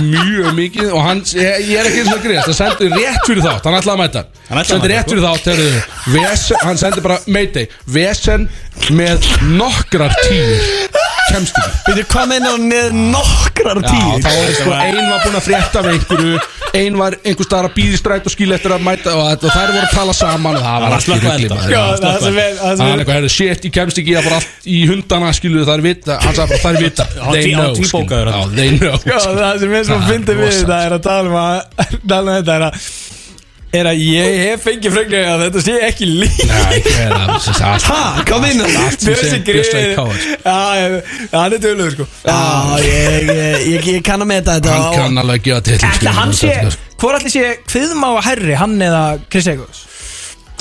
mjög mikið Og hann, ég, ég er ekki eins og að greiðast Hann sendi rétt fyrir þátt, hann ætlaði að mæta
Hann ætlaði að
Sendi
mæta,
rétt
sko.
fyrir þátt, heyrðu vesen, Hann sendi bara, meiti, vesen með nokkrar týr Kemst ekki
Býttu, hvað mennur hann með nokkrar
Já,
tíð?
þá var sko, ein var búin að frétta af einhverju Ein var einhver staðar að býði stræt og skil eftir að mæta og, þetta- og þær voru að tala saman og það var
var
allt í
slökkva
rugli
elda.
maður.
Já,
Það var
það
slökkva
sem er-
elda.
það sem
Það
er-
er eitthvað, herri, shit, ég kemst ekki, það var allt í hundana skilu, þær vita, hann sagði bara þær vita
Hann tví- hann
skilu.
tvíbókaður
Já,
hann.
they know
Já, það sem ég svo
Það er
fyndi við
rosalegt.
þetta er að tala um að tala um þetta er að er að ég hef fengið frönglega að þetta sé ekki líf
Nei, það er allt sem sagt
Ha, hvað meinar þú?
Allt sem
Bjössi
segir Bjössi
Grefi
í káir
Já, hann er tölugur sko
Já, ég, ég, ég, ég kann að meta þetta
Hann
og-
kann alveg að gefa til
Ætli hann sko. sé,
"Sko."
hvor ætli sé Kviðmá að herri, hann eða Chris Eggers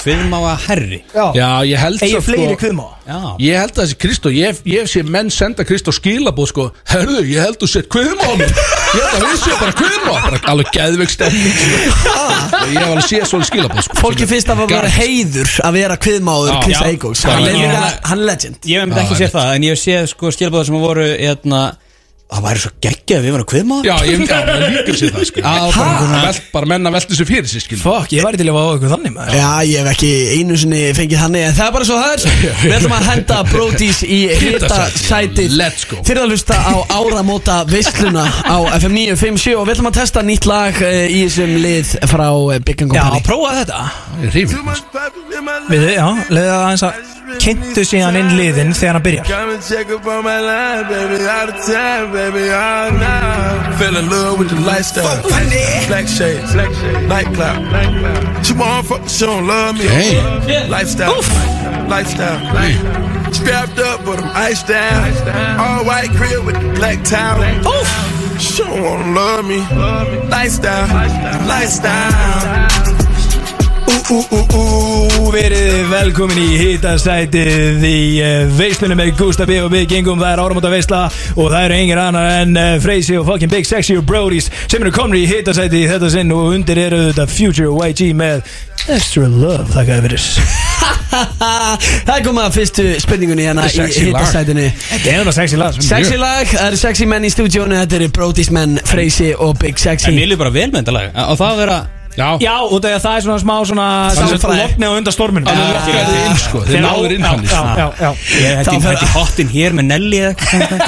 Kviðmá að herri
Já, ég held
Eigi
svo,
fleiri
sko-
kviðmá
Já
Ég held að þessi Kristó, ég, ég hef séð menn senda Kristó skilabóð sko Herðu, ég held þú sett kvöðum á mig Ég held að við séð bara kvöðum á bara Alveg geðveik stemning sko. Ég hef alveg séð svona skilabóð sko
Ah. Fólki finnst að það var
Garð.
heiður að vera kviðmáður
Já.
Chris
Já.
Eichholz
Já.
Hann er
Já.
líka, hann er legend
Ég hef einmitt ekki
Já,
séð það En ég hef séð sko skilbóðar sem voru eitna, Það væri svo geggjað ef við varum að kviðma
Já, ég hef alveg líka séð það sko Að bara, einhvern velt, bara menna velti þessu fyrir sér skilabóð
Fuck, ég væri til að fá okkur þannig maður
Já, ég hef ekki einu sinni fengið þannig En það er bara svo það er Við ætlum að henda Brodís í hitasæti
Let's go.
Þeir eru að hlusta á áramóta veisluna á FM 957 Og við ætlum að testa nýtt lag eh, í þessum lið frá eh, Big and
Já,
Company
prófa þetta
Rífum
Við, já, leiða aðeins að kynntu síðan inn liðin þegar hann byrjar
Come and check up on my line, baby. Out of time, baby. All night. Fell in love with the lifestyle. Black shades, black shades, nightclub. She motherfuckers, she don't love me.
Damn.
Lifestyle, lifestyle. Strapped up, but I'm iced down. All white crib with the black towel. Oof. She don't wanna love me. Lifestyle, lifestyle.
Ú, ú, ú, ú, verið velkomin í hitasætið í uh, veislunum með Gustaf B. og Big Ingum, það er áramóta veisla og það eru engin annar en uh, Freysi og fucking Big Sexy og Brodies sem eru komin í hitasætið í þetta sinn og undir eru þetta Future YG með Extra Love, þakkaði fyrir
Það er komið að fyrstu spurningunni hérna í
Sexy lag.
hitasætinu
Þetta er náttúrulega sexy lag
Sexy lag, það eru sexy menn í stúdíónu Þetta eru Brodís menn, Freysi og Big
En
Sexy
ég líf bara vel með þetta lag Og það vera
Já,
Já, og það það er svona smá svona
Samfræði.
lopni á undan storminu
það er lokkaði inn sko Þeir náður inn hann
Já, já, já
Ég
Þá
hætti
fer-
hætti hotinn hér með Nelly eða eitthvað.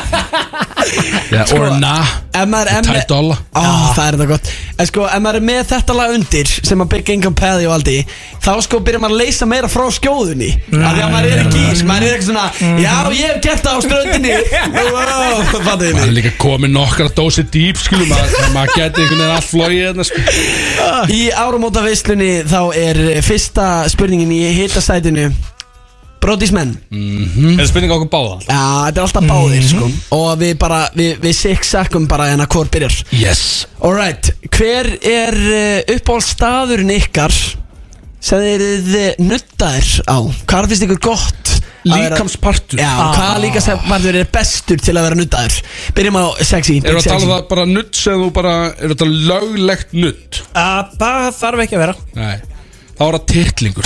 yeah,
Sko-
Or nah
Ef maður er
Tætt dolla
Ó, það er þetta gott En sko, ef maður er með þetta lag undir sem að Big Income Pæði og aldi þá sko byrjar maður að leysa meira frá skjóðunni af því að maður er ekki, sko, maður er ekki svona Já, ég hef gert það á ströndinni Wow, fattu þið
Það er líka komið nokkra dósi dýp skilum maður maður geti einhvern veginn allt flogið hérna sko.
mig Í áramótaveislunni þá er fyrsta spurningin í hitasætinu Brodísmenn
Mm. Er
það spurning á okkur báða?
Já, þetta er alltaf báðir sko Og við bara, við, við sikk sakkum bara hérna hvort byrjar
Yes
Alright, hver er uppáhaldstaðurinn ykkar sem þeir þið nuttaðir á? Hvað finnst ykkur gott? að vera-
Líkamspartur.
Já,
Ah.
hvaða líkamspartur er bestur til að vera nuttaður? Byrjum á sexy
Erum við að tala um það bara nutt sem þú bara Er þetta löglegt nutt?
Ah, Það þarf ekki að vera
Nei Það var að titlingur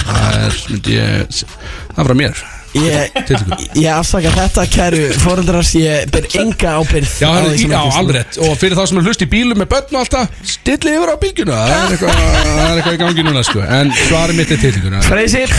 Það er, myndi ég Það var að mér
Ég,
Titlingur
ég afsaka þetta, kæru foreldrar Ég ber enga ábyrð
Já,
á
hann,
því sem
já
gerist.
alrétt Og fyrir þá sem er hlust í bílu með börn og alltaf Stilli yfir á bylgjuna Það er eitthvað það er eitthvað í gangi núna sko En svarið mitt er titlingur
Freysir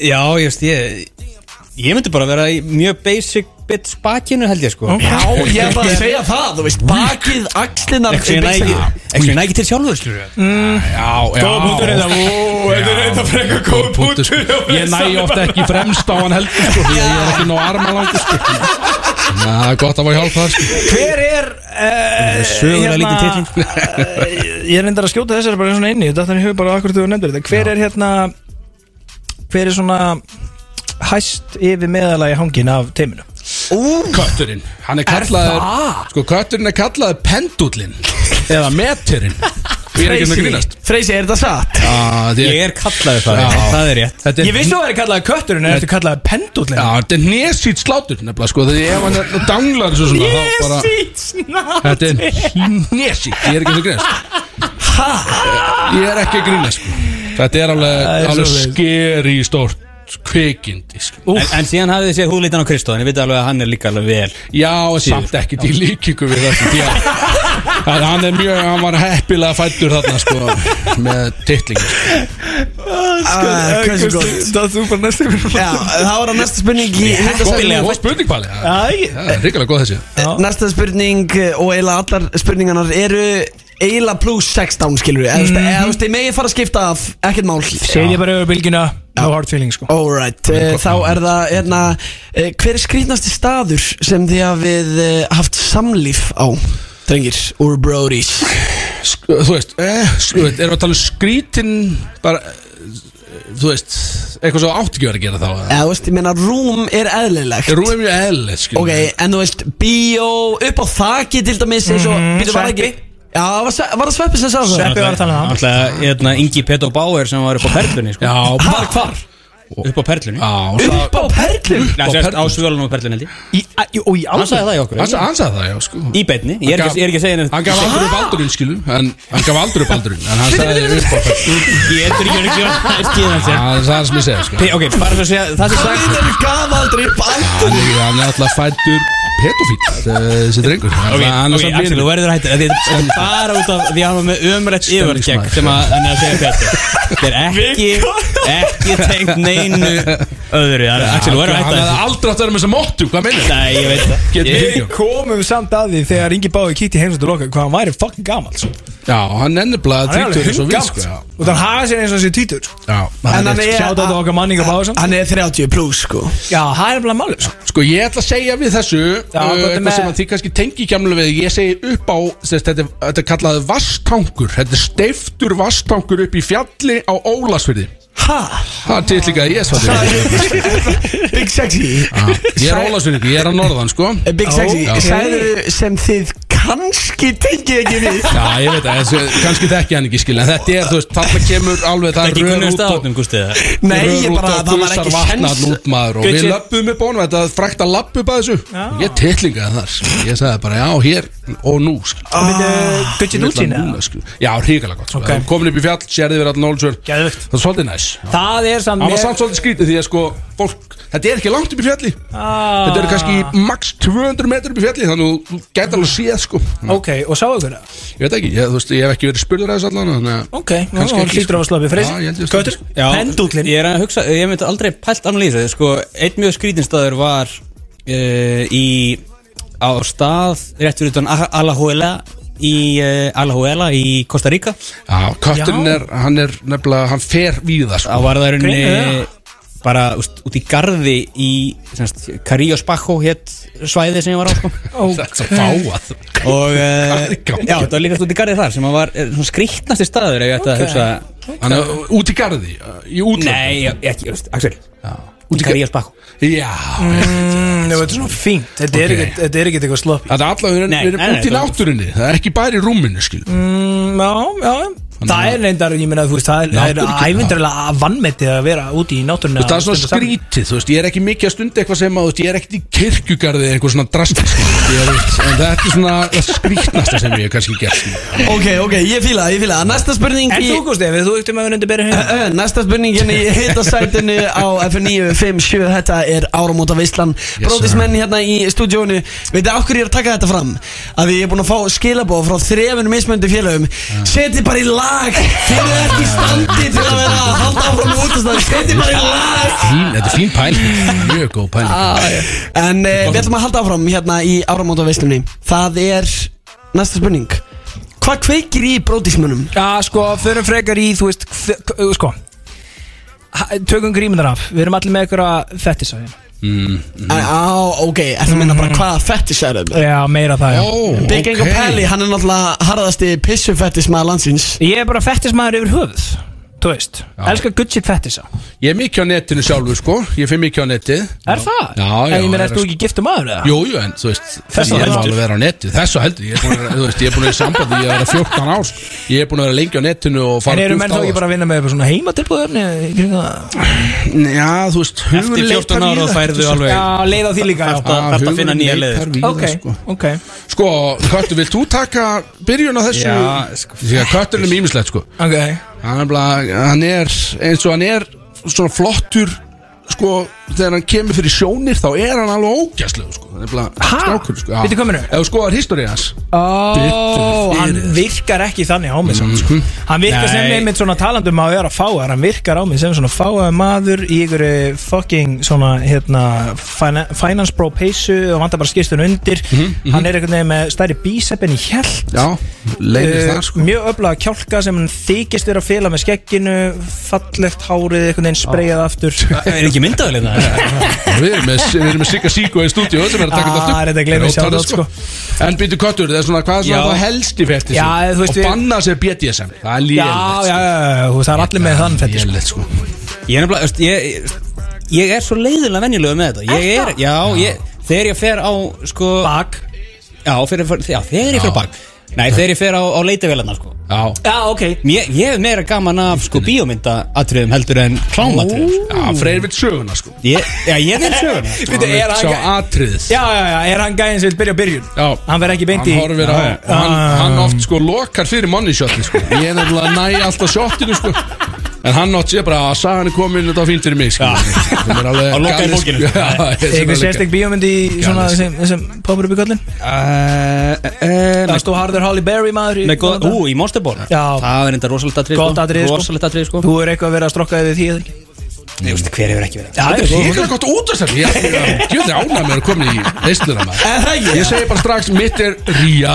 Já, ég veist, ég Ég myndi bara vera í mjög basic bit spakinu held ég sko
Já, ég er bara að segja það, þú veist, bakið, axlinnar
Ekki sem ég næ- ekki sem ég næ ekki til sjálfur, skilur við
Já, já
Góð punktur þetta, ú, þetta er þetta frekar góð punktur,
sko.
já,
Ég næ
saman
ofta
bara.
ekki fremst á hann heldur sko, Því að ég er ekki nóg arma langur sko. Ná, það er gott að fá hjálp þar sko.
Hver er uh,
sögulega lítið titling,
eh, Ég er reyndar að skjóta þessari bara svona inn í Þetta er bara akkur þú nefndir þetta Hver er hérna Hver er svona hæst yfir meðalagi hangin af teiminu
Kötturinn, hann er kallaður Sko, kötturinn er kallaður pendullinn Eða meturinn Ég er ekki að grínast
Freysi, er þetta satt?
Já, þið-
Ég er kallaður það,
Já.
það er rétt
Þetta er-
Ég vissi þú væri kallaði kötturinn En ertu kallaði pendullin
Já, þetta er nesýt slátur nefnilega sko Þegar ef hann er danglar svo svona þá bara- Þetta er nesýt Ég er ekki að grínast Ég er ekki að grínast sko Þetta er
Það
alveg,
er
alveg
svoleiðis.
skeri stórt kvikindi sko.
en, en síðan hafið þið séð húlítan á Kristó En ég veit alveg að hann er líka alveg vel
Já, samt ekkert í líkingu við þetta Já, hann hann er mjög, hann var heppilega fættur þarna sko með titlingu sko.
Ah, Hversu gott
Það þú bara næstu
Já, það var að næsta spurning í hitasætinu
Sko, Góð spurning pali Það er ríkilega góð þessi
Eh, Næsta spurning eh, og eiginlega allar spurningarnar eru eiginlega pluss 16 skilur við mm. eða þú veist, ég megi fara að skipta af ekkert mál
Segð ég bara yfir bylgjuna No hard feeling sko
Alright, eh, þá er það hérna, eh, hver er skrýtnasti staður sem þið hafið eh, haft samlíf á drengir úr Brody's
Sk- Þú veist, eh, sko, erum við að tala um skrítin bara, eh, þú veist eitthvað svo átt ekki verið að gera þá eða?
eða þú veist, ég meina rúm er eðlilegt
Rúm er mjög eðlilegt skilur
Ok,
við.
en þú veist, bíó, upp á þaki til dæmis eins og,
Mhm,
býtu var það ekki
sveppi.
Já, var, se- var það sveppi sem sagði það?
Sveppi var að tala um það
Alltaf, hérna, Ingi Peto Bauer sem var upp á perlunni sko.
Já,
Hvar, hvar?
Upp á perlunni
Já, sko. svo-
Upp á perlum?
Nei, sérst, á svölunum á perlunni held ég
Í, á, og í
Hann sagði
alveg
það í okkur
Hann sa- hann sagði það, já sko
Í beinni, ég er
Hann gaf-
ekki, ég er ekki að segja neitt
Hann gaf aldrei upp aldurinn skilum en, Hann gaf aldrei upp aldurinn En hann sagði upp á
Ég er ekki að segja neitt
Já, Það er það sem ég segja sko
Ok, bara svo að segja, það sem sagt
Hvað er gafaldri upp á
Hann er, hann er alltaf fættur pedofíl þessi drengur Hann
Ok,
er- hann er
ok,
samt
Axel,
vinur.
þú verður að hætta Þetta er- þetta er bara út af því að hann var með ömrætt yfirkjæk sem að hann er að segja Petur Þetta er ekki, ekki tengt neinu öðru Það er- Axel, þú verður að
Hann
hætta
hefði
þessu.
aldrei átt að vera með þessa móttu, hvað meinar það?
Nei, ég veit það
Getur við
Við
hengið
komum samt að því þegar Ingi Báði kíkti heimsóttu loka hvað hann væri fucking gammal sko.
Já, hann ennir blaða
Hann er alveg
tvítur eins og við
hundgammal
sko
sko.
já.
og þannig haga sér eins og sér títur sko.
Já,
En
hann
hann
er
er-
Sjáta þetta okkar manninga Báði samt
Hann er 30 pluss sko
Já, það er bara málið sko.
Sko ég ætla að segja við þessu
Já,
uh,
hvað er
Eitthvað
með-
sem að þið kannski tengi kjamlega við Ég segi upp á, þess, þetta, er- þetta er kallað vastangur Þetta er steiftur vastangur upp í fjalli á Ólasfyrði
Ha?
Það er til líka að ég svar
Big sexy
Ég er Ólasfyrði, ég er að norðan sko
Eh, Big
Já,
sexy,
já.
sagður sem þið kannski tengið ekki við
Já, ég veit að þessu- kannski þekki hann ekki skil En þetta er, þú veist, þarna kemur alveg Það
Ekki
er rör
kunnum
út og
staðatnum, gústi það
Nei, ég bara, það var ekki sens
og
Gauti,
við
ég-
löpum upp á honum þetta frækta lapp upp að þessu ég tillingaði þar sko. ég sagði bara já hér og nú sko.
Gucci
Ég ætla
Dulcin
núna, sko. já ríkala gott sko.
Ok.
okay. komin upp í fjall sérði verið allan ólsverð
Geðvögt
það er svolítið næs já.
Það er samt
það var
mér-
samt svolítið skrítið því að sko fólk þetta er ekki langt upp í fjalli
Ah.
þetta eru kannski max 200 metr upp í fjalli þannig að þú gæti alveg séð sko
Ok, og sáu ykkur það?
ég veit ekki ég, þú veist ég hef ekki verið spurður að þessu allan þannig að
Ok, nú
Kannski
hann
ekki,
hlýtur á
sko.
að slöpi
Já, ég held
Freysi
ég
Köttur,
slöpi,
Já,
pendullin
Ég er að hugsa, ég myndi aldrei pælt annað lýsa því, Sko, einn mjög skrítinstaður var uh, í, á stað rétt fyrir utan A- Alajuela í uh, Alajuela í Costa Rica
Já, kötturinn er, hann er nefnilega, hann fer víða sko.
Það var það í
Gre-
rauninni Eh, bara úst, út í garði í semst, Carillos Bajo hétt svæði sem ég var á sko.
Þetta fáað.
og
Eh,
uh,
Hvað er í gangi?
já, þetta var líka út í garði þar sem að var eh, svona skrýtnasti staður ef ég ætti að
Ok.
hugsa
Hann er uh, út í garði, í útlöndum?
Nei, ég- ekki, veist, Axel Út
í
í Carillos Bajo
Já
Mm, þetta er svona fínt Þetta er
Ok.
ekkert- þetta er ekkert eitthvað slopp
Þetta er allavega
Nei,
verið
nei, nei,
út í
þú-
náttúrinni Það er ekki bara í rúminu, skil
Mm, já, já Það er reyndar, ég meina, þú veist, það er- það er
Náttúrulega.
ævindarlega að vannmetið að vera úti í náttúrunni
Þú veist, það er svona
að-
skrítið, þú veist, ég er ekki mikið að stunda eitthvað sem að, þú veist, ég er ekkert í kirkjugarði eða eitthvað svona drastisk, ég er veit, en þetta er svona það skrítnasta sem ég hef kannski gert, sko.
Ok, ok, ég fíla, það, ég fíla það. Næsta spurning
En þú, Gústi, ef þú yktum að vera undir berið
Ö, ö, Eh, Næsta spurningin í hitasætinu á F957 Þetta er áramóta veislan
Yes,
Bróðismenn hérna í stúdjónu Veitu okkur ég er að taka þetta fram Að ég er búin að fá skilabóð frá þrefinu mismöndu félögum Seti bara í lag Þeir eru ekki í standi til að vera að halda áfram útastæð Seti bara í lag
Fín, þetta er fín pæling, mjög góð
Ah.
pæling.
En uh, við ætlum að halda áfram hérna í áramóta veislunni Það er næsta spurning Hvað kveikir í bróðismönnum?
Já, sko, förum frekar í, þú veist, hve- k- sko ha- Tökum grímunar af, við erum allir með eitthvað fettis á hérna
Á, ok, þetta meina bara hvaða fettis er þetta?
Já, meira það, já
Big Gang og Pally, hann er náttúrulega harðasti pissufettismæða landsins
Ég er bara fettismæður yfir höfuð Þú veist, elskar good shit fettisa
Ég er mikið á netinu sjálfur, sko, ég finn mikið á netið.
Er það?
Já, já.
En ég meina,
er
ert þú
sko-
ekki giftur maður eða?
Jú, jú, en þú veist,
Þessu
ég er
heldur.
alveg að vera á netið, þessu heldur, ég er búin að vera, þú veist, ég er búin að vera í sambandi, ég er að vera 14 árs, ég er búin að vera lengi á netinu og
En
fara
eru
djúpt
menn
á
þá ekki
það, sko.
bara að vinna með eitthvað svona heimatilbúðöfni í kring það?
Já, þú veist,
Eftir 14 ára þá færðu alveg
Já, leið á því líka, já.
Þarft að- þarft að finna nýja leið
Ok, ok
Sko, Köttur, vilt þú taka byrjun á þessu?
Já,
sko Því að Kötturinn er mýmislegt, sko
Ok
hann er, bara, hann er eins og hann er svona flottur Sko, þegar hann kemur fyrir sjónir þá er hann alveg ógæslegu, sko Hann er bara strákur, sko já.
Veitu hvað meinaru?
Ef þú skoðar históri hans
Ó,
Bittu
hann
fyrir. Mhm,
virkar ekki þannig á mig samt, sko. Hann virkar sem
Nei.
einmitt svona talandum að vera fáar Hann virkar á mig sem svona fáar maður í ykkur fucking svona hérna, fina- finance bro peysu og vantar bara skýrstun undir Hann er einhvern veginn með stærri bísepp en ég held
Mhm, Já, leiðist
Eh,
þar, sko
Mjög öflaga kjálka sem hann þykist vera að fela með skegginu Fallegt hárið, einhvern veginn spreyjað aftur
Það er ekki myndaðalinn
Við erum með, við erum með Sigga Siggo í stúdíu sem er að taka
Ah,
þetta upp
reyndar að gleyma
Rótar
sjálfrátt,
þetta, En býtu Köttur, það er svona hvað er
sko. Já.
svona það helsti fætti
Já, þú veist,
Og
við-
banna sér BDSM Það er
Já,
líðan
sko.
já, já, já, þú veist, það er allir með þann fætti
Lélegt, sko
Ég er nefnilega, veist, ég, ég er svo leiðilega venjulegu með þetta Ég er, já, ég, þegar ég fer á sko,
Bak
Já, fyrir, já þegar ég fer á bak Nei, þegar ég fer á, á leitavélarna sko.
Já,
Já, ok
Mér, Ég hef meira gaman af sko, bíómynda atriðum heldur en klámatriðum sko.
já Freyr vill söguna, sko
ég, Já, ég vil söguna sko.
Veitu, er
Sjá
hann
atriðið
Já, já, já, er hann gæðin sem vil byrja á byrjun
Já,
Hann verð ekki beint í
hann horfir á og hann,
Ah.
hann oft sko lokar fyrir money shotin sko. ég er nefnilega að næja alltaf shotinu sko. en hann oft sé bara að sagan er komin þetta var fínt fyrir mig sko. sem er alveg
Hann lokar í
galið, sko.
bókinu.
Já, ég sem
Eitthvað
er líka-
sérstek bíómynd í svona
Galið,
sem, sem popur upp í kollin
uh,
Það stóð harður Holly Berry maður í
Nei, góð,
gamla daga.
ú, í Monster Ball
Já.
Það er enda rosalegt atrið
Gott atriði, sko.
Rosalegt atrið sko
Þú er eitthvað að vera að strokka yfir því eða ekki?
Nei, veist, hver hefur ekki verið
Já,
Þetta
ég
er
er
híkala gott út af þessu Ég er ánæg með að koma í veisluna
Er það
maður
ekki?
Ég segi bara strax, mitt er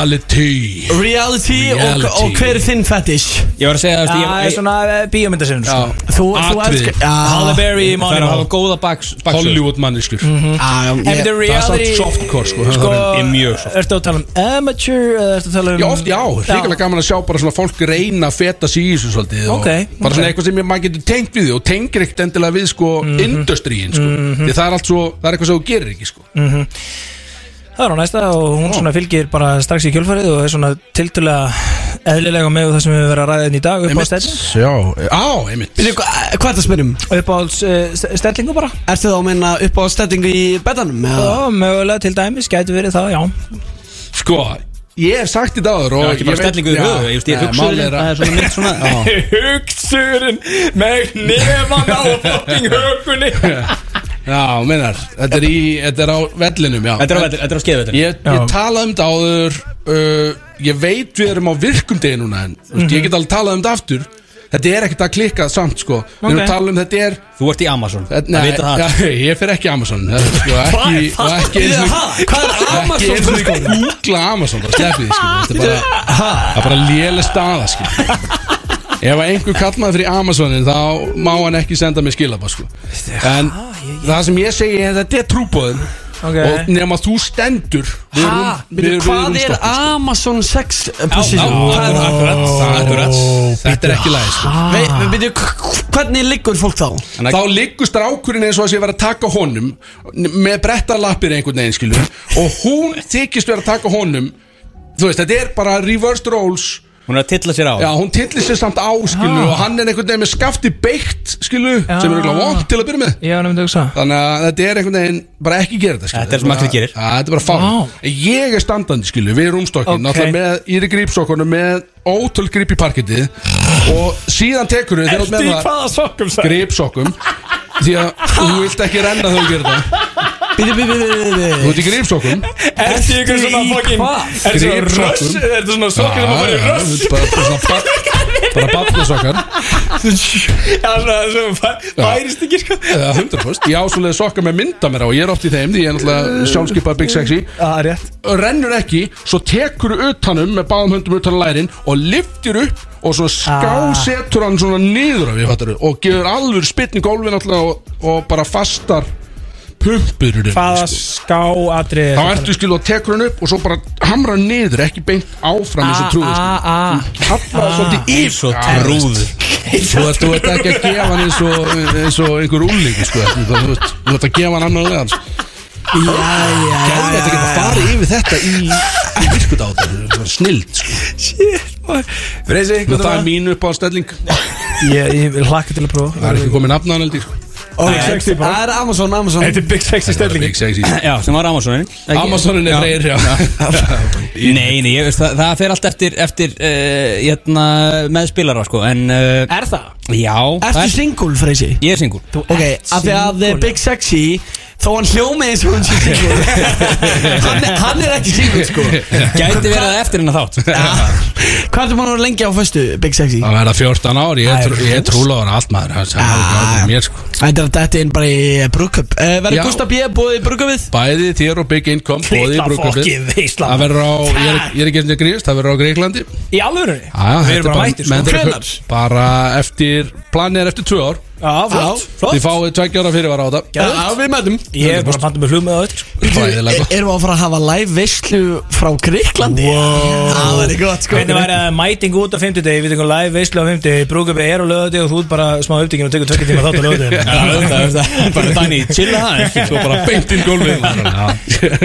reality
Reality,
Reality.
Og, og hver er þinn fetish?
Ég var að segja,
Já,
þú
ég er
veist, ég-
svona bíómyndasinn
Já,
sko.
Þú, þú
Atriði.
elskar Já.
Holly Berry í
ég Það er að hafa
Moneyball
góða baks baksögu.
Hollywood manniskur Það
Já, já,
En
ég-
the
er samt
reality
softcore sko,
Sko,
sko
Ég er mjög soft.
ertu að tala um amateur eða ertu að tala um
Já, oft, já, hrikalega gaman að sjá bara svona fólk reyna að feta sig í þessu svolítið og
Ok,
bara svona
ok.
eitthvað sem ég- maður getur tengt við því og tengir ekkert endilega við sko mm sko, því það er allt svo, það er eitthvað sem þú gerir ekki sko
Það er á næsta og hún svona fylgir bara strax í kjölfarið og er svona tiltulega eðlilega með það sem við verðum að ræða hérna í dag upp á stelling
já, á, einmitt
Veitu, hva- Hvað er það að spyrjum?
upp á uh, stellingu bara
Ertu þá að minna upp á stellingu í betanum? eða?
og mögulega til dæmis gæti verið það, já
Sko, ég hef sagt þetta áður
Já,
og
ekki bara
ég veit-
stellingu í
Já,
höfuðu, ég veist, ég
nei,
hugsa um
málið er
það er
að-
svona mitt
Hugsurinn
svona
með nefand á fucking hökunni
Já, meinar, þetta er í, þetta er á vellinum, já
Þetta er á velli- þetta er á skeiðveldinu
Ég, ég talaði um þetta áður uh, Ég veit við erum á virkum degi núna En mm ég get alveg talað um þetta aftur Þetta er ekkert að klikka samt sko Við erum
Ok.
að tala um þetta er
Þú ert í Amazon
Þetta- Nei, já, ég fer ekki Amazon eh, sko, ekki,
Hvað
og
er
ekki einu
það?
sinni-
Hvað er Amazon?
Ekki eins og ég googla Amazon bara sleppið því sko Þetta er bara, það er bara léle staða sko Ef að einhver kall maður fyrir Amazonin þá má hann ekki senda mér skilabá sko En það sem ég segi er þetta er trúbóðin
Ok.
Og nema þú stendur við erum-
Ha?
við erum- við
Hvað
erum
er
stoppuð, sko.
Amazon 6
Já,
position?
það er akkurat, það er akkurat. Þetta er ekki læg sko.
Við byrjum, hvernig liggur fólk þá?
Þá liggur strákurinn eins og að sé að vera að taka honum með brettar lappir einhvern veginn skilur og hún þykist vera að taka honum þú veist, þetta er bara reversed roles
Hún er að tilla sér á
Já, hún tillir sér samt á skilur
Ah.
og hann er einhvern veginn með skafti beikt skilur
Já.
sem er eitthvað vond til að byrja með
Já, nefndi hugsa
Þannig að þetta er einhvern veginn bara ekki gera þetta skilur
Þetta er sem allir gerir.
Já, Þetta er bara fárið Ég er standandi skilur við rúmstokkin
Ok.
náttúrulega með, ég er í grípsokkunum með ótöl gríp í parkettið og síðan tekur við
Ertu í hvaða sokkum sagði?
Grípsokkum Því að þú vilt ekki renna þegar þú gerir það
Bíðu, bíðu, bíðu, bíðu
Þú ert í grípsokkum
Ertu í ykkur svona fokkin Ertu svona röss Ertu svona sokkum sem að fara í röss
röss Bara bafnasokkar
Já, svona svona fæ- færist ekki sko
Eða 100% Ég ásvöldið sokka með mynda mér á Ég er oft í þeim því ég er náttúrulega sjálfskipað Big Sexy
Það er rétt
Rennur ekki Svo tekur þú utanum Með báðum höndum utan á lærin Og liftir upp Og svona skásetur hann svona niður af því fattarðu, Og gefur alveg spytni gólfi náttúrulega og, og bara fastar pumpur í rauninni,
Hvaða
sko.
ská atrið
Þá ertu skilu og tekur hann upp Og svo bara hamra hann niður Ekki beint áfram
Ah,
eins og trúðu sko.
Ah.
Kallar það svolítið yfir
Svo trúður
Þú ert, þú ert ekki að gefa hann eins og, eins og einhver úrlingu sko. Þú þú ert þú ert að gefa hann annan leðan
Jæja,
Gerðu þetta geta farið yfir þetta í, í virkut á þetta Snild sko.
Freysi,
Nú, Það er mín upp á stelling
Ég, ég hlakka til að prófa
Það er ekki komið nafn á hann sko. heldur
Ó,
Big Sexy bara.
Það er Amazon, Amazon
Þetta er Big Sexy stelling
Big sexy
Já, sem var Amazonin Ekki-
Amazonin
Já.
er reyðir já
Nei, nei, ég veist, það, það fer allt eftir, eftir uh, hérna, meðspilara sko, en uh,
Er það?
Já
Ertu single, Freysi?
Ég er singul
Ok, af því að eh, Big Sexy Þó hann hljómið eins og hann sé single hann, hann er ekki single, sko
Gæti verið að eftir hennar þátt
Hvað er það mann að vera lengi á föstu, Big Sexy?
Það verða 14 ári, ég, trú, ég trúla á hann allt maður Það er ekki áhuga mér sko
Þetta er þetta inn bara í brúkup uh,
Já.
Verður Gustaf B. búið í brúkupið?
Bæði þér og Big Income Bóði í
Litla fucking
brúkabið
veislan.
Það verður á, ég er, ég er ekki eftir að gríðast Það verður á Greiklandi
Í alvörunni?
Já,
Við
þetta
erum bara mættir sko
menn þeirra-
Hvenær?
Bara eftir, planið er eftir tvö ár
Já, flott
Þið fáið tveggja ára fyrir var á þetta
Geðveikt.
við mætum
Ég er bara að fanta með hlug með það öll
Hræðilega gott.
Erum við að fara að hafa live veislu frá Greiklandi? Wow. Það verður gott, sko
Hvernig væri að mæting út á 50 degi, við tekum live veislu á 50 degi, brúkabbi er á lögadegi og þú ert bara smá upptíkin og tekur 20 tíma þátt á lögadegi
Bara Dani, chilla það ekki
Svo bara beint inn gólfið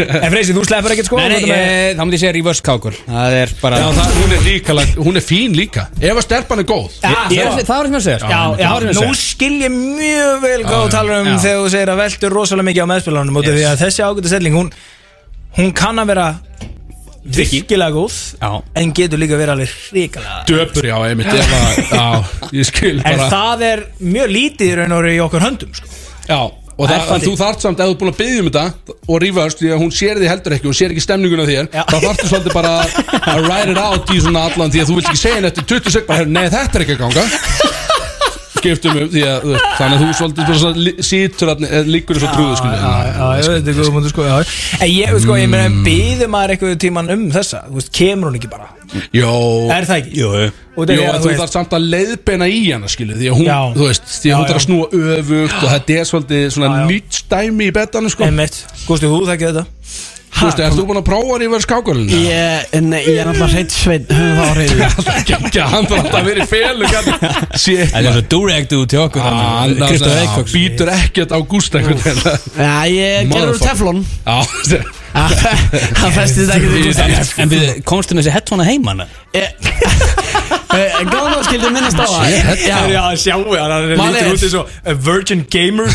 En Freysi, þú sleppur ekkert sko
Nei, nei,
þetta með-
ég, þá myndi ég segja reverse kákul Það er bara
Já, það, hún er líka lag- Hún er fín líka Ef að stelpan er góð
Ég- ég er að- Það var sem ég að segja sko.
Já,
það
já,
var sem ég að
nú
segja
skil ég mjög vel hvað þú talar um
já.
þegar þú segir að veldur rosalega mikið á meðspilanum yes. því að þessi ágæta stelling, hún, hún kann að vera virkilega góð
Já.
en getur líka að vera alveg hrikalega
Döpur, já, einmitt ef að, Já, ég skil
En
bara
það er mjög lítið í raun og veru í okkur höndum sko.
Já, og það,
það-
þú þarft samt Ef þú er búin að byggja um þetta Og reverse Því að hún sér þig heldur ekki Hún sér ekki stemninguna á þér
Já.
Þá þarftu svolítið bara Að ride it out í svona allan Því að þú vilt ekki segja henni eftir 20 sek Bara, nei, þetta er ekki að ganga Skiptum um Því að, þú veist, þannig að þú svolítið bara svona li- Situr eh, að, líkur þess að trúðu, skilur
Já, ég veit ekki hvað mútu sko já. En ég, sko, ég meina,
Mm.
býður maður eitthvað tíman um þessa, þú veist, kemur hún ekki bara
Jó
Er það ekki?
Jú, jú.
Og það
Jó,
er
en
að
þú
þú
þarf
veist
samt að leiðbeina í hana skilu Því að hún,
Já.
þú veist, því að hún
Já,
þarf að
já.
snúa öfugt Og þetta er svolítið svona nýtstæmi í betanum sko Þú
Einmitt, Gústi, þú þekkið þetta
veist, ert þú búin að prófa hann í verið skákvölinu?
Ég, nei, ég er alltaf hreitt sveinn Höfum það á hreitu
Gengja, hann þarf alltaf að vera í felu Sétt
Það er svo duregt út til okkur
Ah,
Kristó Eikóks
Hann býtur ekkert á Gústa einhvern veginn
Já, ég gerur úr
Motherfucker.
teflon
Já,
Það festist ekki við Gustaf
En við komstu með þessi headphone að heimann
Gáðum að skildi minnast á það
Já,
Já.
já sjáu, hann er
Málið
lítur
er-
út eins og a virgin gamer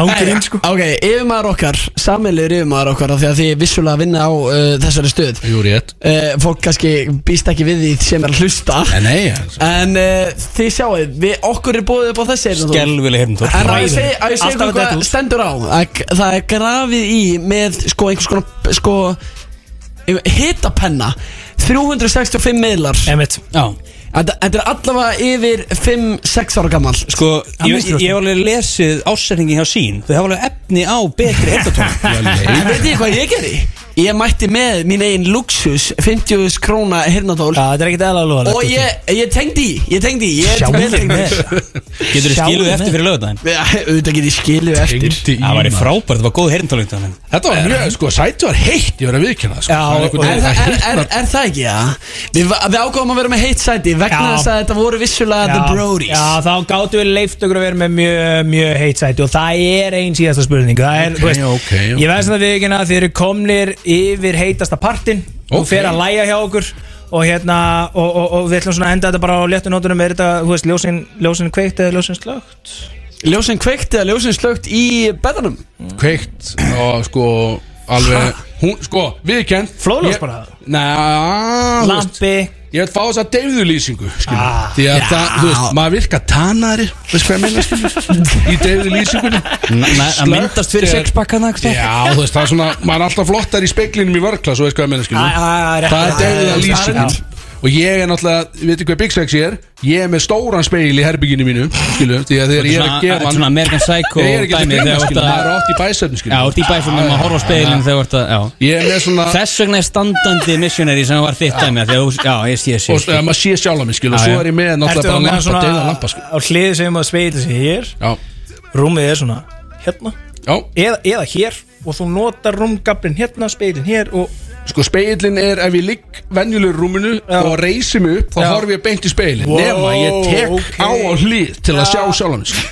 Ángurinn sko
Ok, yfirmaður okkar, sammeilur yfirmaður okkar af Því að þið er vissulega að vinna á uh, þessari stöð
Jú, rétt
uh, Fólk kannski býst ekki við því sem er að hlusta
En nei, en-
En uh, þið sjáu, við, okkur er búið upp á þessi Eyrnþór.
Gelvileg heyrnum
En að ég segi, að ég segi
Alltaf að
hvað
detta út.
stendur á að Það er grafið í með sko einhvers konar sko hitapenna 365 miðlar
Emmett
Já
Þetta þetta er allavega yfir 5-6 ára gammal
Sko, ég, ég, ég hef alveg lesið ásendingi hjá sín Þau hafa alveg efni á betri heyrnartól
En veit ég hvað ég gerði? Ég mætti með mín eigin luxus 50 króna hirnatól Já,
þetta er ekkert sko. eðla alveg
Og ég, ég tengdi í, ég tengdi í Ég
Sjáum
vel tengdi í
með.
þetta.
Getur þið
Sjáum
skiluð
með.
eftir fyrir lögðaðin?
Já, auðvitað getur ég skiluð eftir
Það væri frábært, það var góð heyrnartól
Þetta var mjög, sko, sæti var heitt, ég verið að viðkynna sko. Það var
Er,
einhvern veginn-
er,
það
er, er,
hitnar-
er það ekki, já? Við, við ákváðum að vera með heitt sæti vegna
Já.
þess að þetta voru vissulega The Brodies
Já, þá gáttu við leift okkur að vera með mjög, mjög heitt sæti og það er ein síðasta spurning Það er,
Ok, ok, ok.
ég veist að við ekki að þið eru komnir yfir heitasta partin og
Ok.
fer að læja hjá okkur og hérna, og, og, og við ætlum svona að enda þetta bara á léttu nótunum, er þetta, þú veist, ljósin, ljósin kveikt eða ljósin slögt?
Ljósin kveikt eða ljósin slögt í beðanum
kveikt og sko alveg, hún, sko, viðkjönd
Flóðljós
Ég-
bara?
Næ, þú veist,
Lampi
Ég vil fá þess að deyðulýsingu ah,
Ah,
Því að
já.
það, þú veist, maður virka tanari Veist hvað ég meina skilur Í deyðulýsingunni
nei, að myndast fyrir sexpakkana, eitthvað.
Já, þú veist, það er svona, maður er alltaf flottar í speiklinum í vörkla Svo veist hvað ég
Æ,
meina
æ, æ,
skilur
rétt,
Það er
rétt, rétt,
deyðulýsingun
rétt.
Og ég er náttúrulega, við veitum hvað Big Sexy er Ég er með stóran speil í herbygginu mínu Skilur, því að þegar ég er
Svona-
að gefa hann
svona American Psycho
Ég er ekki að
dæmi,
spila,
þegar þú ert
skilur,
að-
það er átt í bæsefni, skilur
Já, út í bæfurnum að horfa á speilin þegar þú ert að, já
Ég er með svona
Þess vegna er standandi missionary sem var þitt dæmi af því að þú- Já, ég sé, ég sé
Og eh, maður sé sjálf að mig, skilur Og
Já,
svo
já.
er ég með
Ertu
náttúrulega
þá
bara
með
lampa,
svona
sko. deyðalampa, skilur
Á hliði sem að speil sem hér
Já.
Rúmið er svona hérna
Já.
eða, eða hér og þú notar rúmgablin hérna, speilin hér og
Sko speilin er ef ég ligg venjulegu rúminu og reysi mig upp þá
Já.
horfi ég beint í speilin
Wow,
nema ég tek
ok.
á á hlið til að sjá sjálf mig sko.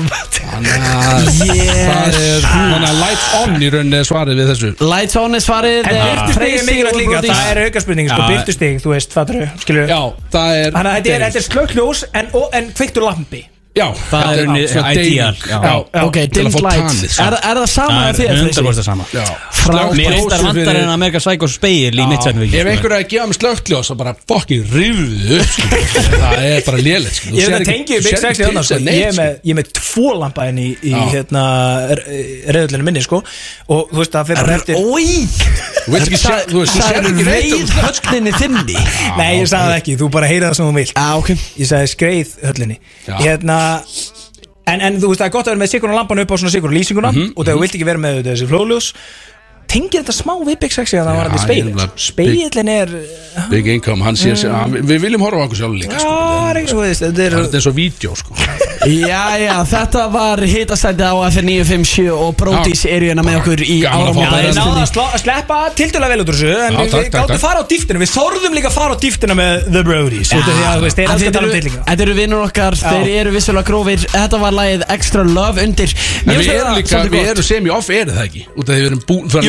Þannig að það er þannig að light on í rauninni er svarið við þessu
Lights on er svarið
En
Ah.
eh,
byrtustig
Tracy
er mikilvægt
og
líka,
Brodies.
það er aukarspurning sko,
Já.
byrtustig, þú veist, fattur þau, skilur
Já, það er
Þannig að þetta er, þetta er slökkljós en, og- en kveiktur lampi
Já,
Það er unni
svona
ITR
deiging. Já,
Ok,
til að
dimmed
fá
lights
tanið, sko.
er, er það sama
Það
að þér?
er
Tracy?
100% sama
Já.
Frábært.
Mér reyndar
Ljósið
vantar
fyrir-
en American Psycho speil í mitt sætnum
Ef einhver er að gefa mig slögtljós þá bara fucking rifðu upp sko. Það er bara lélegt sko.
Ég
Þú
er
sérð
með
ekki-
tengið
þú
Big
sérð
Sexy
ekki
þarna
til
sko.
þess að
Ég
neitt,
er með, ég er með tvo lampa henni í, í
Já.
hérna reyðlunum minni sko og þú veist það fyrir
Það er ói
Þú veist ekki sjá- þú veist, þú
Það
sérð
er
ekki neitt um
reið
sko.
högninni þinni
Nei, ég sagði það ekki, þú bara heyrið það sem þú vilt
ah, okay.
Ég sagði skreið höllinni
Já.
hérna, en, en þú veist það er gott að vera með sikurna lampan upp á svona sikurna lýsinguna
Mhm,
og þegar þú vilt ekki vera með auðvitað þessi flóðljós Tengir þetta smá við Big Sexy að það var þetta
ég er
speil
nefnilega-
Speilin er,
Big income, hann sér sér hann- Við viljum horfa á okkur sjálf líka sko.
það er ekki svo veist Þetta er
Það er eins og vídeo sko
Jæja, þetta var hitastæti á F957 og Brodís
Já.
er hérna með okkur í
Gaman að fá
Já,
það
ég
er
náða
áramóta
að slá- sleppa tildulega vel út úr þessu En við,
Já, takk,
við
takk,
gáttum
takk.
að fara á dýftina Við þorðum líka að fara á dýftina með The Brodies Út af því að þú
Ah,
veist, þeir
En
elskar að
Þetta
tala um
eru-
tillinga
þetta eru vinnur okkar,
Já.
þeir eru vissulega grófir Þetta var lagið Extra Love undir
En
Mér
við
finnst
erum
það
líka,
svolítið
við
gott.
erum sem í off er það ekki Út af því við erum búin fyrir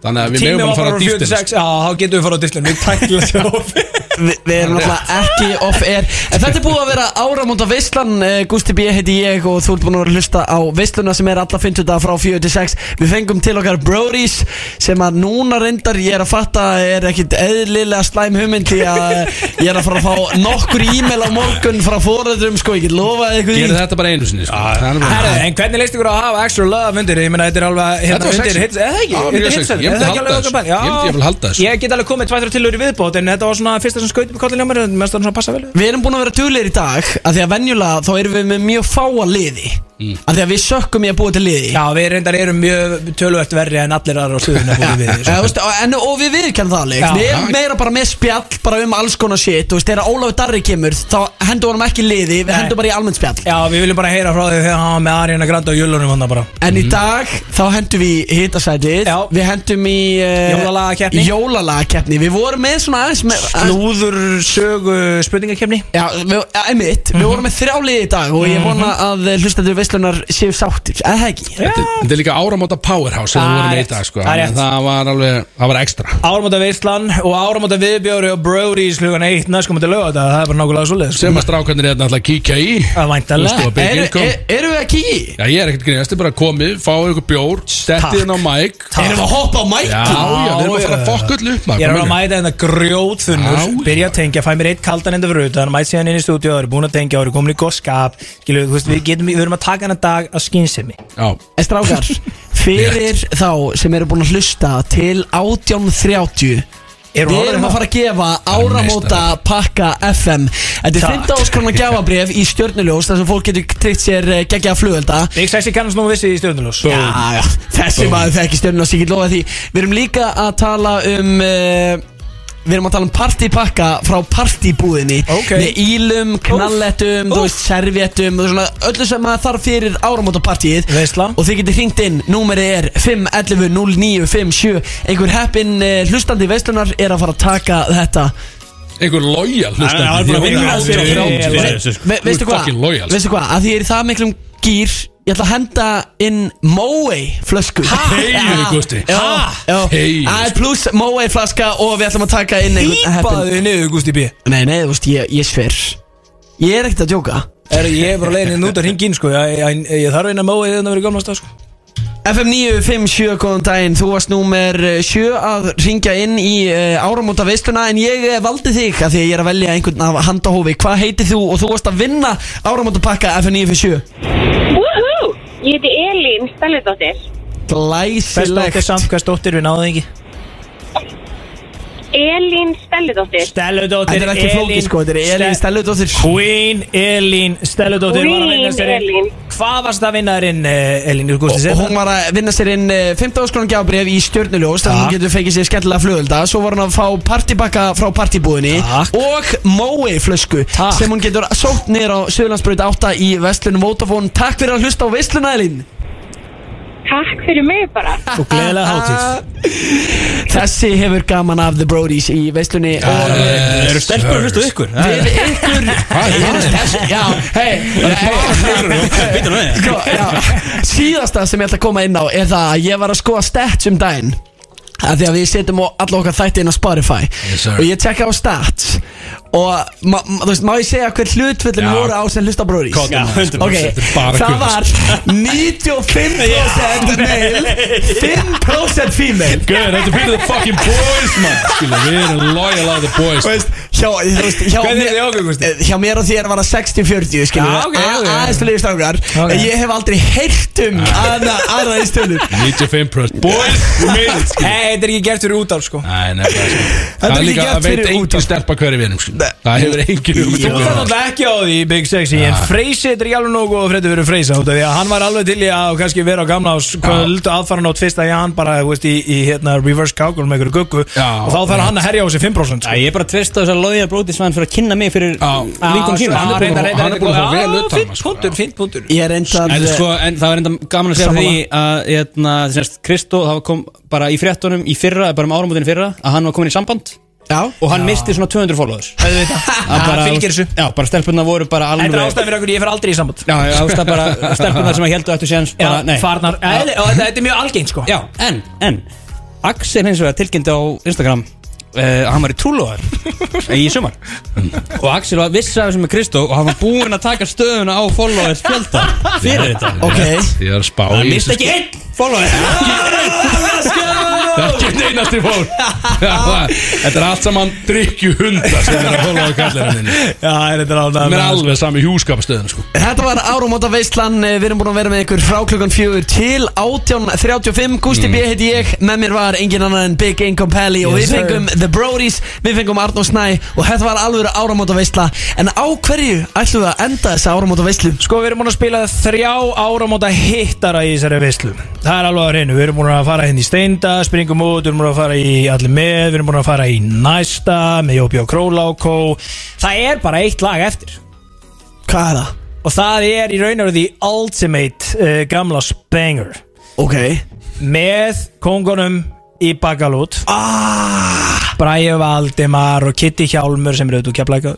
Þannig að við
Tíminn var
meðum að fara
bara
að dýftin
46, Já, þá getum við fara á dýftina Við tækla sér ofi
Vi, við erum alltaf ekki off-air En þetta er búið að vera áramóta veislan eh, Gústi B. heiti ég og þú ert búin að vera að hlusta á veisluna sem er alla 50 daga frá 4 til 6 Við fengum til okkar Brodies sem að núna reyndar ég er að fatta er ekkit eðlilega slæm hugmynd því að eh, ég er að fara að fá nokkur e-mail á morgun frá foreldrum sko, ég get lofaði ykkur
Gerið
því
þetta bara einu sinni sko. Það er bara-
Herra, en hvernig leist ykkur á að hafa extra love undir? Ég meina, þetta er alveg hérna
Þetta var
undir
sexy.
hits, eða ekki?
Já,
Undir
mjög
hits-
sexy. Ég
er
myndi
það ekki
halda
alveg
þessu.
okkar bæn? Já.
Ég myndi jafnvel halda þessu.
Ég get alveg komið tvær þrjá tilur í viðbót En þetta var svona fyrsta sem skautum í kollinu á mér en Mér stannum svona að passa vel við.
Við erum búin að vera duglegir í dag að því að venjulega þá erum við með mjög fáa liði mm. að því að við sökkum í að búa til liði
Já, við reyndar erum mjög töluvert verri en allir aðra á stöðuna búið við sko.
Já, þú veist, og- en, og við viðkjönda það alveg
Já.
Við erum meira bara með spjall bara um alls konar shit Þú veist, þegar Ólafur Darri kemur Þá hendur honum ekki liði, við
Nei.
hendum bara í almennt spjall
Já, við viljum bara heyra frá því þegar hann var með Ariana Grande og Jölunum hann bara
En í dag, þá hendum við hitasætið
Já.
Við hendum í uh,
Jólalagakeppni.
Jólalagakeppni. Við vorum með svona aðeins með, aðeins,
Lúður sögu spurningakefni
Já, við, ja, einmitt,
Mhm.
við vorum með þrjá liði í dag Og ég vona að hlustendur veislunar séu sáttir Eða það ekki?
Þetta þetta er líka áramóta powerhouse sem
Það er
við vorum með í
rétt.
dag sko.
Það er rétt.
En Það var alveg, það var ekstra
Áramóta Veistlan og Áramóta Viðbjóri og Brody's hlugan 1 næstkomandi lögða það er bara nákvæmlega svoleiðis
Sem að strákarnir er alltaf að kíkja í
Það væntalega.
Þú veist, og Big
Eru
Income.
er, erum við að kíkja?
Já, ég er ekkert grínast, ég er bara komið, fáið ykkur bjór Stettið inn á mic
Erum við að hoppa á mækki?
Já, já, við erum að fara að fokka öll upp
Ég
maður.
er alveg
Hvað
að
meinarðu?
mæta hérna grjóðfunnur,
Já, já.
byrja að tengja, fæ mér eitt kaldan enda fyrir utan, mæt síðan inn í stúdíu, það eru búin að tengja, það eru komin í gott skap, skilju, þú veist, við getum, við erum að taka hennar dag að skynsemi.
Já,
En strákar, fyrir þá sem eru búin að hlusta til 18.30
Er hún
Við
orðin
erum að
það?
fara að gefa áramóta pakka FM Þetta er
Takk.
15 áskrona gjafabrif í stjörnuljós Þar sem fólk getur tryggt sér eh, geggjaða flugelda
Big Sexy kannast nú vissi í stjórnuljós
Já, já, þessi
Boom.
maður þekki stjörnuljós, ég get lofa því Við erum líka að tala um uh, Við erum að tala um partypakka frá partybúðinni
Ok.
Með ílum, knallettum, þú veist, serviettum og svona Öllu sem maður þarf fyrir áramóta partíið
Veisla
Og þið getur hringt inn, númerið er 511 0957 Einhver heppin uh, hlustandi veislunar er að fara að taka þetta
Einhver lojal hlustandi.
Nei, hann er búin að sko. vinna
Ég-
allt fyrir-
ég-
fyrir-
ég-
Ve
fyrir-
ég- sko. Þú ert
Veistu hvað,
fucking sko. lojal
veistu hvað, að því ég er í það miklum gýr Ég ætla að henda inn Moe flösku
Þegiðu, Gústi.
Já, já
Þegiðu,
Það er pluss Moe flaska og við ætlum að taka inn einhvern
Pípaðu þig niður, Gústi B
Nei, nei, þú veist, ég, ég sver Ég er ekkert að djóka
Er, ég er bara leiðin út að ringa inn sko Ég, ég, ég þarf einn að móa þegar það verið gamla stað sko
FM 957, góðan daginn, þú varst númer 7 að ringja inn í uh, áramóta veisluna en ég eh, valdi þig að því að ég er að velja einhvern af handahófi Hvað heitir þú og þú varst að vinna áramóta pakka FM 957
Woohoo! Ég heiti Elín Stælidóttir.
Glæsilegt
Hversdóttir samt, hversdóttir við náðum ekki
Elín Stælidóttir.
Stelludóttir
Þetta er ekki flókið, sko, þetta er Elín sko.
Stelludóttir Queen Elín Stelludóttir var að vinna
Queen
sér inn
Elín.
Hvað varst að vinna þér inn, eh, Elín úr Gústi
Og
Sef?
hún var að vinna sér inn eh, 15 áskronan gjábref í stjörnuljós Þannig að hún getur fengið sér skemmtilega flugölda Svo var hún að fá partibakka frá partibúðinni Og Mói flösku Sem hún getur sótt niður á Suðlandsbröð 8 í Vestlunum Votafón Takk fyrir að hlusta á Vestluna Elín
Takk fyrir mig bara.
Og gleðilega hátíð
Þessi hefur gaman af The Brodies í Vestlunni Og
Eh,
Eru stelpur að hlusta á ykkur?
Ah.
við ykkur Eru þessi- Já, hei
Býtum við
Sko, já, síðasta sem ég ætla að koma inn á er það að ég var að skoða stats um daginn að því að við setjum á alla okkar þætti inn á Spotify
Yes, sir.
og ég tekka á stats og ma, ma, þú veist, má ég segja hver hlutföllin
Já.
voru á sem hlusta bróðis
Hvað er það? sko. Þetta er bara sko.
það
guðs.
var 95% male 5% female
Gauður, þetta er fyrir the fucking boys man Skilu, við erum loyal að the boys
Þú veist, hjá, þú veist, hjá,
Hvernig er þið
mér,
ákveð, Gústi?
hjá mér og þér var það 60-40 skiljum
Já, ok, ok.
aðeins fyrir strákar
Ok.
en ég hef aldrei heyrt um aðra í stöðum
95% boys we made it skilu.
Hey, þetta er ekki gert fyrir útaf sko
Nei, nei, það er sko.
Þetta
Það
er
er líka
ekki
að
gert
veit
fyrir
engin stelpa hverju við erum skilu. sko. Það hefur engin hugmynd
Þú
um
þarf
hvað það er.
náttúrulega ekki á því Big Sexy En Freysi þetta er ekki alveg nógu og freddi fyrir Freysa út af Því að hann var alveg til í að kannski vera á gamla ás kvöld Aðfara nót fyrsta í hann bara þú veist, í, í hérna, reverse cowgirl með einhverju guggu
Já,
Og þá þarf hann að herja á sig 5% sko.
Ég er bara að treysta þess að loðja brótisvann fyrir að kynna mig fyrir vingun
Já,
sína
hann er búin að- hann er búin að fá vel utan,
hann,
Fint
sko.
punktur, fint punktur
ég er reyndar eh,
En, sko, en það var enda gaman að segja
Sammála.
því að hérna, semst, Kristó, það kom bara í fréttunum í fyrra, bara um áramótinu fyrra að hann var komin í samband
já
og hann misti svona 200 followers
Það
bara-
fylgir þessu
Já, bara stelpunna voru bara
Þetta er
alveg
ástæðan fyrir okkur, ég fer aldrei í samband
Já, já, ástæða bara stelpunna sem að heldu eftir séðans
Já,
bara, nei
farnar eðli- Og þetta þetta er mjög algengt sko
Já, en, en Axel hins vegar tilkynnti á Instagram uh, að hann var í trúlóðar í sumar og Axel var viss af þessum með Kristó og hann var búinn að taka stöðuna á followers fjölda fyrir þetta
ok
Ég er að spá
Það
í
misti ekki einn follower
Það er ekki neynast í fólk Þetta er allt saman drikju hundar sem er að hóla á kallarinn
Já, þetta er alveg
Mér er alveg sami hjúskapastöðin sko.
Þetta var áramóta veistlan, eh, við erum búin að vera með ykkur frá klukkan fjögur til 18.35 Gústi B heiti ég, með mér var engin annar en Big Income Pally og við
Yes, sir.
fengum The Brodies, við fengum Arnó Snæ og þetta var alveg áramóta veistla en á hverju ætlum við að enda þessa áramóta veistlu?
Sko við erum búin að spila þrjá áramóta hittara í þessari veislu Það er alveg að reynu, við erum búin að fara hérna í Steinda, springum út, við erum búin að fara í Allir með, við erum búin að fara í Næsta, með Jópi og Królákó Það er bara eitt lag eftir
Hvað er það?
Og það er í raun og veru The Ultimate uh, gamla Spanger
Ok
Með kongunum í Bakalút ah. Bræði Valdimar og Kitty Hjálmur sem eru auðvitað keflæka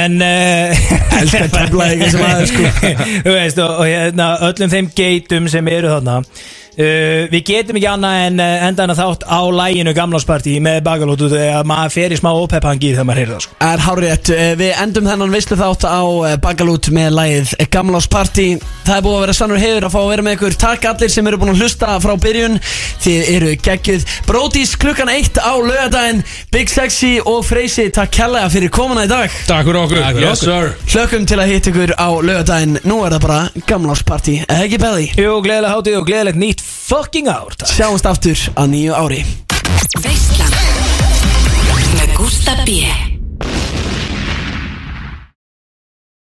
En uh,
Elskar Keflavík þessi maður, sko.
Þú veist og, og hérna, öllum þeim geitum sem eru þarna uh, Við getum ekki annað en uh, endan að þátt á læginu Gamláspartí með Bakalút Þegar maður fer í smá ópeppangi þegar maður heyrði það sko.
Er hárétt, eh, við endum þennan veistlu þátt á eh, Bagalút með lagið Gamlás Party Það er búið að vera sannur hefur að fá að vera með ykkur Takk allir sem eru búin að hlusta frá byrjun Þið eru geggjuð Brótis klukkan eitt á lögadaginn Big Sexy og Freysi, takk kærlega fyrir komuna í dag
Takk fyrir okkur
Takk fyrir
Yes sir
Hlökkum til að hitta ykkur á lögadaginn Nú er það bara Gamlás Party Eða ekki beði
Jú, gleðilega hátíð og gleðilegt nýtt fucking ár takk.
Sjáumst aftur að nýju ári
Veislan